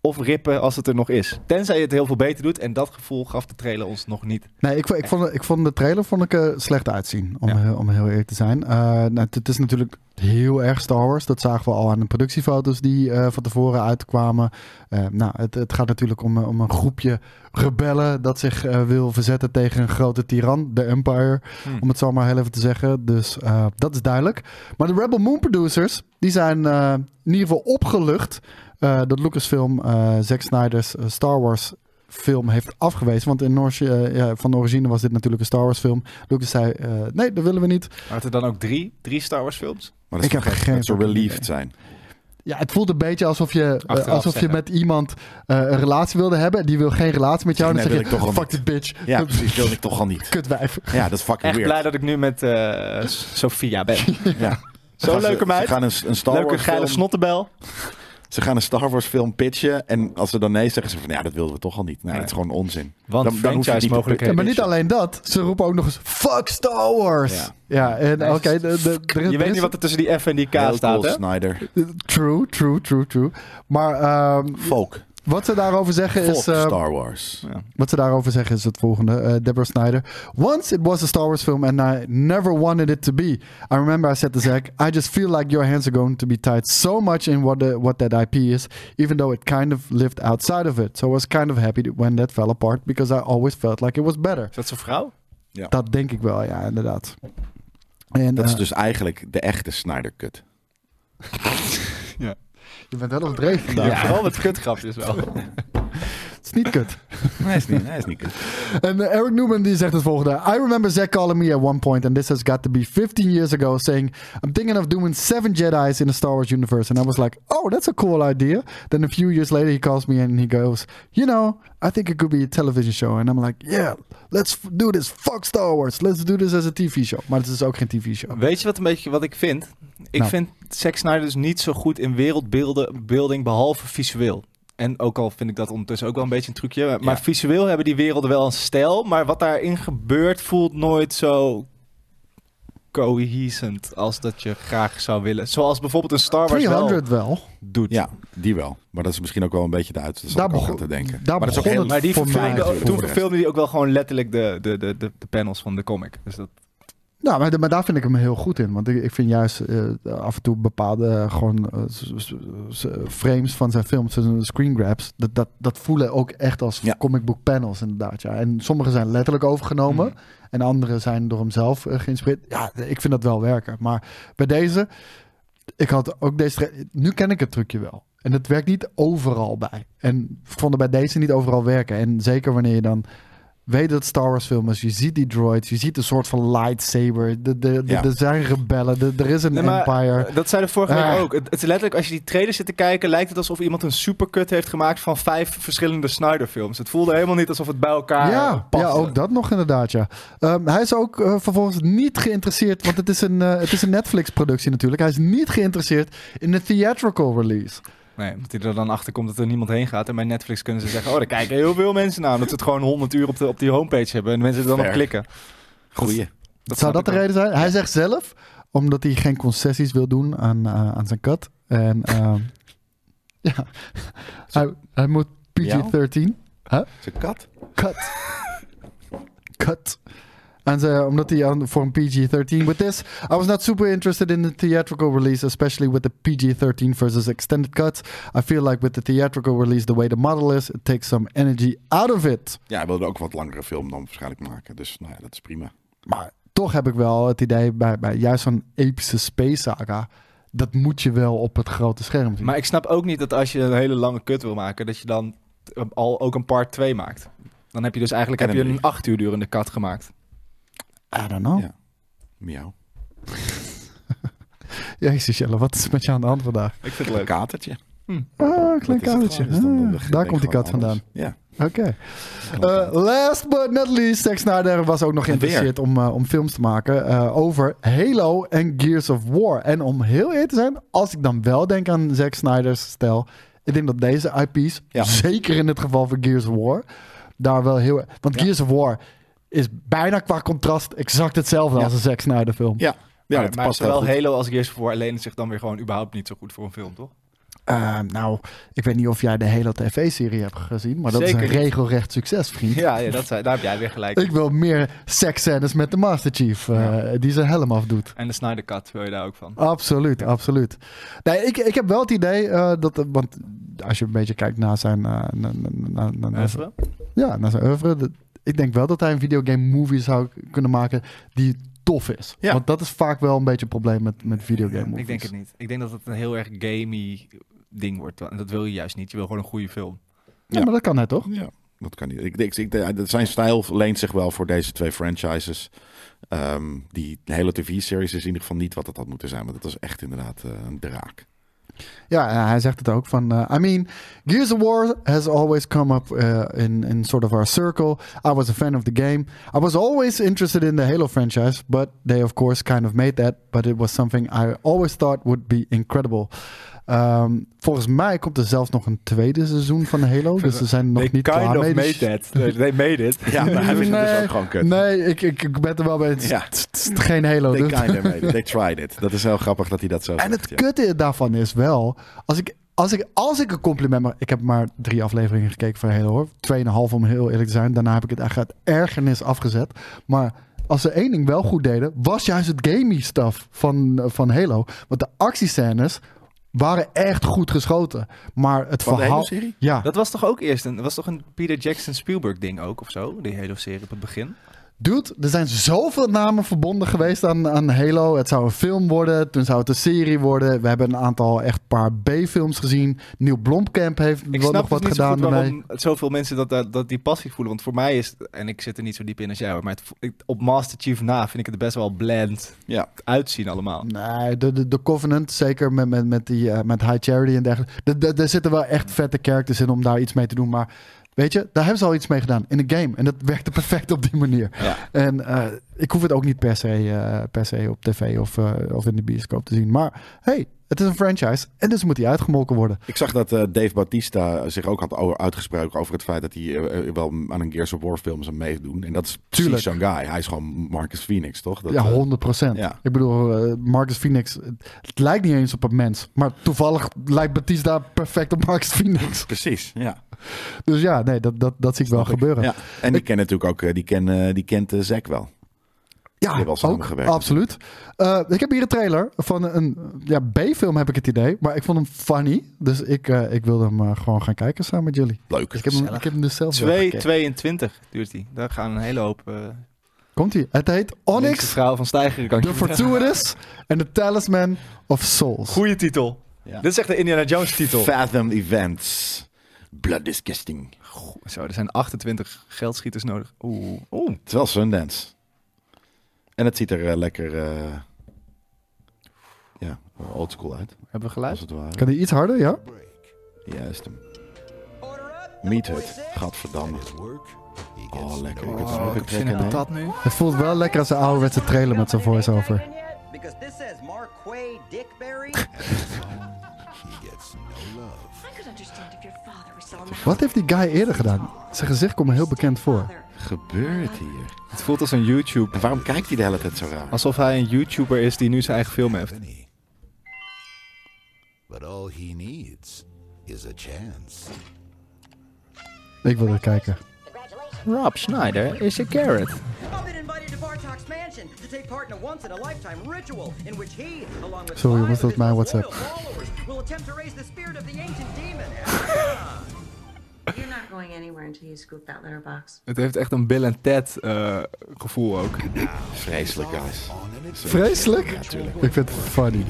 S3: of rippen als het er nog is. Tenzij je het heel veel beter doet. En dat gevoel gaf de trailer ons nog niet.
S4: Nee, ik, vo- ik, vond, ik vond de trailer vond ik, eh, slecht uitzien, om, heel- om heel eerlijk te zijn. Eh, nou, het, het is natuurlijk heel erg Star Wars. Dat zagen we al aan de productiefoto's die eh, van tevoren uitkwamen. Eh, nou, het, het gaat natuurlijk om, eh, om een groepje rebellen dat zich eh, wil verzetten tegen een grote tiran, de Empire,
S3: Hmm.
S4: om het zo maar heel even te zeggen. Dus eh, dat is duidelijk. Maar de Rebel Moon producers, die zijn eh, in ieder geval opgelucht eh, dat Lucasfilm eh Zack Snyder's eh, Star Wars film heeft afgewezen. Want in Noors- eh, ja, van origine was dit natuurlijk een Star Wars film. Lucas zei, eh, nee, dat willen we niet.
S3: Maar er dan ook drie, drie Star Wars films?
S2: Maar dat
S4: Ik
S2: is
S4: heb
S2: toch gek
S4: geen
S2: dat ze
S4: fucking
S2: relieved
S4: idee.
S2: zijn.
S4: Ja, het voelt een beetje alsof je, eh,
S3: Achteraf
S4: alsof je
S3: zeggen.
S4: met iemand eh, een relatie wilde hebben. Die wil geen relatie met jou. En dan
S2: Nee,
S4: zeg
S2: wil
S4: je,
S2: ik toch wel
S4: fuck die bitch.
S2: Ja,
S4: *laughs* Dat-
S2: precies. Wilde ik toch al niet.
S4: Kutwijf.
S2: Ja, dat is fucking
S3: Echt
S2: weird.
S3: blij dat ik nu met eh, Sophia *laughs* ben.
S2: Ja.
S3: Zo'n leuke
S2: mij. Ze
S3: meid.
S2: gaan een, een Star
S3: Leuke
S2: Wars
S3: geile
S2: film,
S3: snottebel.
S2: Ze gaan een Star Wars film pitchen. En als ze dan nee zeggen, ze van ja, dat wilden we toch al niet. Nee, dat is gewoon onzin.
S3: Want
S2: Dan- dan hoef je het niet te
S4: Ja,
S3: mogelijkheden.
S4: maar niet alleen dat. Ze roepen ook nog eens, fuck Star Wars. Ja,
S2: Ja.
S4: en
S3: Nee,
S4: oké. de- de- er-
S3: Je
S4: er
S3: weet
S4: is-
S3: niet wat er tussen die F en die K
S2: Heel
S3: staat,
S2: cool,
S3: hè?
S2: Snyder.
S4: True, true, true, true. Maar ehm,
S2: Folk.
S4: wat ze daarover zeggen
S2: Folk
S4: is... eh,
S2: Star Wars.
S4: Wat ze daarover zeggen is het volgende. Eh, Deborah Snyder. Once it was a Star Wars film and I never wanted it to be. I remember I said to Zach, I just feel like your hands are going to be tied so much in what, the, what that IP is, even though it kind of lived outside of it. So I was kind of happy that- when that fell apart because I always felt like it was better.
S3: Is dat zijn vrouw?
S4: Dat denk ik wel, ja, inderdaad. En,
S2: Dat is
S4: eh,
S2: dus eigenlijk de echte Snyder-cut.
S4: Je bent wel op dreef vandaag.
S3: Ja, vooral met kutgrapjes wel.
S4: Het is niet kut.
S2: Nee, is niet, nee, is niet kut.
S4: En eh, Eric Newman die zegt het volgende. I remember Zach calling me at one point, and this has got to be 15 years ago, saying, I'm thinking of doing seven Jedi's in the Star Wars universe. And I was like, oh, that's a cool idea. Then a few years later, he calls me and he goes, you know, I think it could be a television show. And I'm like, yeah, let's f- do this. Fuck Star Wars. Let's do this as a TV show. Maar het is ook geen TV show.
S3: *laughs* Weet je wat een beetje wat ik vind? Ik
S4: Nou.
S3: vind Zack Snyder dus niet zo goed in wereldbeelding behalve visueel. En ook al vind ik dat ondertussen ook wel een beetje een trucje. Maar
S2: Ja.
S3: visueel hebben die werelden wel een stijl. Maar wat daarin gebeurt voelt nooit zo cohesend als dat je graag zou willen. Zoals bijvoorbeeld een Star Wars wel
S4: 300 wel.
S3: doet.
S2: Ja, die wel. Maar dat is misschien ook wel een beetje de uit. Dat
S4: Daar
S2: daar begon
S4: begon-
S2: te denken.
S4: daar
S2: maar dat is ook
S4: begon
S2: heel
S4: het
S3: Maar die
S4: Voor mij
S3: verfilmde,
S2: natuurlijk,
S3: toen
S2: voor de
S3: verfilmde hij ook wel gewoon letterlijk de, de, de, de, de panels van de comic. Dus dat,
S4: Nou, maar, maar daar vind ik hem heel goed in. Want ik, ik vind juist eh, af en toe bepaalde eh, gewoon, eh, s- s- s- eh, frames van zijn films, zijn screen grabs, dat, dat, dat voelen ook echt als
S2: Ja.
S4: comic book panels inderdaad. Ja. En sommige zijn letterlijk overgenomen en andere zijn door hemzelf eh, geïnspireerd. Ja, ik vind dat wel werken. Maar bij deze, ik had ook deze, tra- nu ken ik het trucje wel. En het werkt niet overal bij. En ik vond het bij deze niet overal werken. En zeker wanneer je dan weet dat het Star Wars film is. Je ziet die droids, je ziet een soort van lightsaber. De, de, de,
S2: Ja.
S4: Er zijn rebellen, de- er is een
S3: Nee, maar,
S4: empire.
S3: eh, Dat zei de vorige week
S4: Ah.
S3: ook. Het, het is letterlijk, als je die trailers zit te kijken, lijkt het alsof iemand een supercut heeft gemaakt van vijf verschillende Snyder-films. Het voelde helemaal niet alsof het bij elkaar eh,
S4: Ja,
S3: paste.
S4: ja, ook dat nog inderdaad, ja. Ehm, hij is ook eh, vervolgens niet geïnteresseerd, want het is een, eh, het is een Netflix-productie natuurlijk. Hij is niet geïnteresseerd in de theatrical release.
S3: Nee, omdat hij er dan achter komt dat er niemand heen gaat. En bij Netflix kunnen ze *laughs* zeggen, oh, daar kijken heel veel mensen naar. Omdat ze het gewoon 100 uur op, de, op die homepage hebben en mensen er dan op
S2: Fair.
S3: klikken.
S2: Goeie.
S4: Zou
S3: snap
S4: dat de
S3: ik wel.
S4: reden zijn? Hij zegt zelf, omdat hij geen concessies wil doen aan, eh, aan zijn kat. En ehm, ja, hij, hij moet PG-13. *laughs*
S2: Zijn kat.
S4: Cut. Cut. En ze, omdat hij aan- voor een PG-13 with this. I was not super interested in the theatrical release, especially with the PG-13 versus extended cuts. I feel like with the theatrical release, the way the model is, it takes some energy out of it.
S2: Ja, hij wilde ook een wat langere film dan waarschijnlijk maken. Dus nou ja, dat is prima.
S4: Maar toch heb ik wel het idee bij, bij juist zo'n epische space saga, dat moet je wel op het grote scherm zien.
S3: Maar ik snap ook niet dat als je een hele lange kut wil maken, dat je dan eh, al ook een part 2 maakt. Dan heb je dus eigenlijk
S2: En
S3: heb
S2: een
S3: je een
S2: brief.
S3: 8 uur durende kat gemaakt.
S4: I don't know.
S2: Ja. Miauw.
S4: Jezus Jelle, wat is met je aan de hand vandaag?
S3: Ik vind het
S2: Een
S3: leuk.
S2: katertje.
S4: Ah,
S2: Dat
S4: klein
S2: is het
S4: kabeltje.
S2: gewoon. Dus dan- dan- dan-
S4: daar
S2: dan-
S4: komt die
S2: gewoon
S4: kat
S2: anders.
S4: vandaan.
S2: Ja.
S4: Oké. Eh, last but not least, Zack Snyder was ook nog geïnteresseerd om, eh, om films te maken eh, over Halo en Gears of War. En om heel eerlijk te zijn, als ik dan wel denk aan Zack Snyder's stijl, ik denk dat deze IP's,
S2: Ja.
S4: zeker in het geval van Gears of War, daar wel heel... Want Gears of War is bijna qua contrast exact hetzelfde
S2: Ja.
S4: als een Zack Snyder film.
S2: Ja. Ja,
S3: maar,
S2: dat
S3: maar
S2: past wel
S3: zowel
S2: goed.
S3: Halo als Gears of War lenen zich dan weer gewoon überhaupt niet zo goed voor een film, toch?
S4: Eh, nou, ik weet niet of jij de Halo TV-serie hebt gezien, maar dat
S3: Zeker
S4: is een
S3: niet.
S4: regelrecht
S2: *laughs*
S4: succes, vriend.
S3: *laughs* Ja, ja dat, zei- daar heb jij weer gelijk.
S4: Ik wil meer seksscènes met de Master Chief, eh, die zijn helm afdoet.
S3: En de Snyder Cut wil je daar ook van.
S4: Absoluut, absoluut. Nee, ik, ik heb wel het idee eh, dat, want als je een beetje kijkt naar zijn, eh, na- na- na- na- na-
S3: Even.
S4: ja, naar zijn oeuvre, dat- ik denk wel dat hij een videogame movie zou kunnen maken die tof is.
S2: Ja.
S4: Want dat is vaak wel een beetje een probleem met, met videogame movies.
S3: Ik denk het niet. Ik denk dat het een heel erg gamey ding wordt. En dat wil je juist niet. Je wil gewoon een goede film.
S4: Ja, maar dat kan hij toch?
S2: Ja, dat kan niet. Ik, ik, ik, dat zijn stijl leent zich wel voor deze twee franchises. Ehm, die hele tv-series is in ieder geval niet wat het had moeten zijn. Want dat was echt inderdaad eh, een draak.
S4: Ja, en hij zegt het ook van, eh, I mean, Gears of War has always come up eh, in, in sort of our circle. I was a fan of the game. I was always interested in the Halo franchise, but they of course kind of made that. But it was something I always thought would be incredible. Ehm, volgens mij komt er zelfs nog een tweede seizoen van Halo,
S2: *laughs*
S4: dus ze zijn nog niet klaar mee. Dus-
S3: that. They, they made it.
S2: Ja, maar hij vindt het dus
S4: Nee,
S2: ook gewoon kut.
S4: Nee, ik, ik, ik ben er wel bij. Het is-
S2: Ja.
S4: het is- het is geen Halo.
S2: They
S4: dus-
S2: kinda made it. They tried it. Dat is heel grappig dat hij dat zo
S4: En
S2: zegt,
S4: het
S2: ja.
S4: kutte daarvan is wel, als ik, als ik, als ik een compliment mag... Ik heb maar drie afleveringen gekeken van Halo hoor. Tweeënhalf om heel eerlijk te zijn. Daarna heb ik het eigenlijk uit ergernis afgezet. Maar als ze één ding wel goed deden, was juist het gamey stuff van, van Halo. Want de actiescènes waren echt goed geschoten. Maar het
S2: Van de
S4: verhaal...
S2: hele serie?
S4: Ja,
S3: Dat was toch ook eerst een, dat was toch een Peter Jackson Spielberg ding ook of zo? Die hele serie op het begin.
S4: dude, er zijn zoveel namen verbonden geweest aan, aan Halo. Het zou een film worden, toen zou het een serie worden. We hebben een aantal echt paar B-films gezien. Neil Blomkamp heeft
S3: Ik
S4: wel
S3: snap dus
S4: nog wat
S3: niet
S4: gedaan
S3: zo goed
S4: daarmee.
S3: waarom zoveel mensen dat, dat, dat die passie voelen. Want voor mij is, en ik zit er niet zo diep in als jij hoor, maar het vo- ik- op Master Chief na vind ik het best wel bland
S2: Ja.
S3: uitzien allemaal.
S4: Nee, de, de, de Covenant, zeker met, met, met, die, eh, met High Charity en dergelijke. De- de- Er zitten wel echt vette characters in om daar iets mee te doen. Maar weet je, daar hebben ze al iets mee gedaan in de game. En dat *laughs* werkte perfect op die manier. En eh, ik hoef het ook niet per se, eh, per se op tv of, eh, of in de bioscoop te zien. Maar hey, het is een franchise en dus moet die uitgemolken worden.
S2: Ik zag dat eh, Dave Bautista zich ook had o- uitgesproken over het feit dat hij eh, eh, wel aan een Gears of War film zou meedoen. En dat is
S4: Tuurlijk.
S2: precies zo'n guy. Hij is gewoon Marcus Phoenix, toch? Dat,
S4: Ja,
S2: eh,
S4: 100
S2: ja.
S4: Ik bedoel, eh, Marcus Phoenix, het, het lijkt niet eens op een mens. Maar toevallig lijkt Batista perfect op Marcus Phoenix. *laughs*
S2: Precies, ja.
S4: Dus ja, nee, dat, dat, dat zie ik wel gebeuren.
S2: ja. En die kent natuurlijk ook, eh, die, ken, eh, die kent eh, Zack wel.
S4: Ja,
S2: hebben al samengewerkt.
S4: absoluut. Eh, ik heb hier een trailer van een ja, B-film, heb ik het idee. Maar ik vond hem funny. Dus ik, eh, ik wilde hem eh, gewoon gaan kijken samen met jullie.
S2: Leuk.
S4: Dus ik heb hem, ik heb hem dus zelf wel gekeken.
S3: 222 duurt die. Daar gaan een hele hoop eh
S4: Komt ie. Het heet
S3: linkse
S4: Onyx,
S3: vrouwen van Stijgeren. Kan ik
S4: The
S3: je vertellen.
S4: Fortuitous and the Talisman of Souls.
S3: Goeie titel.
S2: Ja.
S3: Dit is echt de Indiana Jones titel.
S2: Fathom Events. Blood Disgusting.
S3: Zo, er zijn 28 geldschieters nodig. Oeh. Oeh.
S2: Het is wel Sundance. En het ziet er eh, lekker eh ja, oldschool uit,
S3: Hebben we
S2: als
S3: geluid?
S2: het ware.
S4: Kan die iets harder, ja?
S2: Juist hem. Meathead. Gadverdamme. Oh, lekker. Ik heb er ook een trek in, hè.
S3: dat nu?
S4: Het voelt wel lekker als een ouderwetse trailer met zo'n voice-over.
S9: Because this says Marquay Dickberry.
S4: Wat heeft die guy eerder gedaan? Zijn gezicht komt me heel bekend voor.
S2: gebeurt hier?
S3: Het voelt als een YouTube.
S2: En waarom kijkt hij de hele tijd zo raar?
S3: Alsof hij een YouTuber is die nu zijn eigen film heeft.
S10: But all he needs is a chance.
S4: Ik wil het kijken.
S3: Rob Schneider is een carrot.
S9: I've been invited to Bart's Murtaugh's mansion to take part in a once-in-a-lifetime ritual in which he, along with
S4: Sorry,
S9: five
S4: was
S9: of
S4: dat
S9: his
S4: mijn
S9: most
S4: WhatsApp?
S9: loyal followers, will attempt to raise the spirit of the ancient demon.
S11: You're not going anywhere until you scoop that litter box.
S3: Het heeft echt een Bill en Ted eh, gevoel ook.
S2: Vreselijk, guys.
S4: Vreselijk?
S2: Ja, tuurlijk.
S4: ik vind het funny.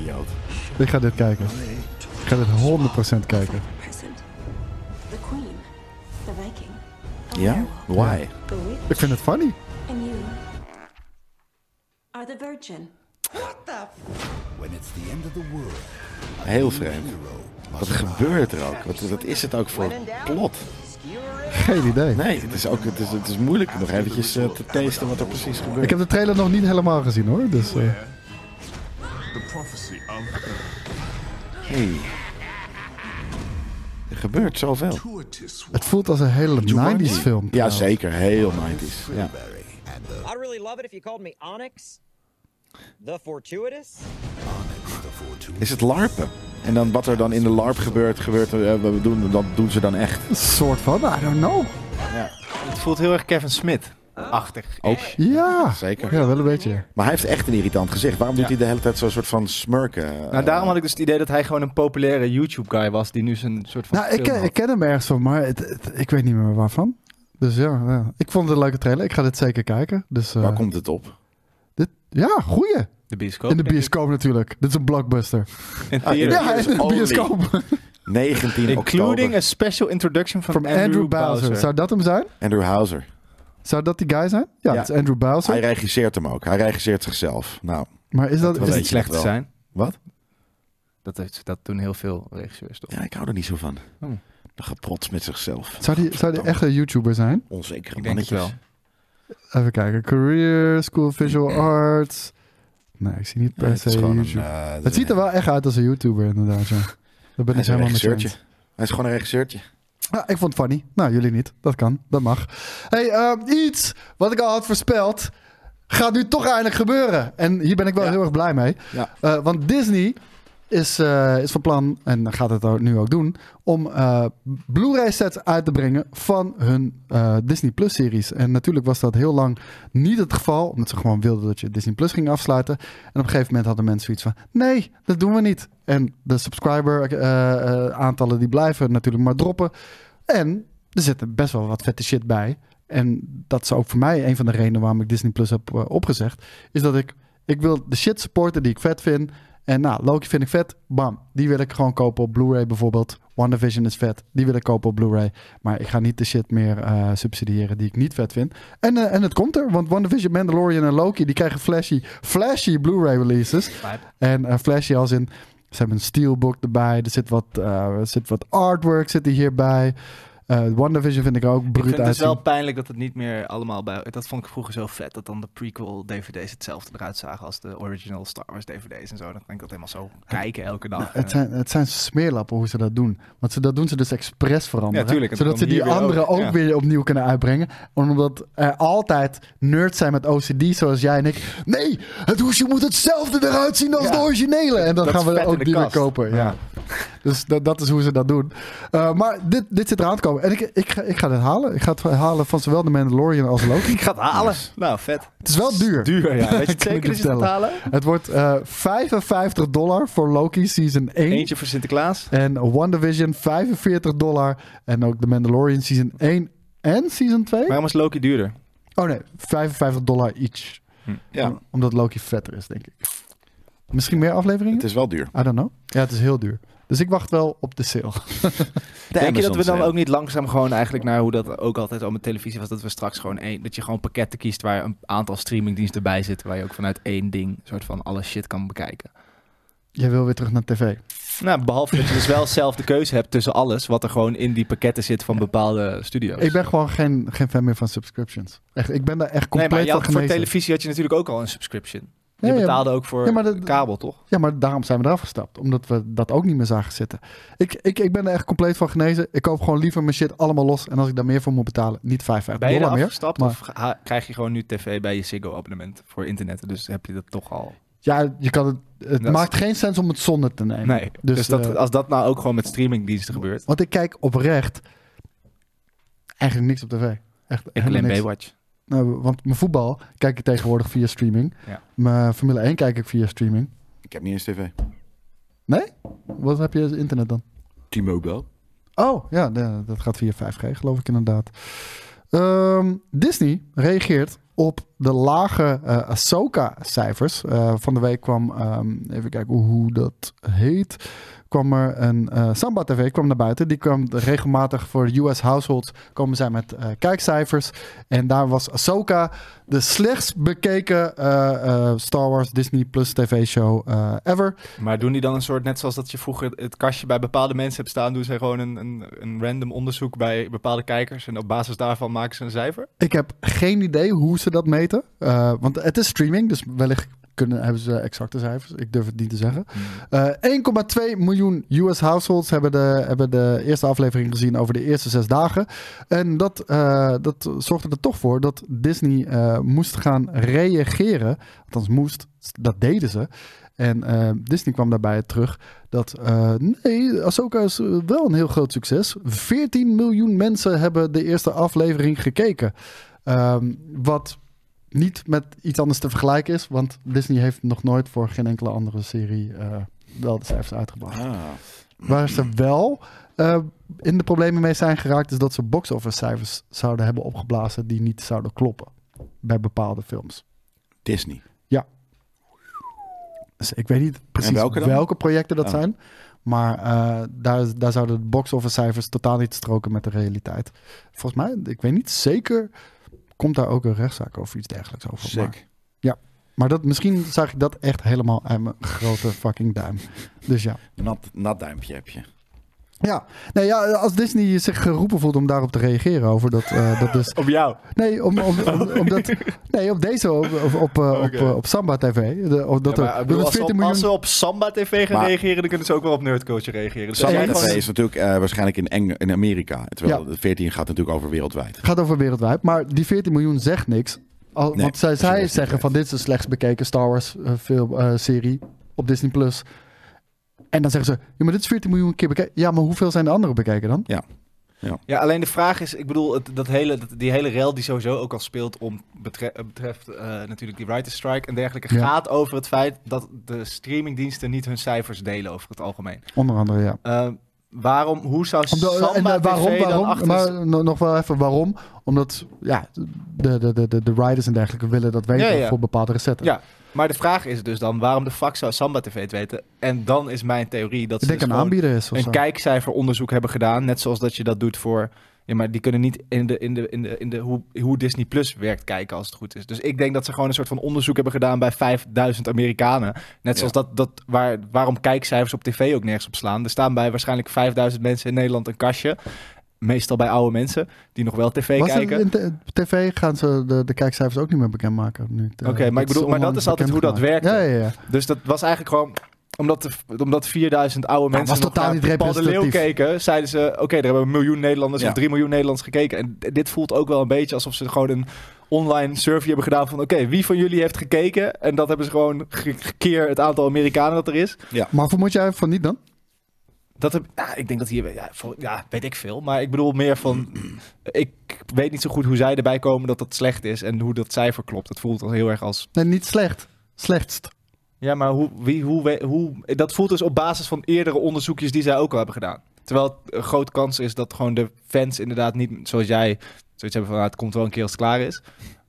S4: Ik ga dit kijken. Ik ga dit
S11: Present.
S4: 100% kijken.
S11: The queen. The Viking. a
S2: Ja?
S11: werewolf,
S2: Why?
S11: The witch.
S4: Ik vind het funny.
S11: And you are the virgin.
S10: When it's the end of the world,
S2: Heel vreemd. Wat gebeurt er ook? Wat, wat is het ook voor plot?
S4: Geen idee.
S2: Nee, het is, ook, het is, het is moeilijk nog eventjes eh, te testen wat er precies gebeurt.
S4: Ik heb de trailer nog niet helemaal gezien hoor. Dus,
S2: Oh,
S4: eh,
S12: The prophecy of
S2: Hey. Er gebeurt zoveel.
S4: het voelt als een hele 90s film.
S2: Ja,
S4: trouwens.
S2: zeker. Heel 90s. Ja.
S9: I really love it if you called me Onyx, the fortuitous.
S2: Is het larpen? En dan wat er dan in de larp gebeurt, gebeurt er, eh, we doen, dat doen ze dan echt.
S4: Een soort van, I don't know.
S3: Het voelt heel erg Kevin Smith-achtig.
S2: Ook.
S4: Ja,
S2: Zeker.
S4: ja wel een beetje.
S2: Maar hij heeft echt een irritant gezicht. Waarom doet
S3: Ja.
S2: hij de hele tijd zo'n soort van smurken?
S3: Nou,
S2: Eh,
S3: daarom had ik dus het idee dat hij gewoon een populaire YouTube-guy was die nu zijn soort van.
S4: Nou, ik,
S3: film
S4: ken-
S3: had.
S4: ik ken hem ergens van, maar het, het- ik weet niet meer waarvan. Dus ja, ja. ik vond het een leuke trailer. Ik ga dit zeker kijken. Dus, eh,
S2: Waar komt het op?
S4: dit, ja, goeie.
S3: de bioscoop.
S4: In de
S3: denk ik.
S4: bioscoop natuurlijk. Dit is een blockbuster.
S3: In
S2: Ah,
S3: theater.
S4: Ja,
S2: Theaters
S4: in de
S2: only.
S4: bioscoop.
S2: 19
S3: Including
S2: oktober.
S3: a special introduction van
S4: Van
S3: Andrew, Bowser.
S4: Zou dat hem zijn?
S2: Andrew Houser.
S4: Zou dat die guy zijn? Ja,
S2: Ja.
S4: dat is Andrew
S2: Hij
S4: Bowser.
S2: regisseert hem ook. Hij regisseert zichzelf. Nou,
S4: Maar is dat...
S2: Dat
S3: Dat is
S2: weet
S3: niet
S2: je
S3: slecht
S2: nog
S3: te
S2: wel.
S3: zijn.
S2: Wat?
S3: Dat, heeft, dat doen heel veel regisseurs toch?
S2: ja, ik hou er niet zo van.
S3: Oh.
S2: De geprots met zichzelf.
S4: zou die, zou die echt een YouTuber zijn?
S2: Onzekere
S3: ik denk het
S2: mannetjes.
S3: wel.
S4: Even kijken. Career, School of Visual Arts. Nee, ik zie niet per
S2: Ja, het
S4: se
S2: is gewoon een,
S4: YouTuber.
S2: eh,
S4: het ziet er wel echt uit als een YouTuber inderdaad, ja. Dat
S2: Hij
S4: ben ik
S2: is een
S4: helemaal met je
S2: regisseurtje.
S4: eens.
S2: Hij is gewoon een regisseurtje.
S4: Ja, ik vond het funny. Nou, jullie niet. Dat kan. Dat mag. hey, ehm, iets wat ik al had voorspeld... gaat nu toch eindelijk gebeuren. En hier ben ik wel heel erg blij mee.
S2: Ja.
S4: Eh, want Disney is, eh, is van plan, en gaat het ook- nu ook doen... om eh, Blu-ray sets uit te brengen van hun eh, Disney Plus series. En natuurlijk was dat heel lang niet het geval... omdat ze gewoon wilden dat je Disney Plus ging afsluiten. En op een gegeven moment hadden mensen zoiets van... nee, dat doen we niet. En de subscriber-aantallen die blijven natuurlijk maar droppen... En er zitten best wel wat vette shit bij. En dat is ook voor mij een van de redenen waarom ik Disney Plus heb eh, opgezegd. Is dat ik, ik wil de shit supporten die ik vet vind. En nou, Loki vind ik vet. Bam. Die wil ik gewoon kopen op Blu-ray bijvoorbeeld. WandaVision is vet. Die wil ik kopen op Blu-ray. Maar ik ga niet de shit meer eh, subsidiëren die ik niet vet vind. En, eh, en het komt er. Want WandaVision, Mandalorian en Loki... die krijgen flashy, flashy Blu-ray releases. En eh, flashy als in... ze hebben een steelbook erbij. Er zit wat, eh, er zit wat artwork zit er hierbij. Eh WandaVision vind ik er ook
S3: Ik
S4: bruut
S3: vind het dus
S4: uitzien.
S3: wel pijnlijk dat het niet meer allemaal bij... Dat vond ik vroeger zo vet, dat dan de prequel-dvd's hetzelfde eruit zagen als de original Star Wars-dvd's en zo. Dan kan ik dat helemaal zo kijken elke dag.
S4: Nou,
S3: eh,
S4: Het zijn, het zijn smeerlappen hoe ze dat doen. Want ze, dat doen ze dus expres veranderen.
S3: Ja, tuurlijk. En
S4: zodat ze
S3: dan
S4: die
S3: hier weer
S4: anderen ook,
S3: ook. Ja.
S4: weer opnieuw kunnen uitbrengen. Omdat er altijd nerds zijn met OCD, zoals jij en ik. Nee, het hoesje moet hetzelfde eruit zien als
S3: Ja.
S4: de originele. En dan
S3: Dat is
S4: gaan we
S3: vet in
S4: ook
S3: de
S4: die
S3: kast.
S4: weer kopen. Ja.
S3: Ja.
S4: Dus dat, dat is hoe ze dat doen. Eh, maar dit, dit zit eraan te komen. En ik, ik, ga, ik ga dit halen. Ik ga het halen van zowel de Mandalorian als Loki.
S3: Ik ga het halen. Nou, vet.
S4: Het is
S3: *laughs*
S4: wel duur.
S3: Duur,
S4: *laughs*
S3: ja. Weet je het
S4: Kan ik
S3: zeker dat je het
S4: bestellen.
S3: gaat halen?
S4: Het wordt eh, 55 dollar voor Loki Season 1.
S3: Eentje voor Sinterklaas.
S4: En WandaVision 45 dollar. En ook The Mandalorian Season 1 en Season 2.
S3: Waarom is Loki duurder?
S4: Oh nee, 55 dollar each. Om- omdat Loki vetter is, denk ik. Misschien meer afleveringen?
S2: Het is wel duur.
S4: I don't know. Ja, het is heel duur. Dus ik wacht wel op de sale.
S3: Denk je dat
S2: Amazon
S3: we dan
S2: sale.
S3: ook niet langzaam gewoon eigenlijk naar hoe dat ook altijd al met televisie was, dat we straks gewoon één, dat je gewoon pakketten kiest waar een aantal streamingdiensten bij zitten, waar je ook vanuit één ding soort van alle shit kan bekijken.
S4: Jij wil weer terug naar tv.
S3: Nou, behalve dat je dus wel zelf de keuze hebt tussen alles wat er gewoon in die pakketten zit van bepaalde studio's.
S4: Ik ben gewoon geen, geen fan meer van subscriptions. Echt, ik ben daar echt
S3: nee,
S4: compleet
S3: maar je had-
S4: van
S3: voor
S4: genezen.
S3: televisie had je natuurlijk ook al een subscription. Je
S4: Ja, ja.
S3: betaalde ook voor
S4: Ja, maar dat-
S3: kabel, toch?
S4: Ja, maar daarom zijn we eraf gestapt. Omdat we dat ook niet meer zagen zitten. Ik, ik, ik ben er echt compleet van genezen. Ik koop gewoon liever mijn shit allemaal los. En als ik daar meer voor moet betalen, niet 55
S3: Ben je er
S4: dollar meer.
S3: afgestapt
S4: maar-
S3: of ga- krijg je gewoon nu tv bij je Ziggo abonnement voor internet? Dus heb je dat toch al?
S4: Ja, je kan het, het
S3: Dat is-
S4: maakt geen sens om het zonder te nemen.
S3: Nee. Dus, dat,
S4: eh,
S3: als dat nou ook gewoon met streamingdiensten gebeurt.
S4: Want ik kijk oprecht eigenlijk niks op tv. Echt,
S3: Ik
S4: helemaal
S3: alleen
S4: niks.
S3: Baywatch.
S4: Nou, want mijn voetbal kijk ik tegenwoordig via streaming.
S3: Ja.
S4: Mijn Formule 1 kijk ik via streaming.
S2: Ik heb niet eens tv.
S4: Nee? Wat heb je als internet dan?
S2: T-Mobile.
S4: Oh, ja, de- dat gaat via 5G, geloof ik inderdaad. Ehm, Disney reageert op de lage eh Ahsoka-cijfers. Eh, van de week kwam, ehm, even kijken hoe- hoe dat heet, kwam er een eh, Samba TV kwam naar buiten. Die kwam regelmatig voor US households, komen zij met eh, kijkcijfers. En daar was Ahsoka de slechtst bekeken eh, eh, Star Wars Disney Plus TV-show eh, ever.
S3: Maar doen die dan een soort, net zoals dat je vroeger het kastje bij bepaalde mensen hebt staan, doen zij gewoon een, een, een random onderzoek bij bepaalde kijkers en op basis daarvan maken ze een cijfer?
S4: Ik heb geen idee hoe ze dat meten. Eh, want het is streaming, dus wellicht kunnen, hebben ze exacte cijfers. Ik durf het niet te zeggen.
S3: Hmm.
S4: Eh, 1,2 miljoen US households hebben de, hebben de eerste aflevering gezien over de eerste zes dagen. En dat, eh, dat zorgde er toch voor dat Disney eh, moest gaan reageren. Althans, moest. Dat deden ze. En eh, Disney kwam daarbij terug dat eh, nee, Ahsoka is eh, wel een heel groot succes. 14 miljoen mensen hebben de eerste aflevering gekeken. Ehm, wat niet met iets anders te vergelijken is, want Disney heeft nog nooit voor geen enkele andere serie eh, wel de cijfers uitgebracht.
S2: Ah.
S4: Waar ze wel eh, in de problemen mee zijn geraakt, is dat ze box-office cijfers zouden hebben opgeblazen die niet zouden kloppen bij bepaalde films.
S2: Disney.
S4: Ja. Dus ik weet niet precies
S2: En welke
S4: welke,
S2: dan?
S4: projecten dat
S2: Ah.
S4: zijn. Maar eh, daar, daar zouden de box-office cijfers totaal niet stroken met de realiteit. Volgens mij, ik weet niet zeker, komt daar ook een rechtszaak over iets dergelijks over.
S2: Sick.
S4: Maar, ja, maar dat, misschien zag ik dat echt helemaal uit mijn grote fucking duim. Dus ja.
S2: Nat, nat duimpje heb je.
S4: Ja. Nee, ja, als Disney zich geroepen voelt om daarop te reageren over dat, eh, dat *laughs* dus...
S3: Op jou?
S4: Nee, om, om, om- *laughs* omdat, nee, op deze, op, op, op, eh, op, eh, op Samba TV. De, op, dat
S3: Ja,
S4: er-
S3: maar, ik
S4: dat
S3: bedoel,
S4: er
S3: als, ze
S4: 14
S3: op,
S4: miljoen...
S3: als ze op Samba TV gaan
S2: Maar-
S3: reageren, dan kunnen ze ook wel op Nerdcoach reageren. Dus
S2: Samba
S3: zij
S2: TV
S3: gewoon-
S2: is natuurlijk eh, waarschijnlijk in, Eng in Amerika. Terwijl
S4: Ja.
S2: de 14 gaat natuurlijk over wereldwijd.
S4: Het gaat over wereldwijd, maar die 14 miljoen zegt niks. Al,
S2: Nee,
S4: want zij,
S2: dat is
S4: zij
S2: niet
S4: zeggen
S2: waar.
S4: van dit is de slechts bekeken Star Wars eh, film, eh, serie op Disney+. Plus. En dan zeggen ze, ja, maar dit is 14 miljoen keer bekeken. Ja, maar hoeveel zijn de anderen bekeken dan?
S2: Ja. ja.
S3: Ja, alleen de vraag is, ik bedoel, het, dat hele, dat, die hele rel die sowieso ook al speelt om betre- eh, betreft eh, natuurlijk die writer's strike en dergelijke,
S4: Ja.
S3: gaat over het feit dat de streamingdiensten niet hun cijfers delen over het algemeen.
S4: Onder andere, ja.
S3: Eh, waarom, hoe zou
S4: Omdat-
S3: Samba
S4: en eh,
S3: TV
S4: waarom,
S3: dan
S4: waarom,
S3: achter...
S4: maar no- nog wel even waarom. Omdat ja, de, de, de, de, de riders en dergelijke willen dat weten
S3: Ja, ja.
S4: voor bepaalde recetten.
S3: Ja, maar de vraag is dus dan, waarom de fuck zou Samba TV het weten? En dan is mijn theorie dat
S4: Ik
S3: ze
S4: denk
S3: dus
S4: een
S3: gewoon
S4: aanbieder is of
S3: een
S4: zo.
S3: kijkcijferonderzoek hebben gedaan, net zoals dat je dat doet voor... Ja, maar die kunnen niet in de, in de, in de, in de hoe, hoe Disney Plus werkt kijken als het goed is. Dus ik denk dat ze gewoon een soort van onderzoek hebben gedaan bij 5000 Amerikanen. Net zoals dat, dat waar, waarom kijkcijfers op tv ook nergens op slaan. Er staan bij waarschijnlijk 5000 mensen in Nederland een kastje. Meestal bij oude mensen die nog wel tv
S4: Was
S3: kijken.
S4: het in te- tv gaan ze de, de kijkcijfers ook niet meer bekendmaken. nu het, eh,
S3: Oké, maar ik
S4: is
S3: bedoel, maar dat
S4: onlangs
S3: is altijd hoe dat
S4: bekendgemaakt.
S3: werkte.
S4: Ja, ja, ja.
S3: Dus dat was eigenlijk gewoon omdat, de, omdat 4000 oude mensen
S4: was
S3: nog
S4: totaal
S3: naar
S4: niet
S3: Paul de Leeuw
S4: representatief.
S3: keken, zeiden ze: Oké, er hebben een miljoen Nederlanders
S2: Ja.
S3: of 3 miljoen Nederlanders gekeken. En d- dit voelt ook wel een beetje alsof ze gewoon een online survey hebben gedaan van: Oké, wie van jullie heeft gekeken? En dat hebben ze gewoon ge- gekeer het aantal Amerikanen dat er is.
S4: Maar vermoed jij van niet dan?
S3: Dat heb, nou, ik denk dat hier, ja, voor- ja, weet ik veel. Maar ik bedoel meer van: Ik weet niet zo goed hoe zij erbij komen dat dat slecht is en hoe dat cijfer klopt. Het voelt al heel erg als
S4: Nee, niet slecht. Slechtst.
S3: Ja, maar hoe, wie, hoe, we- hoe, dat voelt dus op basis van eerdere onderzoekjes die zij ook al hebben gedaan. Terwijl het een groot kans is dat gewoon de fans inderdaad niet, zoals jij, zoiets hebben van nou, het komt wel een keer als het klaar is.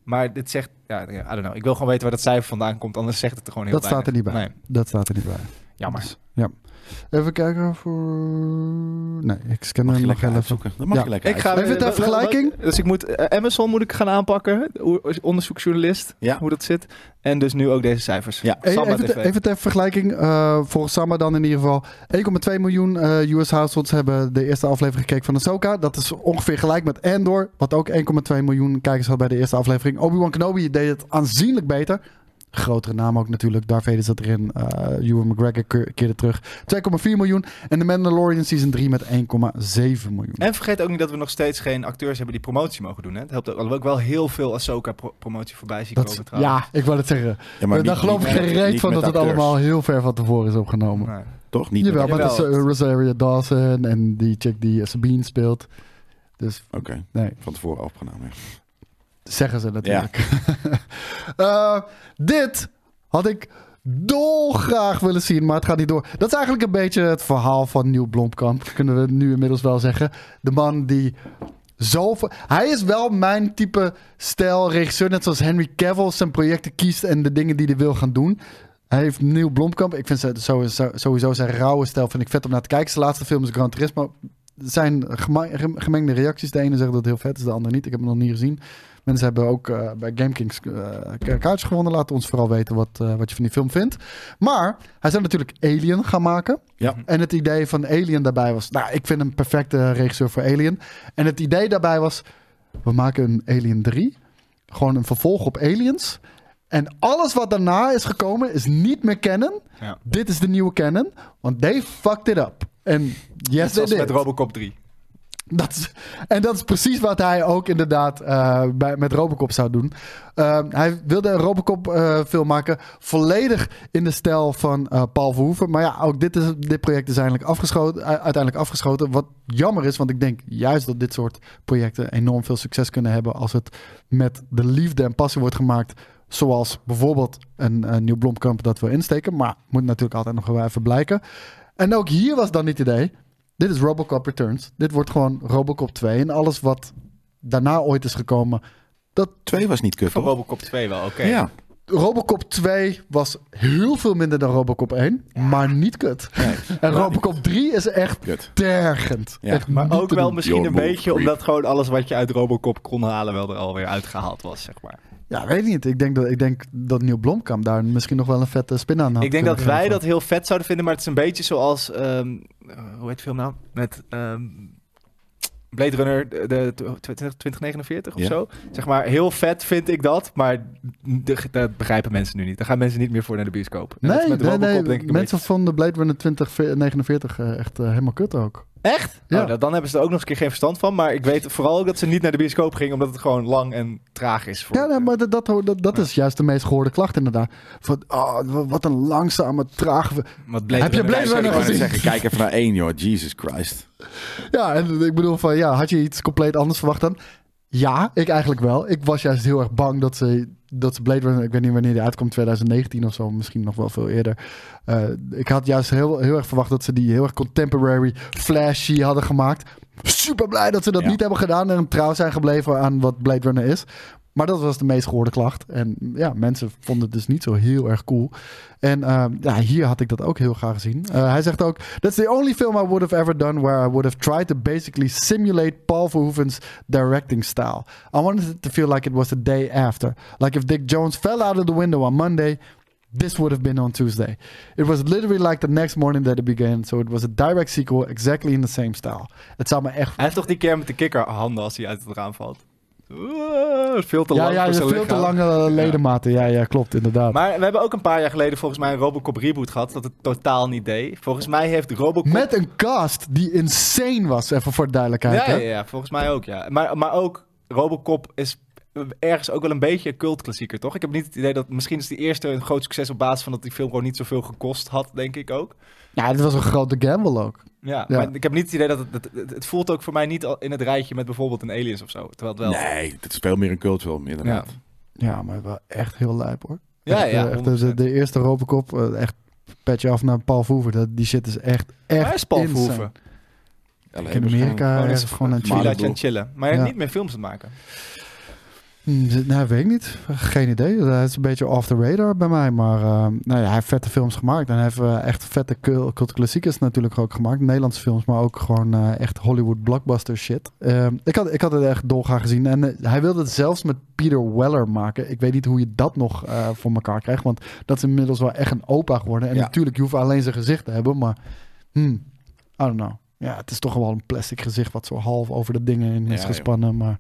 S3: Maar dit zegt, ja, I don't know. Ik wil gewoon weten waar dat cijfer vandaan komt, anders zegt het er gewoon heel
S4: dat staat er niet bij.
S3: weinig. Nee,
S4: Dat staat er niet bij. Dus,
S3: jammer.
S4: Ja. Even kijken voor... Nee, ik scan
S2: Mag
S4: hem
S2: je
S4: nog
S2: lekker
S4: heel even.
S2: uitzoeken. Dat mag
S4: Ja.
S2: je lekker uitzoeken.
S4: Even ter
S3: wa- wa- wa-
S4: vergelijking.
S3: Dus ik moet, eh, Amazon moet ik gaan aanpakken, o- onderzoeksjournalist,
S2: Ja.
S3: hoe dat zit. En dus nu ook deze cijfers.
S2: Ja.
S4: E-
S3: Samba
S4: Even,
S3: TV.
S4: ter- even ter vergelijking, eh volgens Samba dan in ieder geval. 1,2 miljoen eh, US households hebben de eerste aflevering gekeken van Ahsoka. Dat is ongeveer gelijk met Andor, wat ook 1,2 miljoen kijkers had bij de eerste aflevering. Obi-Wan Kenobi deed het aanzienlijk beter. Grotere naam ook natuurlijk. Darth Vader zat erin. eh Ewan McGregor ke- keerde terug. 2,4 miljoen. En The Mandalorian Season 3 met 1,7 miljoen.
S3: En vergeet ook niet dat we nog steeds geen acteurs hebben die promotie mogen doen. Hè? Het helpt ook, alhoewel ik wel heel veel Ahsoka-promotie voorbij zien
S4: Dat,
S3: komen
S4: is-
S3: trouwens.
S4: ja, ik wou het zeggen. Eh,
S2: Ja, maar
S4: Daar
S2: niet-
S4: geloof ik
S2: niet
S4: geen
S2: met-
S4: reet
S2: niet
S4: van
S2: met
S4: dat het
S2: acteurs.
S4: allemaal heel ver van tevoren is opgenomen.
S3: Nee.
S2: Toch? Niet
S4: Jawel,
S2: met-
S4: maar dat is
S3: Jawel.
S4: eh, Rosaria Dawson en die chick die eh, Sabine speelt. Dus
S2: Oké,
S4: nee.
S2: van tevoren opgenomen. ja.
S4: Zeggen ze natuurlijk. *laughs* Eh, dit had ik dolgraag willen zien, maar het gaat niet door. Dat is eigenlijk een beetje het verhaal van Nieuw Blomkamp, kunnen we nu inmiddels wel zeggen. De man die zo... Hij is wel mijn type stijl regisseur, net zoals Henry Cavill zijn projecten kiest en de dingen die hij wil gaan doen. Hij heeft Nieuw Blomkamp. Ik vind ze- sowieso, sowieso zijn rauwe stijl vind ik vet om naar te kijken. Zijn laatste film is Gran Turismo. Er zijn gema- gem- gemengde reacties. De ene zegt dat het heel vet is, de andere niet. Ik heb hem nog niet gezien. Mensen hebben ook eh, bij GameKings eh kaartjes gewonnen. Laat ons vooral weten wat, eh, wat je van die film vindt. Maar hij zou natuurlijk Alien gaan maken.
S2: Ja.
S4: En het idee van Alien daarbij was... Nou, ik vind hem een perfecte regisseur voor Alien. En het idee daarbij was... We maken een Alien 3. Gewoon een vervolg op Aliens. En alles wat daarna is gekomen is niet meer canon.
S3: Ja.
S4: Dit is de nieuwe canon. Want they fucked it up. En yes, they
S3: Zoals
S4: did.
S3: met Robocop 3.
S4: Dat is, en dat is precies wat hij ook inderdaad eh, bij, met Robocop zou doen. Eh, hij wilde een Robocop-film maken, volledig in de stijl van eh, Paul Verhoeven. Maar ja, ook dit, is, dit project is eigenlijk afgeschoten, u- uiteindelijk afgeschoten. Wat jammer is, want ik denk juist dat dit soort projecten enorm veel succes kunnen hebben als het met de liefde en passie wordt gemaakt. Zoals bijvoorbeeld een, eh, nieuw Blomkamp dat wil insteken. Maar moet natuurlijk altijd nog wel even blijken. En ook hier was dan niet het idee. Dit is Robocop Returns. Dit wordt gewoon Robocop 2. En alles wat daarna ooit is gekomen. Dat
S2: Twee was niet kut,
S3: Van
S2: toch?
S3: Robocop 2 wel, oké.
S2: Ja.
S4: Robocop 2 was heel veel minder dan Robocop 1. Maar niet kut. *laughs* en Robocop 3 is echt
S2: Kut.
S4: tergend.
S2: Ja,
S4: Echt
S3: Maar
S4: niet
S3: ook
S4: te
S3: wel
S4: doen.
S3: misschien een
S2: Your move,
S3: beetje
S2: creep.
S3: omdat gewoon alles wat je uit Robocop kon halen wel er alweer uitgehaald was, zeg maar.
S4: Ja, weet ik niet. Ik denk dat, ik denk dat Neil Blomkamp daar misschien nog wel een vette spin aan had.
S3: ik denk dat
S4: kunnen
S3: wij
S4: geven.
S3: dat heel vet zouden vinden, maar het is een beetje zoals... ehm, eh, hoe heet de film nou? Met ehm, Blade Runner de, de, tw- 2049 of
S2: Ja.
S3: zo. Zeg maar, heel vet vind ik dat, maar de- dat begrijpen mensen nu niet. Daar gaan mensen niet meer voor naar de bioscoop. En dat is
S4: Nee,
S3: met
S4: nee,
S3: Robocop
S4: nee.
S3: denk ik een
S4: mensen vonden Blade Runner 2049 eh, echt eh, helemaal kut ook.
S3: beetje- Echt?
S4: Ja.
S3: Ja. Oh, nou, dan hebben ze er ook nog eens een keer geen verstand van, maar ik weet vooral ook dat ze niet naar de bioscoop gingen omdat het gewoon lang en traag is. Voor
S4: Ja, nee, maar dat, dat, dat, dat is juist de meest gehoorde klacht inderdaad. Van, oh, wat een langzame, trage...
S3: Wat Blade
S4: Heb je
S3: Runner-
S4: Blade
S2: Ik
S4: Runner
S2: wou net
S4: gezien?
S2: zeggen, kijk even naar één, joh. Jesus Christ.
S4: Ja, en ik bedoel van, ja, had je iets compleet anders verwacht dan? Ja, ik eigenlijk wel. Ik was juist heel erg bang dat ze, dat ze Blade Runner, ik weet niet wanneer die uitkomt, 2019 of zo, misschien nog wel veel eerder. Eh, ik had juist heel, heel erg verwacht dat ze die heel erg contemporary, flashy hadden gemaakt. Super blij dat ze dat
S2: Ja.
S4: niet hebben gedaan en trouw zijn gebleven aan wat Blade Runner is. Maar dat was de meest gehoorde klacht. En ja, mensen vonden het dus niet zo heel erg cool. En eh, ja, hier had ik dat ook heel graag gezien. Eh, hij zegt ook: That's the only film I would have ever done where I would have tried to basically simulate Paul Verhoeven's directing style. I wanted it to feel like it was the day after. Like if Dick Jones fell out of the window on Monday, this would have been on Tuesday. It was literally like the next morning that it began. So it was a direct sequel, exactly in the same style. Het zou me echt
S3: Hij heeft toch die keer met de kikker handen als hij uit het raam valt? Oeh, veel te
S4: ja,
S3: lang
S4: ja,
S3: voor
S4: je
S3: zijn
S4: veel te
S3: lichaam.
S4: lange ledematen. Ja, ja, klopt, inderdaad.
S3: Maar we hebben ook een paar jaar geleden volgens mij een Robocop reboot gehad dat het totaal niet deed. Volgens mij heeft Robocop...
S4: Met een cast die insane was, even voor de duidelijkheid.
S3: ja, ja,
S4: hè?
S3: ja, volgens mij ook, ja. Maar, maar ook Robocop is ergens ook wel een beetje een cultklassieker, toch? Ik heb niet het idee dat... Misschien is die eerste een groot succes op basis van dat die film gewoon niet zoveel gekost had, denk ik ook.
S4: Ja, dit was een grote gamble ook.
S3: Ja,
S4: Ja.
S3: maar ik heb niet het idee dat... Het, het, het- het voelt ook voor mij niet al in het rijtje met bijvoorbeeld een Aliens of zo. Terwijl het wel...
S2: Nee, het speelt meer een cultfilm, inderdaad.
S4: Ja, maar wel echt heel lijp hoor.
S3: Ja,
S4: Echt,
S3: ja,
S4: eh, echt, de-
S3: 100%.
S4: de, de eerste Robocop, eh, echt petje af naar Paul Verhoeven. Dat, die shit is echt, echt
S3: Waar is Paul
S4: insane.
S3: Verhoeven?
S2: Alleen
S4: In Amerika
S3: Gewoon
S4: ergens
S3: eens
S4: gewoon een
S3: een villaatje
S2: Malibu.
S3: aan het chillen. Maar
S4: Ja.
S3: niet meer films aan het maken.
S4: Hmm, Nou, weet ik niet. Geen idee. Hij is een beetje off the radar bij mij. Maar eh, nou ja, hij heeft vette films gemaakt. En hij heeft eh, echt vette cult cult klassiekers natuurlijk ook gemaakt. Nederlandse films, maar ook gewoon eh, echt Hollywood blockbuster shit. Eh, ik, had, ik had het echt dolgraag gezien. En eh, hij wilde het zelfs met Peter Weller maken. Ik weet niet hoe je dat nog eh, voor elkaar krijgt. Want dat is inmiddels wel echt een opa geworden. En
S2: Ja.
S4: natuurlijk, je hoeft alleen zijn gezicht te hebben. Maar hmm, I don't know. Ja, het is toch wel een plastic gezicht wat zo half over de dingen in is
S2: Ja,
S4: gespannen. Maar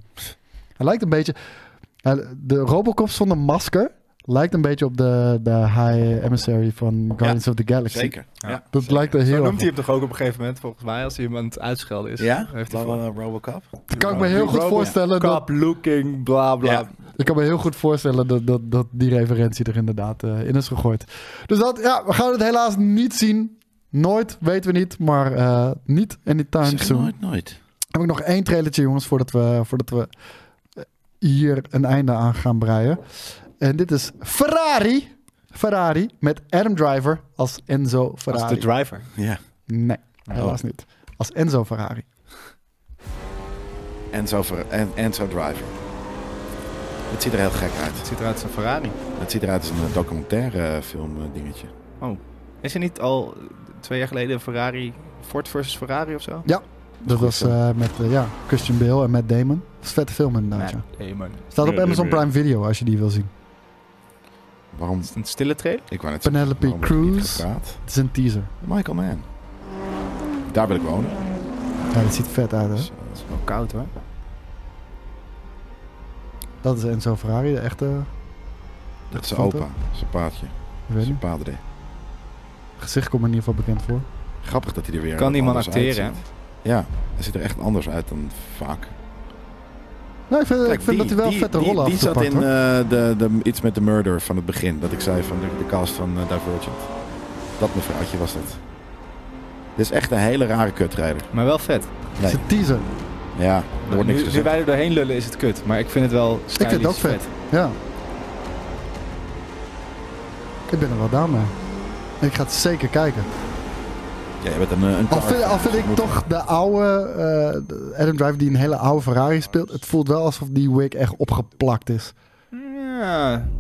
S4: hij lijkt een beetje... Hij- Nou, De Robocop zonder masker lijkt een beetje op de, de High Emissary van Guardians of the Galaxy.
S2: Zeker. Ja.
S4: Dat lijkt er
S3: Zo
S4: heel erg
S3: noemt
S4: op.
S3: hij hem toch ook op een gegeven moment, volgens mij, als hij iemand aan het uitschelden is.
S2: Ja?
S3: Heeft hij voor-
S2: Robocop?
S4: Ik kan me heel goed
S3: Robocop
S4: voorstellen dat,
S3: looking, bla bla.
S2: Ja.
S4: ik kan me heel goed voorstellen dat, dat, dat die referentie er inderdaad eh, in is gegooid. Dus dat, ja, we gaan het helaas niet zien. Nooit, weten we niet, maar eh niet anytime
S2: Zeg
S4: soon.
S2: nooit, nooit.
S4: Heb ik nog één trailertje, jongens, voordat we, voordat we eh, hier een einde aan gaan breien. En dit is Ferrari. Ferrari met Adam Driver als Enzo Ferrari.
S3: Als de driver.
S2: Ja.
S4: Nee, helaas niet. Als Enzo Ferrari.
S2: Enzo, Fer- en, Enzo Driver. Het ziet er heel gek uit.
S3: Het ziet eruit als een Ferrari.
S2: Het ziet eruit als een eh, documentaire eh, film eh, dingetje.
S3: Oh. Is er niet al eh, twee jaar geleden een Ferrari, Ford versus Ferrari of zo?
S4: Ja, dat was eh, met eh, ja, Christian Bale en Matt Damon. Dat is een vette film inderdaad. ja.
S3: Nee, man.
S4: Staat op
S2: Nee,
S4: Amazon
S2: nee, nee.
S4: Prime Video als je die wil zien.
S2: Waarom?
S3: Een stille trailer?
S2: Ik wou net zeggen,
S4: Penelope
S2: waarom werd er niet
S4: Cruz.
S2: gepraat?
S4: Het is een teaser.
S2: Michael Mann. Daar wil ik wonen.
S4: Ja, dat ziet vet uit hè.
S2: Dus, eh,
S3: Dat is wel koud hoor.
S4: Dat is Enzo Ferrari, de echte...
S2: Dat is zijn
S4: foto?
S2: opa, zijn paardje,
S4: Ik weet
S2: zijn
S4: niet.
S2: padre.
S4: Gezicht komt me in ieder geval bekend voor.
S2: Grappig dat hij er weer
S3: Kan
S2: wat
S3: die man
S2: anders
S3: acteren,
S2: uitziet. Ja, hij ziet er echt anders uit dan vaak.
S4: Nou, ik vind, ik
S2: Kijk,
S4: vind
S2: die-
S4: dat hij wel
S2: die-
S4: vette
S2: die-
S4: rollen
S2: Die,
S4: af
S2: zat in
S4: hoor.
S2: eh, de, de, iets met de murder van het begin. Dat ik zei van de, de cast van eh, Divergent. Dat mevrouwtje was dat. Dit is echt een hele rare kutrijder.
S3: Maar wel vet.
S4: Het is een teaser.
S2: Ja, er wordt niks
S3: Nou, nu, nu
S2: gezegd.
S3: wij er doorheen lullen is het kut, maar ik vind het wel stylisch
S4: Ik vind het ook vet. Ja. Ik ben er wel down mee. Ik ga het zeker kijken.
S2: Ja, je bent een, eh, een
S4: Al
S2: car
S4: vind,
S2: fan.
S4: al vind ik
S2: Moet-
S4: toch de oude eh, de Adam Driver die een hele oude Ferrari speelt. Het voelt wel alsof die wig echt opgeplakt is.
S3: Ja.
S2: Hmm.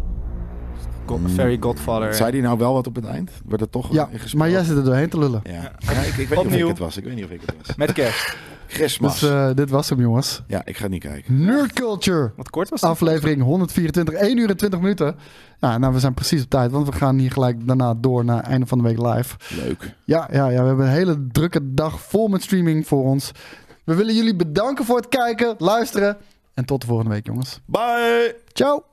S3: Go- Fairy Godfather.
S2: Zei die nou wel wat op het eind? Werd er toch
S4: Ja,
S2: in gespeeld?
S4: maar jij zit er doorheen te lullen.
S2: Ja, Ja, ik, ik weet niet of ik
S3: Opnieuw.
S2: het was. Ik weet niet of ik het was.
S3: Met kerst.
S2: Christmas.
S4: Dus eh, dit was hem jongens.
S2: Ja, ik ga het niet kijken.
S4: Nerd Culture.
S3: Wat kort was het?
S4: Aflevering 124, 1 uur en 20 minuten. Nou, nou, we zijn precies op tijd, want we gaan hier gelijk daarna door naar einde van de week live.
S2: Leuk.
S4: Ja, ja, ja, we hebben een hele drukke dag vol met streaming voor ons. We willen jullie bedanken voor het kijken, luisteren. En tot de volgende week, jongens.
S2: Bye!
S4: Ciao!